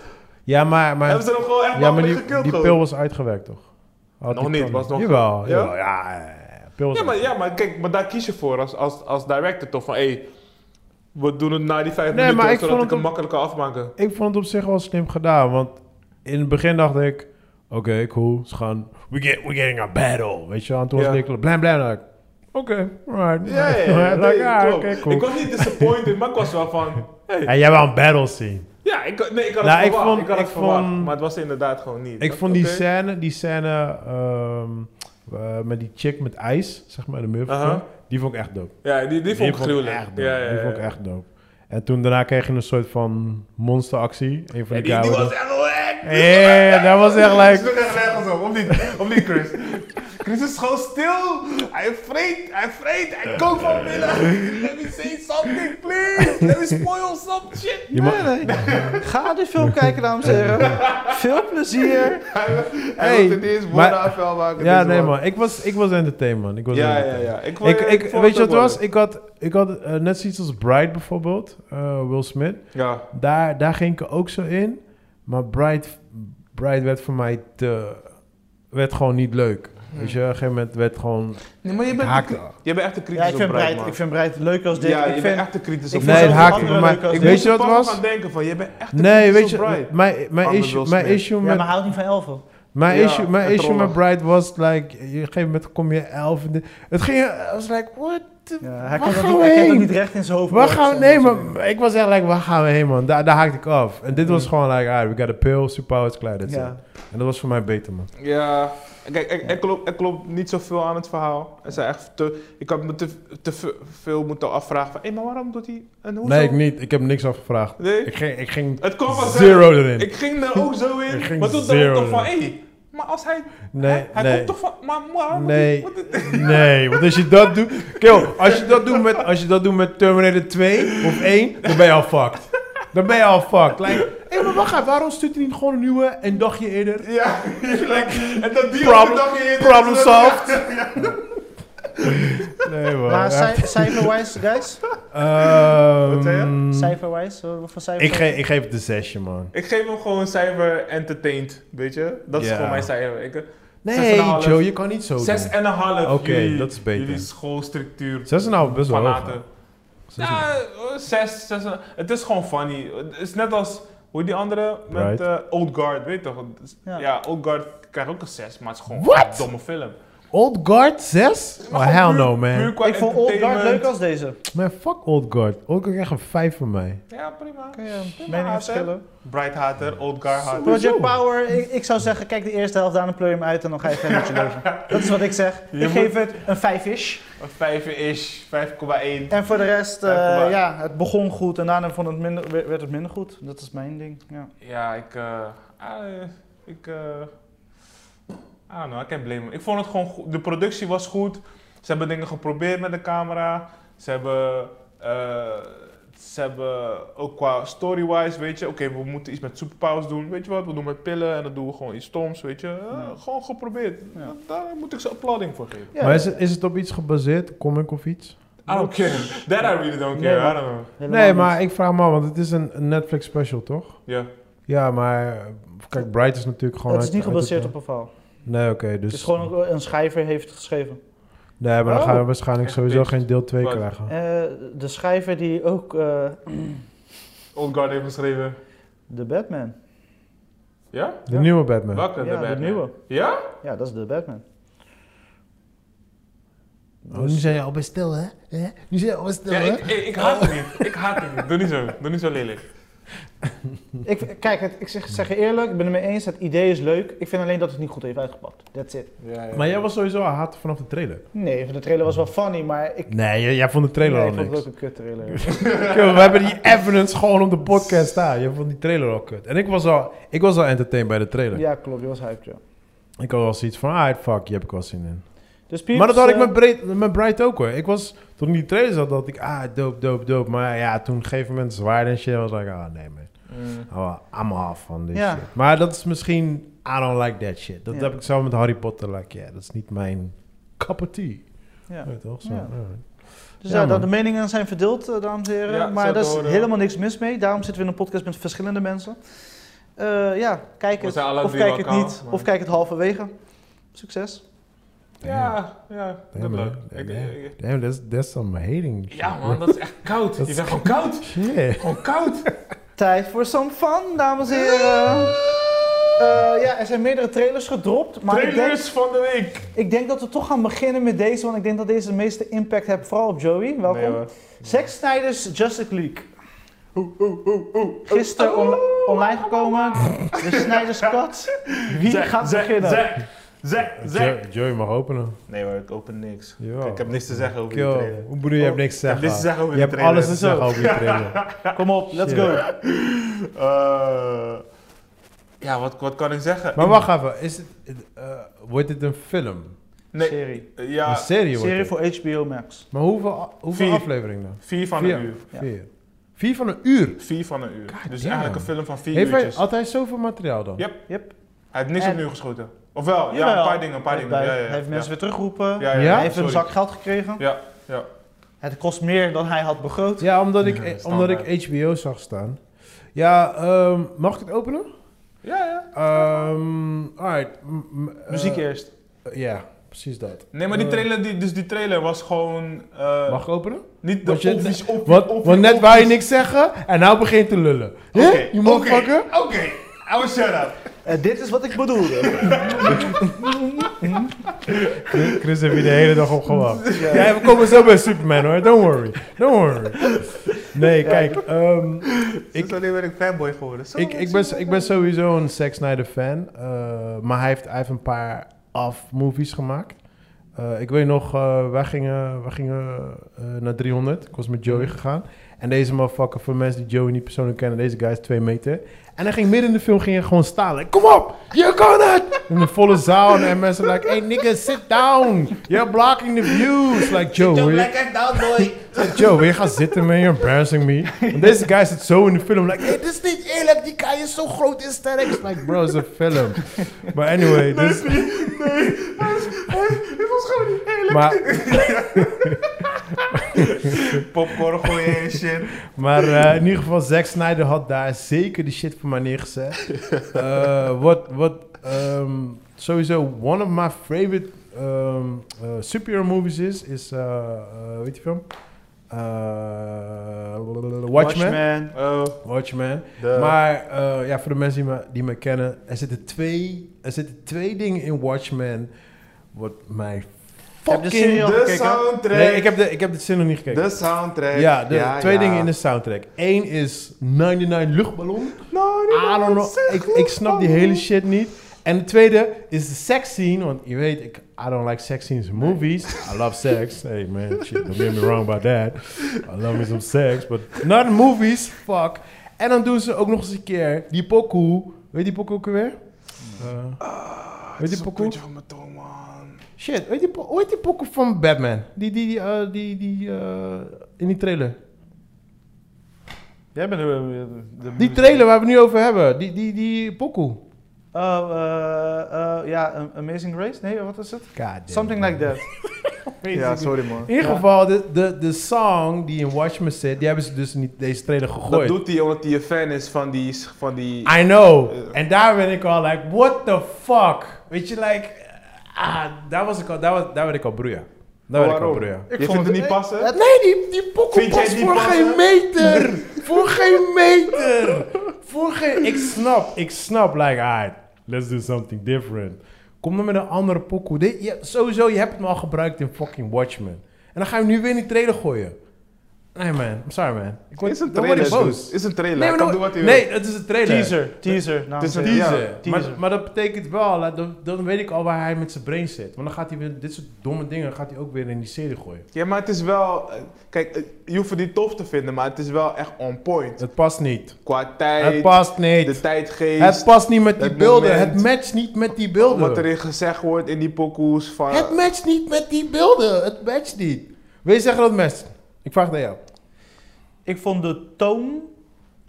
Ja, maar, maar, hebben ze hem gewoon echt ja, maar makkelijk die, gekild. die gewoon. pil was uitgewerkt, toch? Had Nog die niet, pil was nog- Jawel, Ja? jawel, ja, ja, ja, pil was Ja maar, uitgewerkt. ja, maar kijk, maar daar kies je voor als, als, als director toch van hé, hey, we doen het na die vijf Nee, minuten maar ik zodat vond ik hem het makkelijk kan afmaken. Ik vond het op zich wel slim gedaan, want in het begin dacht ik... Oké, cool, ze gaan... We get, we're getting a battle, weet je wel. En toen Ja. was Nicola blam, blam, en ik, Oké, alright. Ja, ja, ja. Like, nee, ah, klopt. oké, cool. Ik was niet disappointed, maar ik was wel van... Hey. En jij wou een battle zien. Ja, ik, nee, ik had Nou, het ik verwacht. Ik, vond- had het ik verwacht, vond- maar het was inderdaad gewoon niet. Ik Dat- vond die oké. scène, die scène ehm, eh, met die chick met ijs, zeg maar, de muur. Aha. Die vond ik echt dope. Ja, die, die vond ik gruwelijk. echt dope. ja, ja, Die ja. vond ik echt dope. En toen daarna kreeg je een soort van monsteractie. Een van Ja, die, die, die guys- was echt Ja, ja, ja, dat was echt Hij is like... nog echt nergens op, of niet? Of niet, Chris? Chris is gewoon stil. Hij vreet, hij vreet, hij kookt van binnen. Let me say something, please. Let me spoil some shit. Je mag- Nee, nee. Ga die film kijken, dames en heren. Veel plezier. Hij Hey, wil het niet eens maar- woorden afvuil maken. ja, dus nee wat- man, ik was, ik was entertained man. Ik was Ja, ja, ja. entertained. Ik, Ik, ik, vond weet je ook wat het was? wel Ik had, ik had eh, net zoiets als Bright bijvoorbeeld, eh, Will Smith. Ja. Daar, daar ging ik er ook zo in. Maar Bright, Bright werd voor mij te... werd gewoon niet leuk. Weet Hm. je, op een gegeven moment werd gewoon... Nee, maar je Het bent, haakte. je bent echt een kritisch Ja, ik vind op Bright, Breit, man. ik vind Breit leuk als dit. ja, ik je vind, bent echt een kritisch ik op vind Nee, zelfs het de haakte andere voor mij. leuk als Ik dit. weet je wat het was? aan denken van, je bent echt een Nee, weet kritisch op je, Bright. Ah, mijn, mijn, Ander issue, Will mijn Smith. issue Ja, met... maar houdt niet van Elfen. Mijn Ja, issue, mijn het issue rollen. met Bright was like... Op een gegeven moment kom je elf... en dit- Het ging... I was like, what the... Ja, waar hij kan dat gaan niet, we hij kan dat heen? niet recht in zijn hoofd. Waar gaan we... plaatsen. Nee, maar ik was echt like, waar gaan we heen, man? Daar, daar haakte ik af. En dit was gewoon like, alright, we got a pill, superpowers, klaar, that's Hmm. Ja. it. En dat was voor mij beter, man. Ja, kijk, ik, ik, klop, ik klop niet zoveel aan het verhaal. Er zijn echt te, ik had me te, te ve- veel moeten afvragen van, hé, maar waarom doet hij en hoezo? Nee, ik niet. Ik heb niks afgevraagd. Nee? Ik ging, ik ging Het kwam vanzelf. zero erin. eh, Ik ging er ook zo Ik in, ging maar toen dacht ik zero toch van, erin. hé, maar als hij, nee, hij, hij nee. komt toch van, maar waarom Nee. moet hij- moet hij- Nee, want als je dat doet... Kill, als je dat doet met, als je dat doet met Terminator 2 of 1, dan ben je al fucked. Dan ben je al fucked. Like, hé, maar wacht even, waarom stuurt hij niet gewoon een nieuwe een dagje eerder? Ja, like, en dat die Problem- op de dag hier- Problem solved. Nee, man. Nou, Maar cij- cijferwijs, guys? Ehm, Wat zei Cijferwijs? eh, Wat voor cijfer? ik, ge- ik geef het een zesje, man. Ik geef hem gewoon een cijfer entertained, weet je? Dat is Ja. gewoon mijn cijfer. Ik, Nee, Zes en een half. Joe, je kan niet zo zes doen. en een half. Oké, jullie- dat is beter. Jullie schoolstructuur, Zes en een half, best wel hoog. fanaten. Zes en een half. Ja, eh, zes, zes. en- Het is gewoon funny. Het is net als, hoe die andere Right. met eh, Old Guard, weet je toch? Het is- Ja. Ja. Old Guard krijgt ook een zes, maar het is gewoon What? een domme film. Old Guard 6? Maar Oh, gewoon hell puur- no, man. puur qua Ik vond Old Guard entertainment. leuk als deze. Man, fuck Old Guard. Old Guard krijgt een 5 van mij. Ja, prima. Oké, ja. Prima, Meningen haat, hè? verschillen. Bright hater, Old Guard hater. Project Power, ik, ik zou zeggen, kijk de eerste helft aan en pleur je hem uit en dan ga je verder met je leven. Dat is wat ik zeg. Ik moet- geef het een vijf-ish. Een vijver is, 5,1. En voor de rest, eh, Ja, kom maar. ja, het begon goed en daarna vond het minder, werd werd het minder goed. Dat is mijn ding. Ja. Ja, ik. eh, ah, eh, ik. eh I don't know, I can't blame him. Ik vond het gewoon goed. De productie was goed. Ze hebben dingen geprobeerd met de camera. Ze hebben. eh, ze hebben ook qua story-wise, weet je, oké, we moeten iets met superpowers doen. Weet je wat, we doen met pillen en dan doen we gewoon iets stoms, weet je. Eh, Ja. Gewoon geprobeerd. Ja. Daar moet ik ze applauding voor geven. Ja, Maar is het, is het op iets gebaseerd? Comic of iets? I don't care. That I really don't Nee, care. maar- I don't know. helemaal Nee, niet. maar ik vraag me af, want het is een een Netflix special, toch? Ja. Ja, maar... eh, Kijk, Bright is natuurlijk gewoon... Het is uit- niet uit gebaseerd op het- een verhaal. Nee, oké, dus... Het is gewoon een, een schrijver heeft geschreven. Nee, maar dan Oh. gaan we waarschijnlijk Echt sowieso pitched. geen deel 2 Wat? krijgen. Eh, de schrijver die ook eh, Old Guard heeft geschreven. de Batman. Ja? De Ja. nieuwe Batman. Welke? ja, de Batman? nieuwe. Ja? Ja, dat is de Batman. Oh, nu zijn je al bij stil, hè? Hè? Nu zijn je al bij stil, Ja, hè? ik, ik, ik haat het Oh. niet. Ik haat het niet. Doe niet zo. Doe niet zo lelijk. Ik, kijk, het, ik zeg, zeg je eerlijk, ik ben het mee eens. Het idee is leuk. Ik vind alleen dat het niet goed heeft uitgepakt. That's it. Maar jij was sowieso al haat vanaf de trailer. Nee, de trailer was wel funny, maar ik... Nee, jij, jij vond de trailer nee, al ik vond niks. het ook een kut trailer. Yo, we hebben die evidence gewoon op de podcast staan. Je vond die trailer al kut. En ik was al, ik was al entertained bij de trailer. ja, klopt. Je was hyped, ja. Ik had wel zoiets van, ah, fuck, je heb ik wel zin in. Dus Pieps, maar dat had ik eh, met, Bright, met Bright ook hoor. Ik was, toen ik die trailer zat, dacht ik, ah, dope, dope, dope. Maar ja, toen op een gegeven moment zwaarde en shit. was ik, ah, nee man. Mm. Oh, I'm off van dit Ja. shit. Maar dat is misschien, I don't like that shit. Dat Ja. heb ik zo met Harry Potter, like, ja, dat is niet mijn cup of tea. Ja. Weet je toch? Zo, Ja. alright. Dus Ja, ja, dat man. de meningen zijn verdeeld, eh, dames en heren. Ja, eh, maar zo daar te is horen. helemaal niks mis mee. Daarom zitten we in een podcast met verschillende mensen. Eh, ja, kijk We het. zijn alle Of drie kijk het lokaal, niet. maar- Of kijk het halverwege. Succes. Ja, ja. Good Damn, luck. man. Ik- Damn, ik- damn, that's, that's some hating. Ja man, dat is echt koud. Dat Je is- bent gewoon koud. Shit. Gewoon koud. Tijd voor some fun, dames en heren. Eh, ja, er zijn meerdere trailers gedropt. Maar ik denk, Trailers van de week. ik denk dat we toch gaan beginnen met deze. Want ik denk dat deze de meeste impact heeft. Vooral op Joey. Welkom. Nee, hoor. Zack Snyder's Justice League. Gisteren on- online gekomen. De Snyder's Cut. Wie Zack, gaat Zack, beginnen? Zack, Zeg, zeg. Joy, Joy mag openen. Nee hoor, ik open niks. Ja. Ik heb niks te zeggen over die Yo, trailer. hoe bedoel je, je hebt niks te Ik heb zeggen? niks te zeggen Oh, over je die hebt trailer. alles te Zo. zeggen over die trailer. Kom op, let's Shit. go. Eh, ja, wat, wat kan ik zeggen? maar wacht even, is het, eh, wordt dit een film? Nee. Serie. Ja, een serie wordt Serie het. voor HBO Max. Maar hoeveel, hoeveel Vier. afleveringen dan? vier van Vier. een uur. Ja. Vier. Vier van een uur? Vier van een uur. God dus damn. eigenlijk een film van vier Heeft hij uurtjes. altijd zoveel materiaal dan? Ja. Yep. Hij heeft niks En- opnieuw geschoten. Ofwel, ja, Jawel. een paar dingen, een paar Hij heeft dingen. Ja, bij- ja, ja. Hij heeft mensen ja. weer teruggeroepen. Ja, ja, Ja? ja, Hij heeft een sorry. zak geld gekregen. Ja, ja. Het kost meer dan hij had begroot. Ja, omdat ik, eh, omdat standaard. ik HBO zag staan. Ja, ehm, mag ik het openen? Ja, ja. Ehm alright. m- m- eh, Muziek eerst. Ja, precies dat. Nee, maar die Eh, trailer, die, dus die trailer was gewoon... eh, Mag ik openen? Niet de Want, je, obvies, obvies, want, obvies, want net obvies. wou je niks zeggen en nou begint te lullen. Hè? Oké, je motherfucker? Oké, oké. I will shut up. Eh, dit is wat ik bedoelde. Chris heeft hier de hele dag op gewacht. Ja, we komen zo bij Superman hoor, don't worry. Don't worry. Nee, kijk, ehm, Ik- Ik wanneer ben ik fanboy geworden. Zo ik, ik, ben, ik ben sowieso een Zack Snyder fan. eh, maar hij heeft, hij heeft een paar af-movies gemaakt. Eh, ik weet nog, eh, wij gingen, wij gingen eh, naar 300. Ik was met Mhm. Joey gegaan. En deze motherfucker, voor mensen die Joey niet persoonlijk kennen, deze guy is twee meter. En hij ging midden in de film ging hij gewoon staan. Like, Kom op, je kan het! In een volle zaal. En mensen like, hey nigga, sit down. You're blocking the views. Like, Joe, wil je- Hey, Joe, wil je gaan zitten, man? You're embarrassing me. Want deze guy zit zo in de film. Like, hey, dit is niet eerlijk. Die guy is zo groot en sterk. It's Like, bro, het is een film. But anyway, dus... Dit was gewoon niet eerlijk. Maar, Popcorn gooien en shit. maar eh, in ieder geval, Zack Snyder had daar zeker de shit voor mij neergezet. Eh, wat, wat ehm, sowieso one of my favorite ehm, eh, superhero movies is, is, eh eh, weet je film? Eh, Watchmen. Oh, Watchmen. de... Maar eh, ja, voor de mensen die me, die me kennen, er zitten, twee, er zitten twee dingen in Watchmen wat mij Heb je de serie fucking... al de gekeken? soundtrack. Nee, ik heb, de, ik heb de zin nog niet gekeken. De soundtrack. ja, de twee ja. dingen in de soundtrack. Eén is 99 luchtballon. Nou, die I don't man, know. zeg Ik, maar, ik snap die man. hele shit niet. En de tweede is de sex scene. Want je weet, ik, I don't like sex scenes in movies. I love sex. Hey man, shit, don't get me wrong about that. I love me some sex, but not in movies. Fuck. En dan doen ze ook nog eens een keer die pokoe. Weet die pokoe ook weer? Eh, weet die Zo'n pokoe? puntje van mijn tong, man. Shit, weet die, po- hoe heet die pokoe van Batman? Die, die, die, eh, die, die eh, in die trailer. Jij bent de... de Die trailer waar we het nu over hebben. Die, die, die pokoe. Oh, eh, eh, ja, A- Amazing Race? Nee, wat is het? God damn it, Something man. like that. Ja, sorry man. In ieder Ja. geval, de, de, de song die in Watchmen zit, die hebben ze dus niet deze trailer Dat gegooid. doet hij omdat hij een fan is van die... Van die... I know. Ja. En daar ben ik al like, what the fuck? Weet je, like, ah, daar, was ik al, daar, was, daar werd ik al broeia. Daar werd ik al Waarom? broeia. Je vindt het niet passen? Nee, die, die pokoe Vind jij past die voor passen? geen meter. voor geen meter. Voor geen... Ik snap, ik snap. Like, alright, let's do something different. Kom dan met een andere pokoe. Dit- je- sowieso, je hebt het me al gebruikt in fucking Watchmen. En dan ga je hem nu weer in die trailer gooien. Nee man, I'm sorry man. Ik word, Is een dan word ik trailer. boos. Is een trailer. nee, Hij maar kan dan- doen wat hij wil. nee, het is een trailer. Teaser, teaser. Nou, Het is een ja. Teaser. teaser. Maar, maar dat betekent wel, laat- dan, dan weet ik al waar hij met zijn brain zit. Want dan gaat hij weer dit soort domme dingen gaat hij ook weer in die serie gooien. Ja, maar het is wel... eh, Kijk, eh, je hoeft het niet tof te vinden, maar het is wel echt on point. Het past niet. Qua Het tijd, past de niet. tijdgeest, Het past niet met die het beelden. moment. Het matcht niet met die wat beelden. erin gezegd wordt in die pokoes van... Het matcht niet met die beelden. Het matcht niet. Wil je zeggen dat het matcht? Ik vraag het aan jou. Ik vond de toon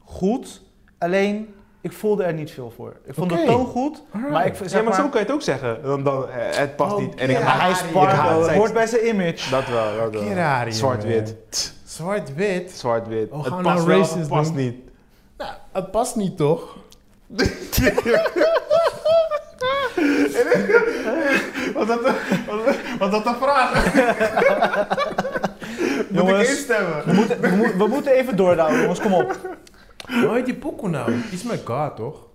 goed, alleen ik voelde er niet veel voor. Ik vond Oké. de toon goed, maar ik Ja, zeg maar maar... zo kan je het ook zeggen. Dan, dan, eh, het past Oh, niet. En ik Ja, haat hij is pardo, Ik haat het seks. hoort bij zijn image. Dat wel, dat wel. Kerari, Zwart-wit. jongen. Tss, Zwart-wit. Zwart-wit. Oh, gaan het we past nou wel, racist het past doen? niet. Nou, het past niet toch? Was dat, was, dat de vraag? Jongens. instemmen? We moeten, we, moeten- we moeten even doordouwen, jongens, kom op. Hoe heet die pokoe nou? Iets met God, toch?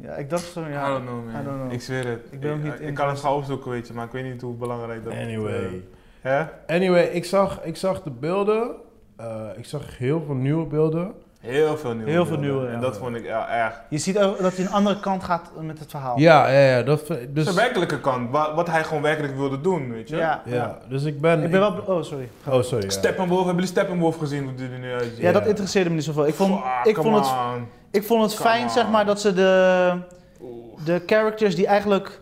Ja, ik dacht zo, I don't ja. know, man. I don't know. Ik zweer het. Ik ben ook niet Ik kan het gaan opzoeken, weet je, maar ik weet niet hoe belangrijk dat Anyway. Hè? Anyway, ik zag, ik zag de beelden. Eh, ik zag heel veel nieuwe beelden. Heel veel nieuwe Heel veel beelden. nieuwe, ja. En dat vond ik ja, echt. Je ziet ook dat hij een andere kant gaat met het verhaal. Ja, ja, ja, dat, v- dus, Zijn werkelijke kant, wa- wat hij gewoon werkelijk wilde doen, weet je. ja. ja. ja, dus ik ben... Ik ben wel... Oh, sorry. Oh, sorry. ja. Steppenwolf, hebben jullie Steppenwolf gezien hoe die er nu uitziet? Ja, dat interesseerde me niet zoveel. Ik vond, Ah, ik come vond, het, on. ik vond het Come fijn, zeg maar, dat ze de, de characters die eigenlijk...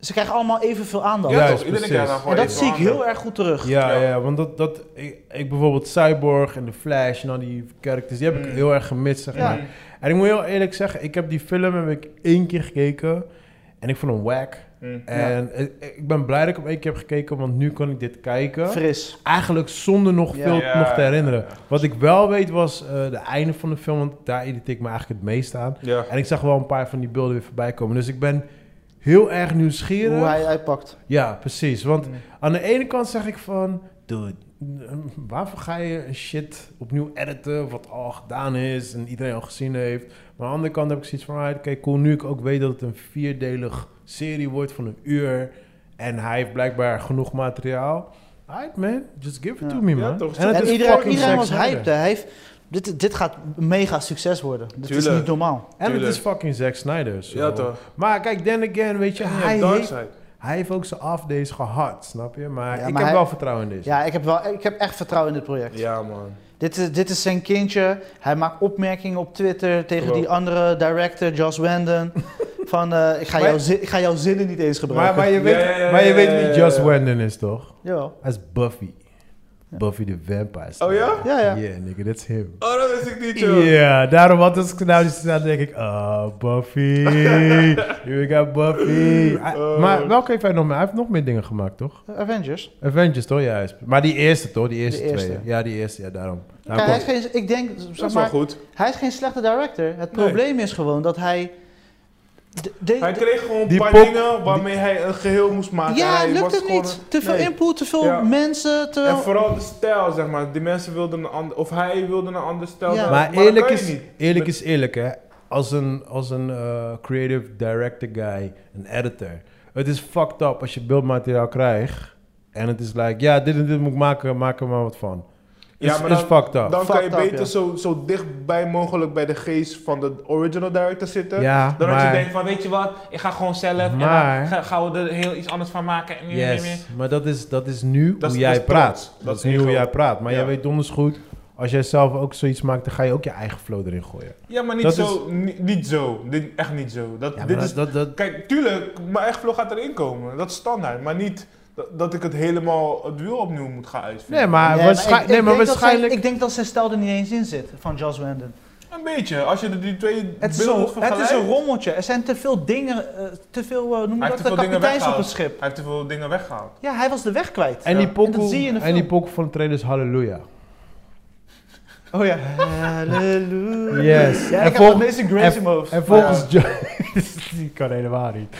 Ze krijgen allemaal evenveel aandacht. Ja, Ja, juist, toch? Iedereen precies. krijgt daar gewoon en dat even zie ik aandacht. heel erg goed terug. Ja, ja. Ja. want dat, dat ik, ik bijvoorbeeld Cyborg en The Flash en al die characters, die heb ik Mm. heel erg gemist, zeg Ja. maar. Mm-hmm. En ik moet heel eerlijk zeggen, ik heb die film heb ik één keer gekeken en ik vond hem whack. Mm. En ik, ik ben blij dat ik hem één keer heb gekeken, want nu kan ik dit kijken. Fris. Eigenlijk zonder nog Ja. veel Ja, nog te herinneren. ja, ja. Wat ik wel weet was eh, de einde van de film, want daar irriteer ik me eigenlijk het meest aan. Ja. En ik zag wel een paar van die beelden weer voorbij komen. Dus ik ben heel erg Hoe nieuwsgierig. hij uitpakt. Ja, precies. Want Mm. aan de ene kant zeg ik van, dude, mm, waarvoor ga je shit opnieuw editen wat al gedaan is en iedereen al gezien heeft. Maar aan de andere kant heb ik zoiets van, alright, kijk, cool, nu ik ook weet dat het een vierdelig serie wordt van een uur en hij heeft blijkbaar genoeg materiaal. Alright man, just give it Ja. to me man. Ja, toch? het En is iedereen, fucking iedereen Zack was Snyder. hyped. hè. Hij heeft, dit, dit gaat een mega succes worden. Dit is Tuurlijk. niet normaal. En het Tuurlijk. is fucking Zack Snyder. so. Ja, toch. Maar kijk, then again, weet je, Ja, hij, heeft, Darkseid. hij heeft ook zijn off days gehad, snap je? Maar Ja, ik maar heb hij- wel vertrouwen in deze. Ja, ik heb, wel, ik heb echt vertrouwen in dit project. Ja, man. Dit, is, dit is zijn kindje. Hij maakt opmerkingen op Twitter tegen Klopt. die andere director, Joss Whedon. van, eh, ik, ga Maar- jouw zin- ik ga jouw zinnen niet eens Maar, gebruiken. maar je weet, Ja, ja, ja, maar je ja, weet ja, wie ja, Just ja. Wendon is, toch? Jawel. Hij is Buffy. Buffy the Vampire Oh Slayer. ja? Ja, ja. Yeah, nigga, that's him. Oh, dat wist ik niet, Ja, joh. daarom had als ik nou die staat, denk ik, oh, Buffy. Here we got Buffy. Hij- Oh. Maar welke heeft hij nog meer? Hij heeft nog meer dingen gemaakt, toch? Avengers. Avengers, toch? Ja, hij is- maar die eerste, toch? Die eerste, De eerste. twee. Ja, die eerste, ja, daarom. Kijk, hij Daarom is geen, ik denk, zeg Nou, Dat is wel maar, goed. hij is geen slechte director. Het probleem is gewoon dat hij... de- de- Hij kreeg gewoon een Die paar pop- dingen waarmee hij een geheel moest maken. ja, hij het lukt was hem gewoon niet. een- Te veel Nee. input, te veel Ja. mensen. Te En vooral de stijl, zeg maar. Die mensen wilden een ander, of hij wilde een ander stijl. Ja. dan- Maar dat eerlijk kan je is, niet. eerlijk is eerlijk, hè. Als een, als een eh, creative director guy, een editor. Het is fucked up als je beeldmateriaal krijgt. En het is like, ja, dit en dit moet ik maken, maak er maar wat van. Ja, Is, maar is dan- fucked Dan up. kan je Fucked up, beter ja. zo, zo dichtbij mogelijk bij de geest van de original director zitten. ja, Dan dat je denkt maar, van, weet je wat, ik ga gewoon zelf Maar- en dan ga- gaan we er heel iets anders van maken. En yes, maar dat is, dat is nu Dat is- hoe dat jij is trots. praat. Dat Dat is is nu hoe ego. jij praat. Maar Ja. jij weet donders goed, als jij zelf ook zoiets maakt, dan ga je ook je eigen flow erin gooien. Ja, maar niet Dat zo, niet, niet zo. Dit, echt niet zo. Dat, Ja, maar dit dat, is, dat, dat, Kijk, tuurlijk, mijn eigen vlog gaat erin komen. Dat is standaard. Maar niet dat, dat ik het helemaal het wiel opnieuw moet gaan uitvinden. nee, maar, Ah, Nee, waarschijn- ik- ik nee, maar denk dat waarschijnlijk... zijn- ik denk dat zijn stijl er niet eens in zit, van Joss Whedon. Een beetje. Als je de- die twee Het is, beelden een, het is vergelijkt- een rommeltje. Er zijn te veel dingen, eh, te veel, eh, noem je Hij dat, heeft te veel dingen kapiteins weggehaald. op het schip. Hij heeft te veel dingen weggehaald. Ja, hij was de weg kwijt. En die En dat zie je in de pokoe en die film. pokoe van de trailers, halleluja. Oh ja. Halleluja. Yes. Ja, En ik heb vol- Amazing Grace in mijn hoofd. En volgens Joe... die kan helemaal niet.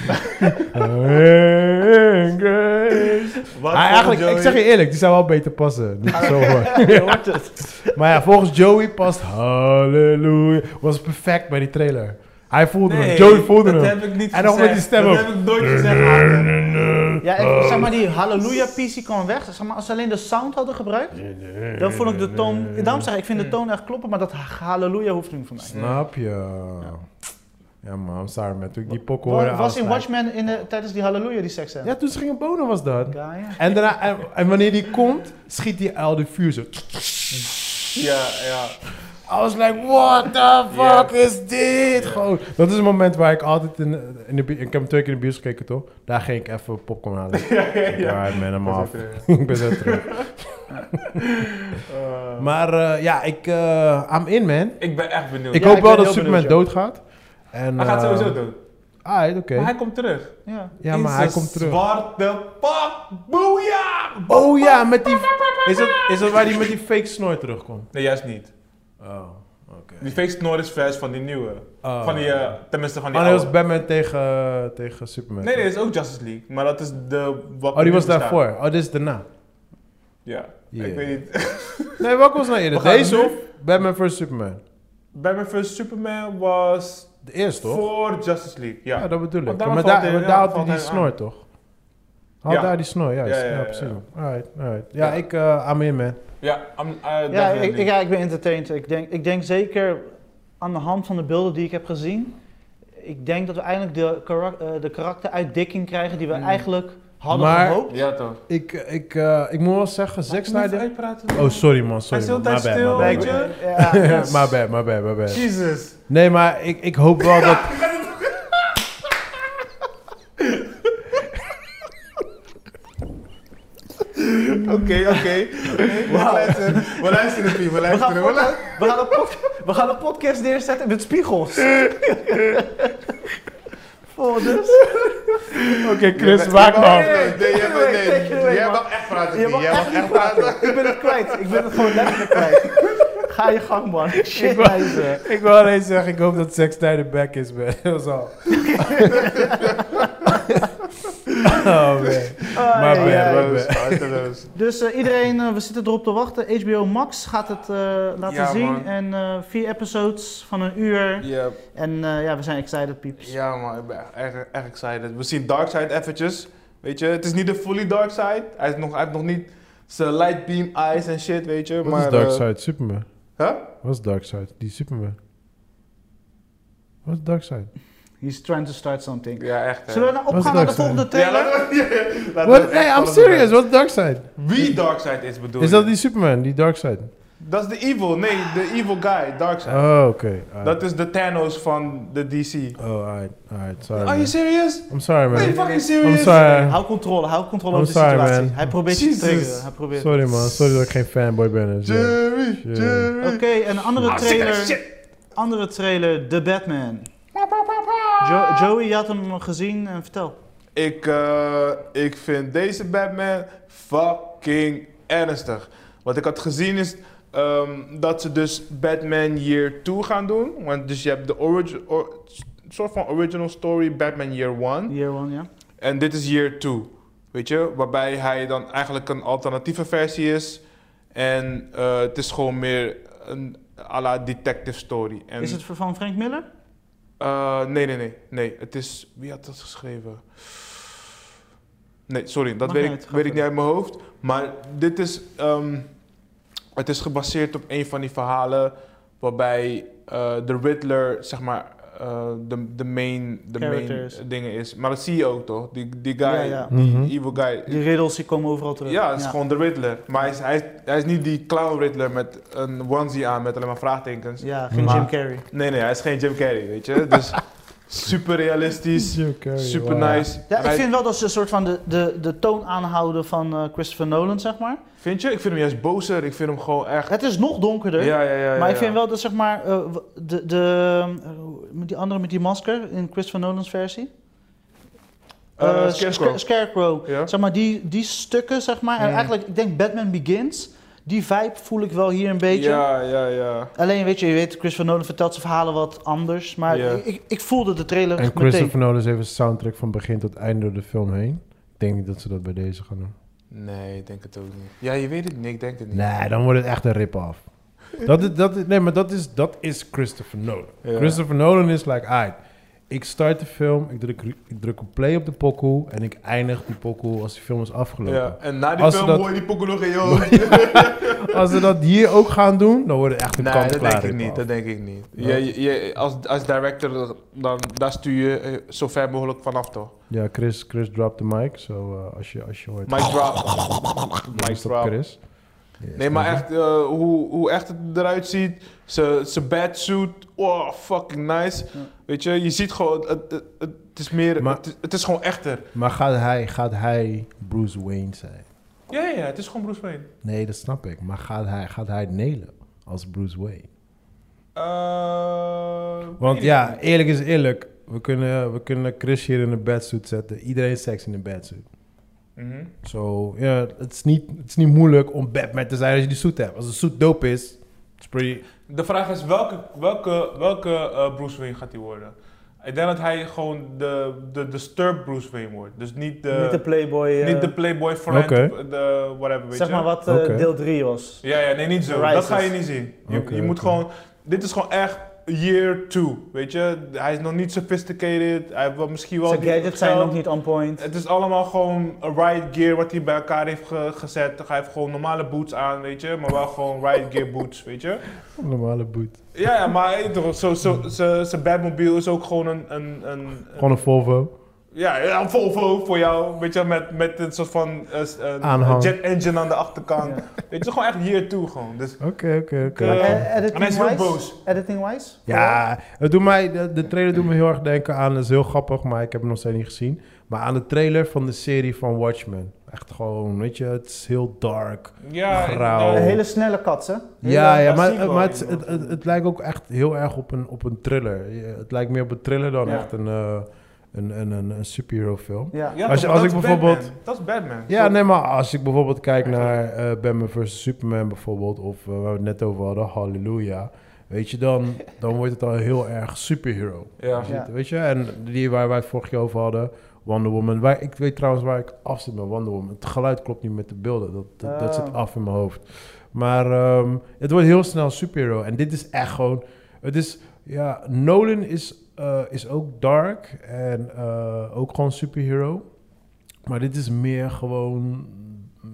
Amazing Grace. Wat Maar eigenlijk, ik zeg je eerlijk, die zou wel beter passen. Niet zo hoor. Je hoort het. Maar ja, volgens Joey past Hallelujah. Was perfect bij die trailer. Hij voelde hem, Joey voelde dat hem. heb ik niet En nog met gezegd. die stem Dat ook. heb ik nooit gezegd. Maarten. Ja, en, Oh. zeg maar, die halleluja piece kwam weg. Zeg maar, als ze alleen de sound hadden gebruikt, dan vond ik de toon... Daarom zeg ik, ik vind de toon echt kloppen, maar dat halleluja hoeft niet voor mij. Snap je? Ja man, I'm sorry man. Toen ik die pokken hoorde... Was, was I in was like- Watchmen in de, tijdens die halleluja die seks Ja, toen ging een bonen was dat. Ja, ja. En, daarna, en, en wanneer die komt, schiet die al de vuur zo. Ja, ja. I was like, what the fuck is dit? Gewoon, dat is een moment waar ik altijd in, in de bi- Ik heb hem twee keer in de bios gekeken, toch? Daar ging ik even popcorn halen. ja, ja, man, I'm off. ik ben zo terug. maar eh, ja, ik, eh I'm in, man. Ik ben echt benieuwd. Ik Ja, hoop ik ben wel heel dat Superman benieuwd, doodgaat. En, hij gaat eh, sowieso dood. alright, oké. Maar hij komt terug. ja. Ja, In maar hij zijn komt terug. Zwarte pak. Boeia! Oh ja, met die... Is dat, is dat waar hij met die fake snor terugkomt? Nee, juist niet. Oh, oké. Die fake snor is vers van die nieuwe. Oh. Van die, eh, tenminste van die Oh, nee, dat was oude. Batman tegen, tegen Superman. Nee, nee, dat is ook Justice League. Maar dat is de... Wat Oh, nu die was bestaat. daarvoor. Oh, dit is daarna. Ja. Yeah. Ik weet niet. Nee, welke was nou eerder? We gaan Deze nu- of Batman vs Superman? Batman vs Superman was De eerste, toch? voor Justice League. Ja. Ja, dat bedoel ik. Want Ja, daar maar valt daar, hij- maar ja, daar had hij valt die hij aan. snor, toch? Oh, Ja. daar die snor, juist. Ja, Ja, ja, ja, precies. ja. Alright, alright. Ja, ik, eh I'm in, man. Ja, I'm, uh, Ja, definitely. ik, ik, ja, ik ben entertained. Ik denk, ik denk zeker aan de hand van de beelden die ik heb gezien. Ik denk dat we eindelijk de, karak eh, de karakteruitdikking krijgen die we Mm. eigenlijk hadden Hmm. Maar- gehoopt. Ja, toch. Ik, ik, eh, ik moet wel zeggen, Zack Snyder... uitpraten. Oh, sorry man, Hij sorry is man. heel My tijd bad, my stil, bad, my weet Nee, bad. je. ja, ja. my bad, my bad, my bad. Jesus. Nee, maar ik, ik hoop wel dat... Oké, oké. We luisteren, Pie, we We gaan, luisteren. voortaan- we, gaan een pod- we gaan een podcast neerzetten met spiegels. Vol dus. Oké, Chris, maak maar. Nee, nee, Take it away, nou. take it away, nee. Jij man. mag echt praten, Je Pie. mag Jij mag echt echt niet praten. praten. Ik ben het kwijt. Ik ben het gewoon letterlijk kwijt. Ga je gang, man. Shit, wijze. Ik wil alleen zeggen, ik hoop dat Zack Snyder back is, man. Dat is al. oh, man. Ai, My bad, ai. my bad. Harteloos. Dus eh, iedereen, eh, we zitten erop te wachten. HBO Max gaat het eh, laten Ja, zien. man. En eh, vier episodes van een uur. Ja, En eh, ja, we zijn excited, peeps. Ja man, ik ben echt, echt- echt excited. We zien Darkseid eventjes. Weet je, het is niet de fully Darkseid. Hij, is nog, hij heeft nog niet zijn light beam eyes en shit, weet je. Wat maar, is eh, Darkseid? Superman. Huh? Wat is Darkseid? Die Superman. Wat is Darkseid? He's trying to start something. Ja, echt. hè. Zullen we nou Wat is opgaan naar de dat, volgende Ja, trailer? laten we- ja, laten we What? echt Nee, I'm alles serious. Wat is Darkseid? doen. Wie Darkseid is bedoel Is je? dat die Superman, die Darkseid? Dat is de evil, nee, de evil guy, Darkseid. Oh, oké. alright. Dat is de Thanos van de DC. Oh, alright, alright. Sorry, Are you Oh, man. serious? I'm sorry, Are you man. fucking I'm serious? sorry. Hou controle, hou controle I'm over de Oh, sorry, situatie. man. Hij probeert je te Jesus. triggeren. Hij probeert. Sorry, man. Sorry dat ik geen fanboy ben. en shit. Jerry, Shit. Jerry. Oké, een andere I'm sick of this trailer. Andere trailer, The Batman. Jo- Joey, je had hem gezien en vertel. Ik, eh, ik vind deze Batman fucking ernstig. Wat ik had gezien is ehm, dat ze dus Batman Year 2 gaan doen. Want dus je hebt de origi- or- soort van original story Batman Year 1. Year One, ja. En dit is Year 2. Weet je, waarbij hij dan eigenlijk een alternatieve versie is. En eh, het is gewoon meer een à la detective story. En, Is het van Frank Miller? eh, nee, nee, nee, nee. Het is. Wie had dat geschreven? Nee, sorry, dat Mag weet, niet, ik, ga weet ik niet verder. uit mijn hoofd. Maar dit is. ehm, het is gebaseerd op een van die verhalen. waarbij eh, de Riddler, zeg maar, eh, de, de main, de main Character is. dingen is. Maar dat zie je ook toch? Die, die guy, Ja, ja. die Mhm. evil guy. Die riddles die komen overal terug. Ja, het is gewoon de Riddler. Maar hij is, hij, is, hij is niet die clown Riddler met een onesie aan met alleen maar vraagtekens. Ja, geen Maar- Jim Carrey. Nee, nee, hij is geen Jim Carrey, weet je. Dus super realistisch. Super nice. Ja, En ik hij- vind wel dat ze een soort van de, de, de toon aanhouden van eh, Christopher Nolan, zeg maar. Vind je? Ik vind hem juist bozer. Ik vind hem gewoon echt... Het is nog donkerder. Ja, ja, ja. Maar ja, ik vind ja. wel dat, zeg maar, eh, w- de, de, eh, hoe- met die andere met die masker in Christopher Nolan's versie. Eh, Eh, Scarecrow. Sca- Scarecrow. Ja. Zeg maar, die, die stukken, zeg maar. En Mm. eigenlijk, ik denk Batman Begins. Die vibe voel ik wel hier een beetje. Ja, ja, ja. Alleen, weet je, je weet, Christopher Nolan vertelt zijn verhalen wat anders. Maar Ja. ik, ik, ik voelde de trailer En meteen. Christopher Nolan heeft een soundtrack van begin tot einde door de film heen. Ik denk niet dat ze dat bij deze gaan doen. Nee, ik denk het ook niet. Ja, je weet het niet. Ik denk het niet. Nee, dan wordt het echt een rip-off. Dat is, dat is- nee, maar dat is, dat is Christopher Nolan. Ja. Christopher Nolan is like, alright, ik start de film, ik druk, ik druk op play op de pokoe en ik eindig die pokoe als die film is afgelopen. Ja, en na die Als ze film dat- hoor je die pokoe nog in je hoofd. Als ze dat hier ook gaan doen, dan wordt het echt een Nee, kant dat denk ik niet. Dat denk ik niet. Ja. Je, je, als, als director, dan, daar stuur je eh, zo ver mogelijk vanaf, toch? Ja, Chris, Chris dropt de mic, zo eh, als, je, als je hoort... Mike drop. dan Mike is dat drop. Chris. Ja, Nee, maar echt, eh, hoe, hoe echt het eruit ziet. Zijn badsuit, oh, fucking nice. Ja. Weet je, je ziet gewoon, het, het, het is meer, Maar- het, is, het is gewoon echter. Maar gaat hij, gaat hij Bruce Wayne zijn? Ja, ja, het is gewoon Bruce Wayne. Nee, dat snap ik. Maar gaat hij, gaat hij nelen als Bruce Wayne? Eh, Want weet ik ja, niet. eerlijk is eerlijk. We kunnen, we kunnen Chris hier in een bedsuit zetten. Iedereen heeft seks in een bedsuit. Mhm. Zo, ja, het is niet, het is niet moeilijk om Batman te zijn als je die suit hebt. Als de suit dope is, it's pretty... De vraag is, welke, welke, welke eh, Bruce Wayne gaat hij worden? Ik denk dat hij gewoon de, de disturbed Bruce Wayne wordt. Dus niet de, Niet de Playboy. eh, niet de playboy friend, Oké. de whatever, weet zeg je. maar wat eh, Oké. deel 3 was. Ja, ja, nee, niet zo. Rises. Dat ga je niet zien. Je, Oké, je moet oké. gewoon... Dit is gewoon echt year two, weet je. Hij is nog niet sophisticated, hij heeft wel misschien wel... Zijn die- gadgets zijn geld. ook niet on point. Het is allemaal gewoon ride gear wat hij bij elkaar heeft ge- gezet. Hij heeft gewoon normale boots aan, weet je. Maar wel gewoon ride gear boots, weet je. Normale boot. Ja, ja maar hey, toch, zo- zo- zo- zijn Batmobile is ook gewoon een... een, een, Gewoon een Volvo. ja, ja, een Volvo voor jou, weet je. Met, met een soort van eh, s- een Aanhang. jet engine aan de achterkant. Weet je, gewoon echt year two gewoon. Dus, Oké, oké, Eh, oké. Eh, editing en hij is heel wise? boos. Editing wise? Ja, het doet mij, de, de trailer doet me heel erg denken aan, dat is heel grappig, maar ik heb hem nog steeds niet gezien. Maar aan de trailer van de serie van Watchmen. Echt gewoon, weet je, het is heel dark. ja, Grauw. Een eh, hele snelle kat, hè? Ja, ja klassiek maar, wel, maar het, ja. het, het, het lijkt ook echt heel erg op een, op een thriller. Je- Het lijkt meer op een thriller dan Ja. echt een, eh, een, een, een, een superhero film. Ja. ja, Als je- toch, als dat ik is bijvoorbeeld- Batman. Dat is Batman. Ja, nee, maar als ik bijvoorbeeld kijk naar eh, Batman vs. Superman bijvoorbeeld, of eh, waar we het net over hadden, Halleluja. Weet je, dan, dan wordt het al heel erg superhero. Ja. Zit- Ja. Weet je, en die waar wij het vorig jaar over hadden, Wonder Woman. Waar, ik weet trouwens waar ik afzit met Wonder Woman. Het geluid klopt niet met de beelden. Dat, dat, dat Ah. zit af in mijn hoofd. Maar ehm, het wordt heel snel superhero. En dit is echt gewoon... Het is... Ja, Nolan is, eh, is ook dark. En eh, ook gewoon superhero. Maar dit is meer gewoon...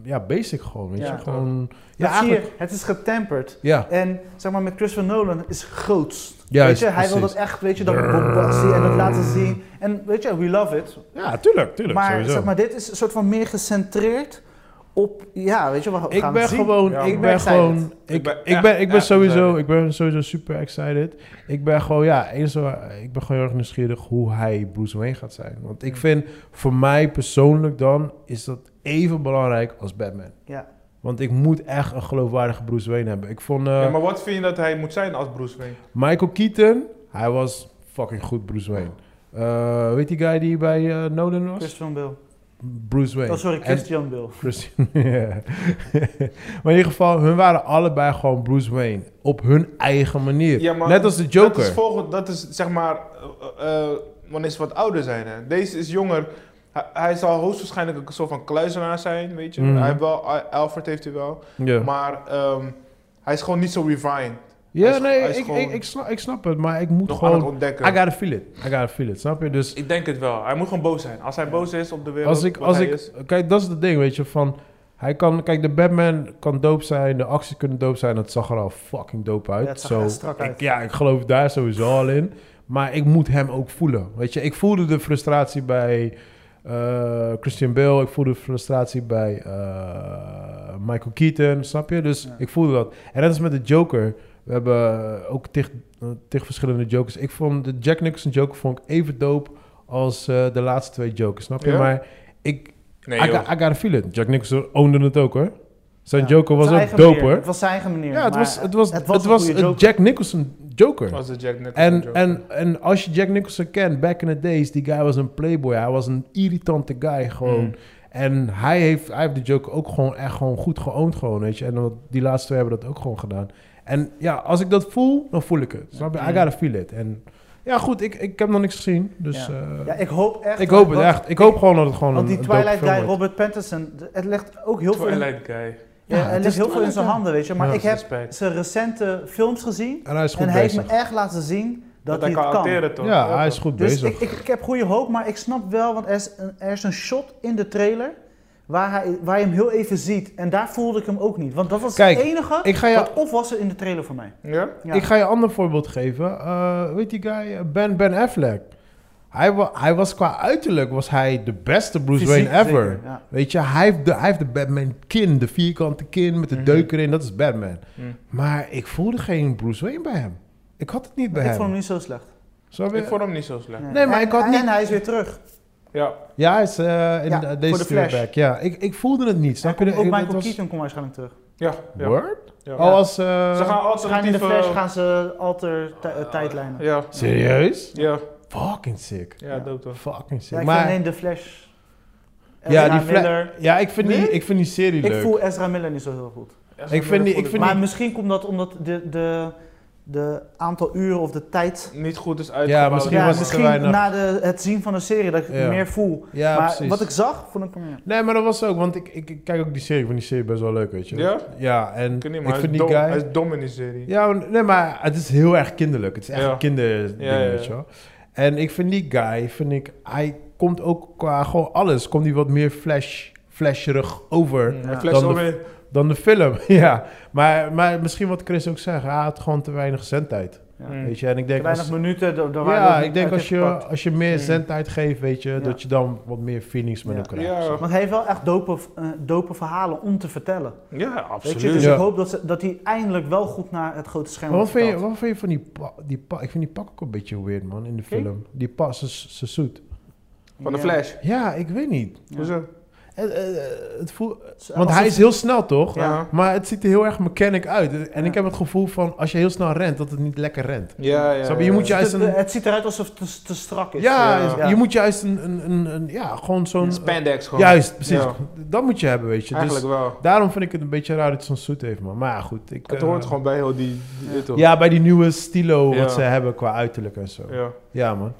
Ja, basic gewoon. Weet Ja. je, gewoon... Ja, Ja, eigenlijk... het is getemperd. Ja, En zeg maar, met Christopher Nolan is groots. Juist, weet je, hij wil dat precies. echt, weet je, dat bombastie en dat laten zien. En weet je, we love it. ja, tuurlijk, tuurlijk, maar sowieso. zeg maar, dit is een soort van meer gecentreerd op, ja, weet je, we gaan Ik het ben zien. gewoon, Ja, ik man. ben Ik ben gewoon, excited. ik, Ik ben ik echt, ben, ik ben echt sowieso, excited. ik ben sowieso super excited. Ik ben gewoon, ja, eens, ik ben gewoon heel erg nieuwsgierig hoe hij Bruce Wayne gaat zijn. Want Mm. ik vind, voor mij persoonlijk dan, is dat even belangrijk als Batman. Ja. Want ik moet echt een geloofwaardige Bruce Wayne hebben. Ik vond eh, Ja, maar wat vind je dat hij moet zijn als Bruce Wayne? Michael Keaton, hij was fucking goed Bruce Wayne. Eh, weet die guy die bij eh, Nolan was? Christian Bill. Bruce Wayne. Oh, sorry, En- Christian Bill. Christian. ja. maar in ieder geval, hun waren allebei gewoon Bruce Wayne. Op hun eigen manier. Ja, maar Net als de Joker. Dat is, volgend, dat is zeg maar eh, eh, wanneer ze wat ouder zijn. Hè? Deze is jonger. Hij, hij zal hoogstwaarschijnlijk een soort van kluizenaar zijn, weet je. Mhm. Hij heeft wel, Al- Alfred heeft hij wel. ja, Maar ehm, hij is gewoon niet zo refined. ja hij is- nee, hij is ik, gewoon- ik, ik, snap, ik snap het, maar ik moet Nog aan het gewoon... I ontdekken. gotta feel it. I gotta feel it, snap je? Dus Ik denk het wel. Hij moet gewoon boos zijn. Als hij boos is op de wereld, als ik... wat Als hij ik is, kijk, dat is het ding, weet je, van... Hij kan, kijk, de Batman kan dope zijn, de acties kunnen dope zijn. Dat zag er al fucking dope uit. Ja, het zag Zo, echt strak uit. Ik, ja, ik geloof daar sowieso al in. Maar ik moet hem ook voelen. Weet je, ik voelde de frustratie bij eh, Christian Bale. Ik voelde de frustratie bij eh, Michael Keaton. Snap je? Dus ik voelde dat. En dat is met de Joker. We hebben ook tegen tegen verschillende jokers. Ik vond de Jack Nicholson Joker vond ik even dope als eh, de laatste twee jokers. Snap je? Ja? Maar ik, nee, I, joh. got- I gotta feel it. Jack Nicholson ownde het ook hoor. Zijn Ja. Joker was Zijn ook eigen dope manier. hoor. Het was zijn eigen manier. Ja, het maar was, het was, het was, een goede een joke. Jack Nicholson Joker. was de Jack Nicholson En, joke. en, en als je Jack Nicholson kent, back in the days, die guy was een playboy. Hij was een irritante guy gewoon. Mm. En hij heeft, hij heeft de Joker ook gewoon echt gewoon goed geowned gewoon, weet je. En dat- die laatste twee hebben dat ook gewoon gedaan. En ja, als ik dat voel, dan voel ik het. Snap je? I gotta feel it. En ja, goed, ik, ik heb nog niks gezien. Dus eh, Ja, ik hoop echt... ik hoop het want- echt. Ik hoop gewoon dat het gewoon Want die een een dope Twilight film guy, wordt. Robert Pattinson, d- het ligt ook heel veel... in- Twilight guy. Ja, Ja, er het ligt is heel veel in Twilight zijn Guy. handen, weet je. Maar Ja. ik heb Respect. zijn recente films gezien. En hij is goed En hij heeft bezig. me echt laten zien dat, Dat hij hij kan het kan. acteren toch? Ja, hij is goed Dus bezig. ik, ik, ik heb goede hoop, maar ik snap wel, want er is een, er is een shot in de trailer waar, hij, waar je hem heel even ziet. En daar voelde ik hem ook niet. Want dat was Kijk, het enige ik ga je- wat of was er in de trailer voor mij. Ja? Ja. Ik ga je een ander voorbeeld geven. Eh, weet die guy, eh, Ben, ben Affleck. Hij, wa- hij was qua uiterlijk was hij de beste Bruce Fysiek Wayne ever. zeker, ja. Weet je, hij heeft, de, hij heeft de Batman kin, de vierkante kin met de Mhm. deuk erin. Dat is Batman. Maar ik voelde geen Bruce Wayne bij hem. Ik had het niet bij ik hem. vond hem niet zo slecht. Snap je? Ik vond hem niet zo slecht. Nee, maar en, ik had en niet- hij is weer terug. Ja. Ja, hij is eh, in Ja, eh, voor deze de twee Flash. back. Ja, ik, ik voelde het niet. Snap En je? ook Ik- Michael het was- Keaton komt waarschijnlijk terug. Ja. ja. Word? Ja. Oh, als... eh, Ze gaan Ze gaan in alternatieve... de Flash gaan ze alter ti- eh, tijdlijnen. Ja, Ja. Serieus? Ja. Fucking sick. Ja, dope toch. Fucking sick. ik maar, vind alleen de Flash. ja, die Fla- Miller. ja ik, vind die, ik vind die serie Ik leuk. voel Ezra Miller niet zo heel goed. Ik vind die- ik vind maar die- misschien komt dat omdat de, de, de aantal uren of de tijd. Niet goed is Ja, uitgebouwd. misschien was het te misschien weinig. na de, het zien van de serie dat ik Ja. meer voel. Ja, maar precies. wat ik zag, vond ik meer. Nee, maar dat was ook, want ik, ik, ik kijk ook die serie, van die serie best wel leuk, weet je. Ja? Ja, en Ik ik, weet niet, maar vind die hij, is dom, guy... hij is dom in die serie. Ja, maar- nee, maar het is heel erg kinderlijk. Het is echt Ja. een kinderding, Ja, ja, ja. weet je wel. En ik vind die guy, vind ik, hij komt ook qua gewoon alles, komt hij wat meer flash, flasherig over Hij Dan flex de- om in. dan de film. ja, maar, maar misschien wat Chris ook zegt, hij had gewoon te weinig zendtijd, Mm. weet je. En ik denk, Weinig als, minuten. daar- daar waren we ja, ook ik denk uit als je, ingepakt. als je meer zendtijd geeft, weet je, dat je dan wat meer feelings met Ja. hem krijgt. Ja. Want hij heeft wel echt dope, eh, dope verhalen om te vertellen. Ja, absoluut. Weet je? Dus Ja. ik hoop dat, ze, dat hij eindelijk wel goed naar het grote scherm Maar wat wordt vind, je, verteld. wat vind je van die pa, die pa? Ik vind die pak ook een beetje weird, man, in de Vind je? film. Die pa, ze, ze zoet. Van de Ja. Flash. Ja, ik weet niet. Ja. Hoezo? Het, eh, het voelt, Het want alsof- hij is heel snel, toch? Ja. Ja. Maar het ziet er heel erg mechanic uit. En Ja. ik heb het gevoel van, als je heel snel rent, dat het niet lekker rent. Ja, ja. Snap je? Je moet het, juist het, een- het ziet eruit alsof het te, te strak is. eh, Ja, Ja. je moet juist een, een, een, een- ja, gewoon zo'n... Spandex gewoon. juist, precies. Ja. Dat moet je hebben, weet je. Dus Eigenlijk wel. daarom vind ik het een beetje raar dat het zo'n zoet heeft, man. Maar ja, goed. Ik, Het eh, hoort gewoon bij heel die... die- dit hoor. Ja, bij die nieuwe stilo Ja. wat ze hebben qua uiterlijk en zo. Ja, Ja. man.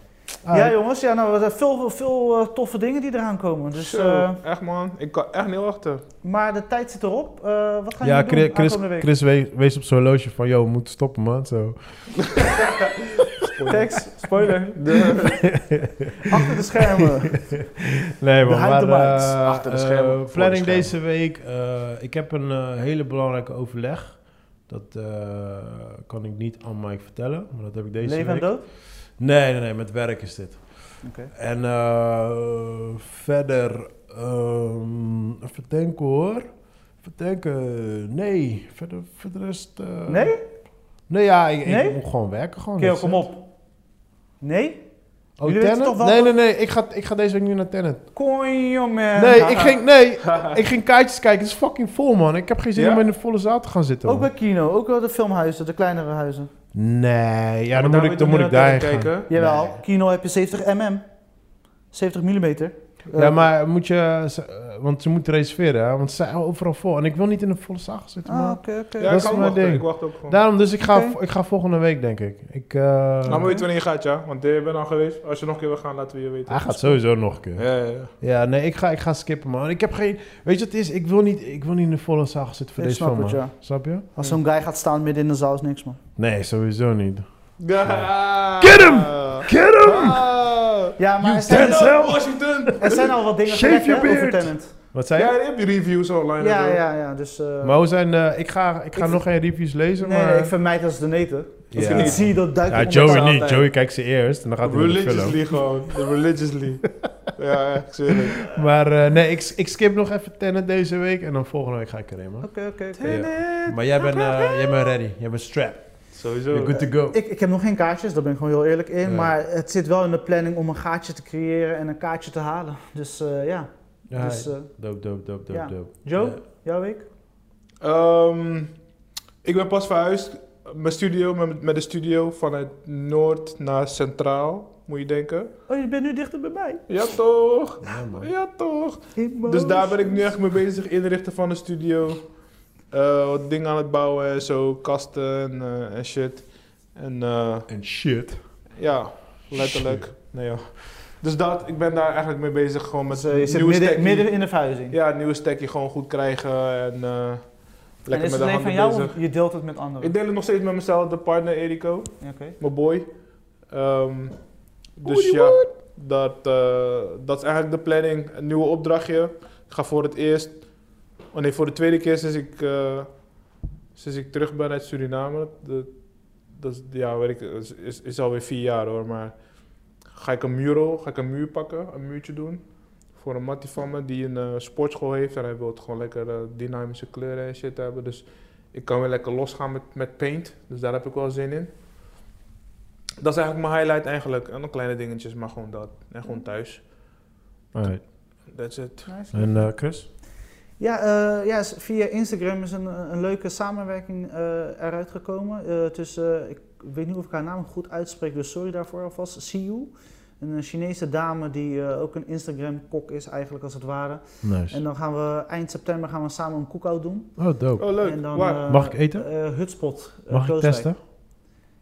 Ah. Ja, jongens, ja, nou, er zijn veel, veel eh, toffe dingen die eraan komen. Dus, Zo, eh, echt man. Ik kan echt niet wachten. maar de tijd zit erop. Eh, wat gaan Ja, jullie Chris, doen Chris, aankomende week? Chris wees, wees op zo'n horloge van, yo, we moeten stoppen, man. Zo. Tex, spoiler. Achter de schermen. Nee, man, maar, Behind the eh, mics. Achter de schermen, eh, voor de planning schermen. deze week. eh, ik heb een eh, hele belangrijke overleg. Dat eh, kan ik niet aan Mike vertellen, maar dat heb ik deze Leven en week. dood? Nee, nee, nee, met werk is dit. Oké. En eh, verder, ehm even denken hoor. Even denken, nee, verder, voor de rest... eh, Nee? Nee, ja, ik, ik Nee? moet gewoon werken gewoon. Keo, dat is kom het. op. Nee? Oh, Jullie weten Tenet? toch wel Nee, wat- Eh, nee, nee, ik ga, ik ga deze week niet naar Tenet. Kon jongen. Nee, ik ging, nee, ik ging kaartjes kijken. Het is fucking vol, man. Ik heb geen zin Ja? om in de volle zaal te gaan zitten. Ook man. bij kino, ook wel de filmhuizen, de kleinere huizen. Nee, ja, Maar daar nou dan moet ik, je dan toch moet niet ik naar daarheen kijken? gaan. Jawel, Nee. kino heb je 70 mm. 70 mm. Ja, maar moet je... ze- eh, Want ze moeten reserveren, hè, want ze zijn overal vol. En ik wil niet in een volle zaal gaan zitten, Ah, man. oké, oké. Ja, Dat ik, is kan mijn wachten. ding. ik wacht ook gewoon. Daarom, dus ik ga, Oké. Nou, vo- ik ga volgende week, denk ik. ik eh, Laat me weten wanneer Nou, je gaat, ja. Want je bent al geweest. Als je nog een keer wil gaan, laten we je weten. hij gaat sowieso nog een keer. Ja, Ja, ja, ja. nee, ik ga, ik ga skippen, man. Ik heb geen... Weet je wat het is? Ik wil niet, ik wil niet in de volle zaal gaan zitten voor Ik deze snap film, het, man. ja. Snap je? Als zo'n guy gaat staan midden in de zaal is niks, man. Nee, sowieso niet. Ja. Get him! Get him! Ah. Ja, maar er dead zijn, Denzel! Denzel Washington! er zijn al wat dingen Shave gezegd, hè, your over beard! Tenant. Wat zei je? Ja, je hebt je reviews online. Ja, en zo. ja, ja, dus... eh, Maar hoe zijn... eh, ik ga, ik ga Ik- nog geen reviews lezen, nee, maar... nee, ik vermijd als de neten. Als Ja. ik niet zie, dat duik ik Ja, onder de Joey tafel. niet. Joey kijkt ze eerst en dan gaat hij naar de film. Religiously gewoon. De Religiously. ja, ik zweer het. Maar eh, nee, ik, ik skip nog even Tenet deze week en dan volgende week ga ik erin, man. Oké, oké, oké. Ja. Maar jij bent, eh, jij bent ready. Jij bent strapped. Sowieso. You're good to go. Ik, ik heb nog geen kaartjes, daar ben ik gewoon heel eerlijk in. Ja. Maar het zit wel in de planning om een gaatje te creëren en een kaartje te halen. Dus eh, ja. Ja, Dus, eh, dope, dope, dope, dope, ja. dope. Joe, Ja. jouw week? Ehm, ik ben pas verhuisd. Mijn studio, met, met de studio vanuit Noord naar Centraal, moet je denken. Oh, je bent nu dichter bij mij. Ja toch? Ja, man. Ja toch? Dus daar ben ik nu echt mee bezig, inrichten van de studio. Eh, wat dingen aan het bouwen en zo, kasten en, eh, en shit. En eh, En shit. ja, letterlijk. Nee joh. Dus dat, ik ben daar eigenlijk mee bezig, gewoon met Dus, eh, je zit midden, stackie. midden in de verhuizing. Ja, nieuwe stekje gewoon goed krijgen en eh, en lekker is met het de alleen handen van jou bezig. of je deelt het met anderen? Ik deel het nog steeds met mezelf, de partner Eriko, Ja, Oké. mijn boy. Ehm, dus ja, dat, eh, dat is eigenlijk de planning. Een nieuwe opdrachtje. Ik ga voor het eerst, oh nee, voor de tweede keer sinds ik, eh, sinds ik terug ben uit Suriname. Dat, dat is, ja, weet ik, is, is, is alweer vier jaar hoor, maar ga ik een mural, ga ik een muur pakken, een muurtje doen. Voor een mattie van me die een eh, sportschool heeft en hij wil het gewoon lekker eh, dynamische kleuren en shit hebben. Dus ik kan weer lekker losgaan met, met paint. Dus daar heb ik wel zin in. Dat is eigenlijk mijn highlight eigenlijk. En dan kleine dingetjes, maar gewoon dat. En gewoon thuis. Alright. That's it. Nice. En eh, Chris? Ja, eh, ja, s- via Instagram is een, een leuke samenwerking eh, eruit gekomen. eh, tussen, eh, ik weet niet of ik haar naam goed uitspreek, dus sorry daarvoor alvast. Siu, een Chinese dame die eh, ook een Instagram-kok is eigenlijk als het ware. Nice. En dan gaan we eind september gaan we samen een cookout doen. Oh, dope. Oh, leuk. En dan, Waar? eh, Mag ik eten? eh, Hutspot. eh, Mag ik Klooswijk. testen?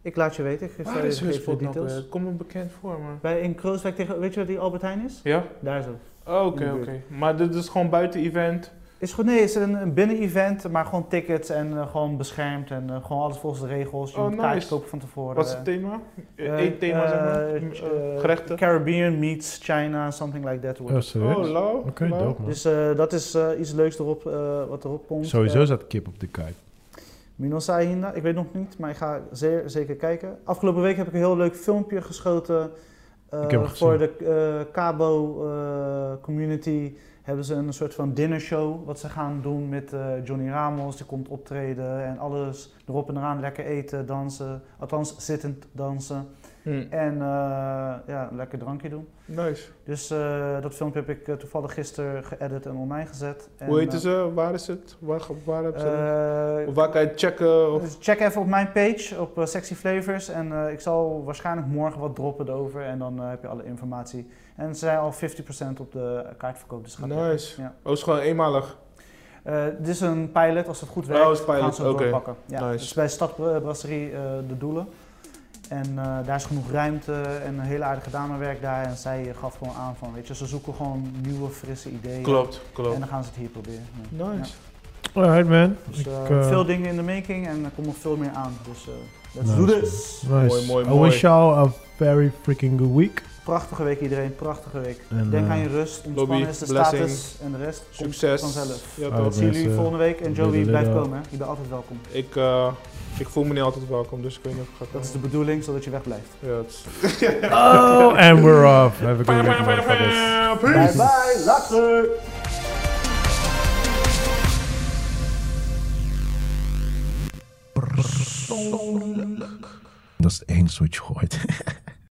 Ik laat je weten. Ik geef Waar je is de Hutspot nou details. weer? Het komt me bekend voor, maar... Bij in Krooswijk tegen, weet je waar die Albert Heijn is? Ja? Daar zo. Oh, Oké, In de oké. buurt. Maar dit is gewoon buiten event. Is goed, nee, het is een, een binnen-event, maar gewoon tickets en eh, gewoon beschermd en eh, gewoon alles volgens de regels. Je Oh, moet kaartjes nice. kopen van tevoren. Wat is het thema? eh, Eén thema, zeg maar. M- eh, gerechten. Caribbean meets China, something like that. wordt Oh, het. serieus? Oh, lauw. Oké, lauw. dope man. Dus eh, dat is eh, iets leuks erop, eh, wat erop komt. Sowieso Eh, zat kip op de kaart. Minosai Hinda, ik weet nog niet, maar ik ga zeer, zeker kijken. Afgelopen week heb ik een heel leuk filmpje geschoten. eh, Ik heb hem voor de eh, Cabo eh, community hebben ze een soort van dinnershow. Wat ze gaan doen met eh, Johnny Ramos. Die komt optreden en alles erop en eraan. Lekker eten, dansen. Althans, zittend dansen. Hm. En eh, ja, een lekker drankje doen. Nice. Dus eh, dat filmpje heb ik eh, toevallig gisteren geëdit en online gezet. En, Hoe heet eh, ze? Waar is het? Waar, waar hebben ze het? eh, Of waar kan je het checken? Of... Oh, dus check even op mijn page op eh, Sexy Flavors en eh, ik zal waarschijnlijk morgen wat droppen erover en dan eh, heb je alle informatie. En ze zijn al 50% op de kaartverkoop, dus gaat lekker. Nice. Ja. Oh, het is gewoon eenmalig. Eh, Dit is een pilot, als het goed Oh, werkt het is pilot, gaan ze het oké. doorpakken. Ja, Nice. Het is bij Stad eh, Brasserie eh, de Doelen. En eh, daar is genoeg ruimte en een hele aardige damenwerk daar. En zij eh, gaf gewoon aan van, weet je, ze zoeken gewoon nieuwe, frisse ideeën. Klopt, En klopt. dan gaan ze het hier proberen. Ja. Nice. Alright man. Dus eh, Ik, eh, veel dingen in de making en er komt nog veel meer aan. Dus eh let's Nice, do man. this! Nice. Mooi, mooi, I mooi. wish y'all a very freaking good week. Prachtige week iedereen, prachtige week. En, Denk eh, aan je rust, lobby, ontspannen is de blessing, status en de rest komt Succes. vanzelf. Ja, Alright, toch. Zie jullie mensen. volgende week en Joey Doei, blijft doei. komen. Hè? Je bent altijd welkom. Ik, eh, ik voel me niet altijd welkom, dus ik weet niet of ik ga Dat komen. is de bedoeling, zodat je wegblijft. Ja, het is- Oh, and we're off. Have a good week, motherfuckers. Bye bye, later! Dat is het engste wat je hoort.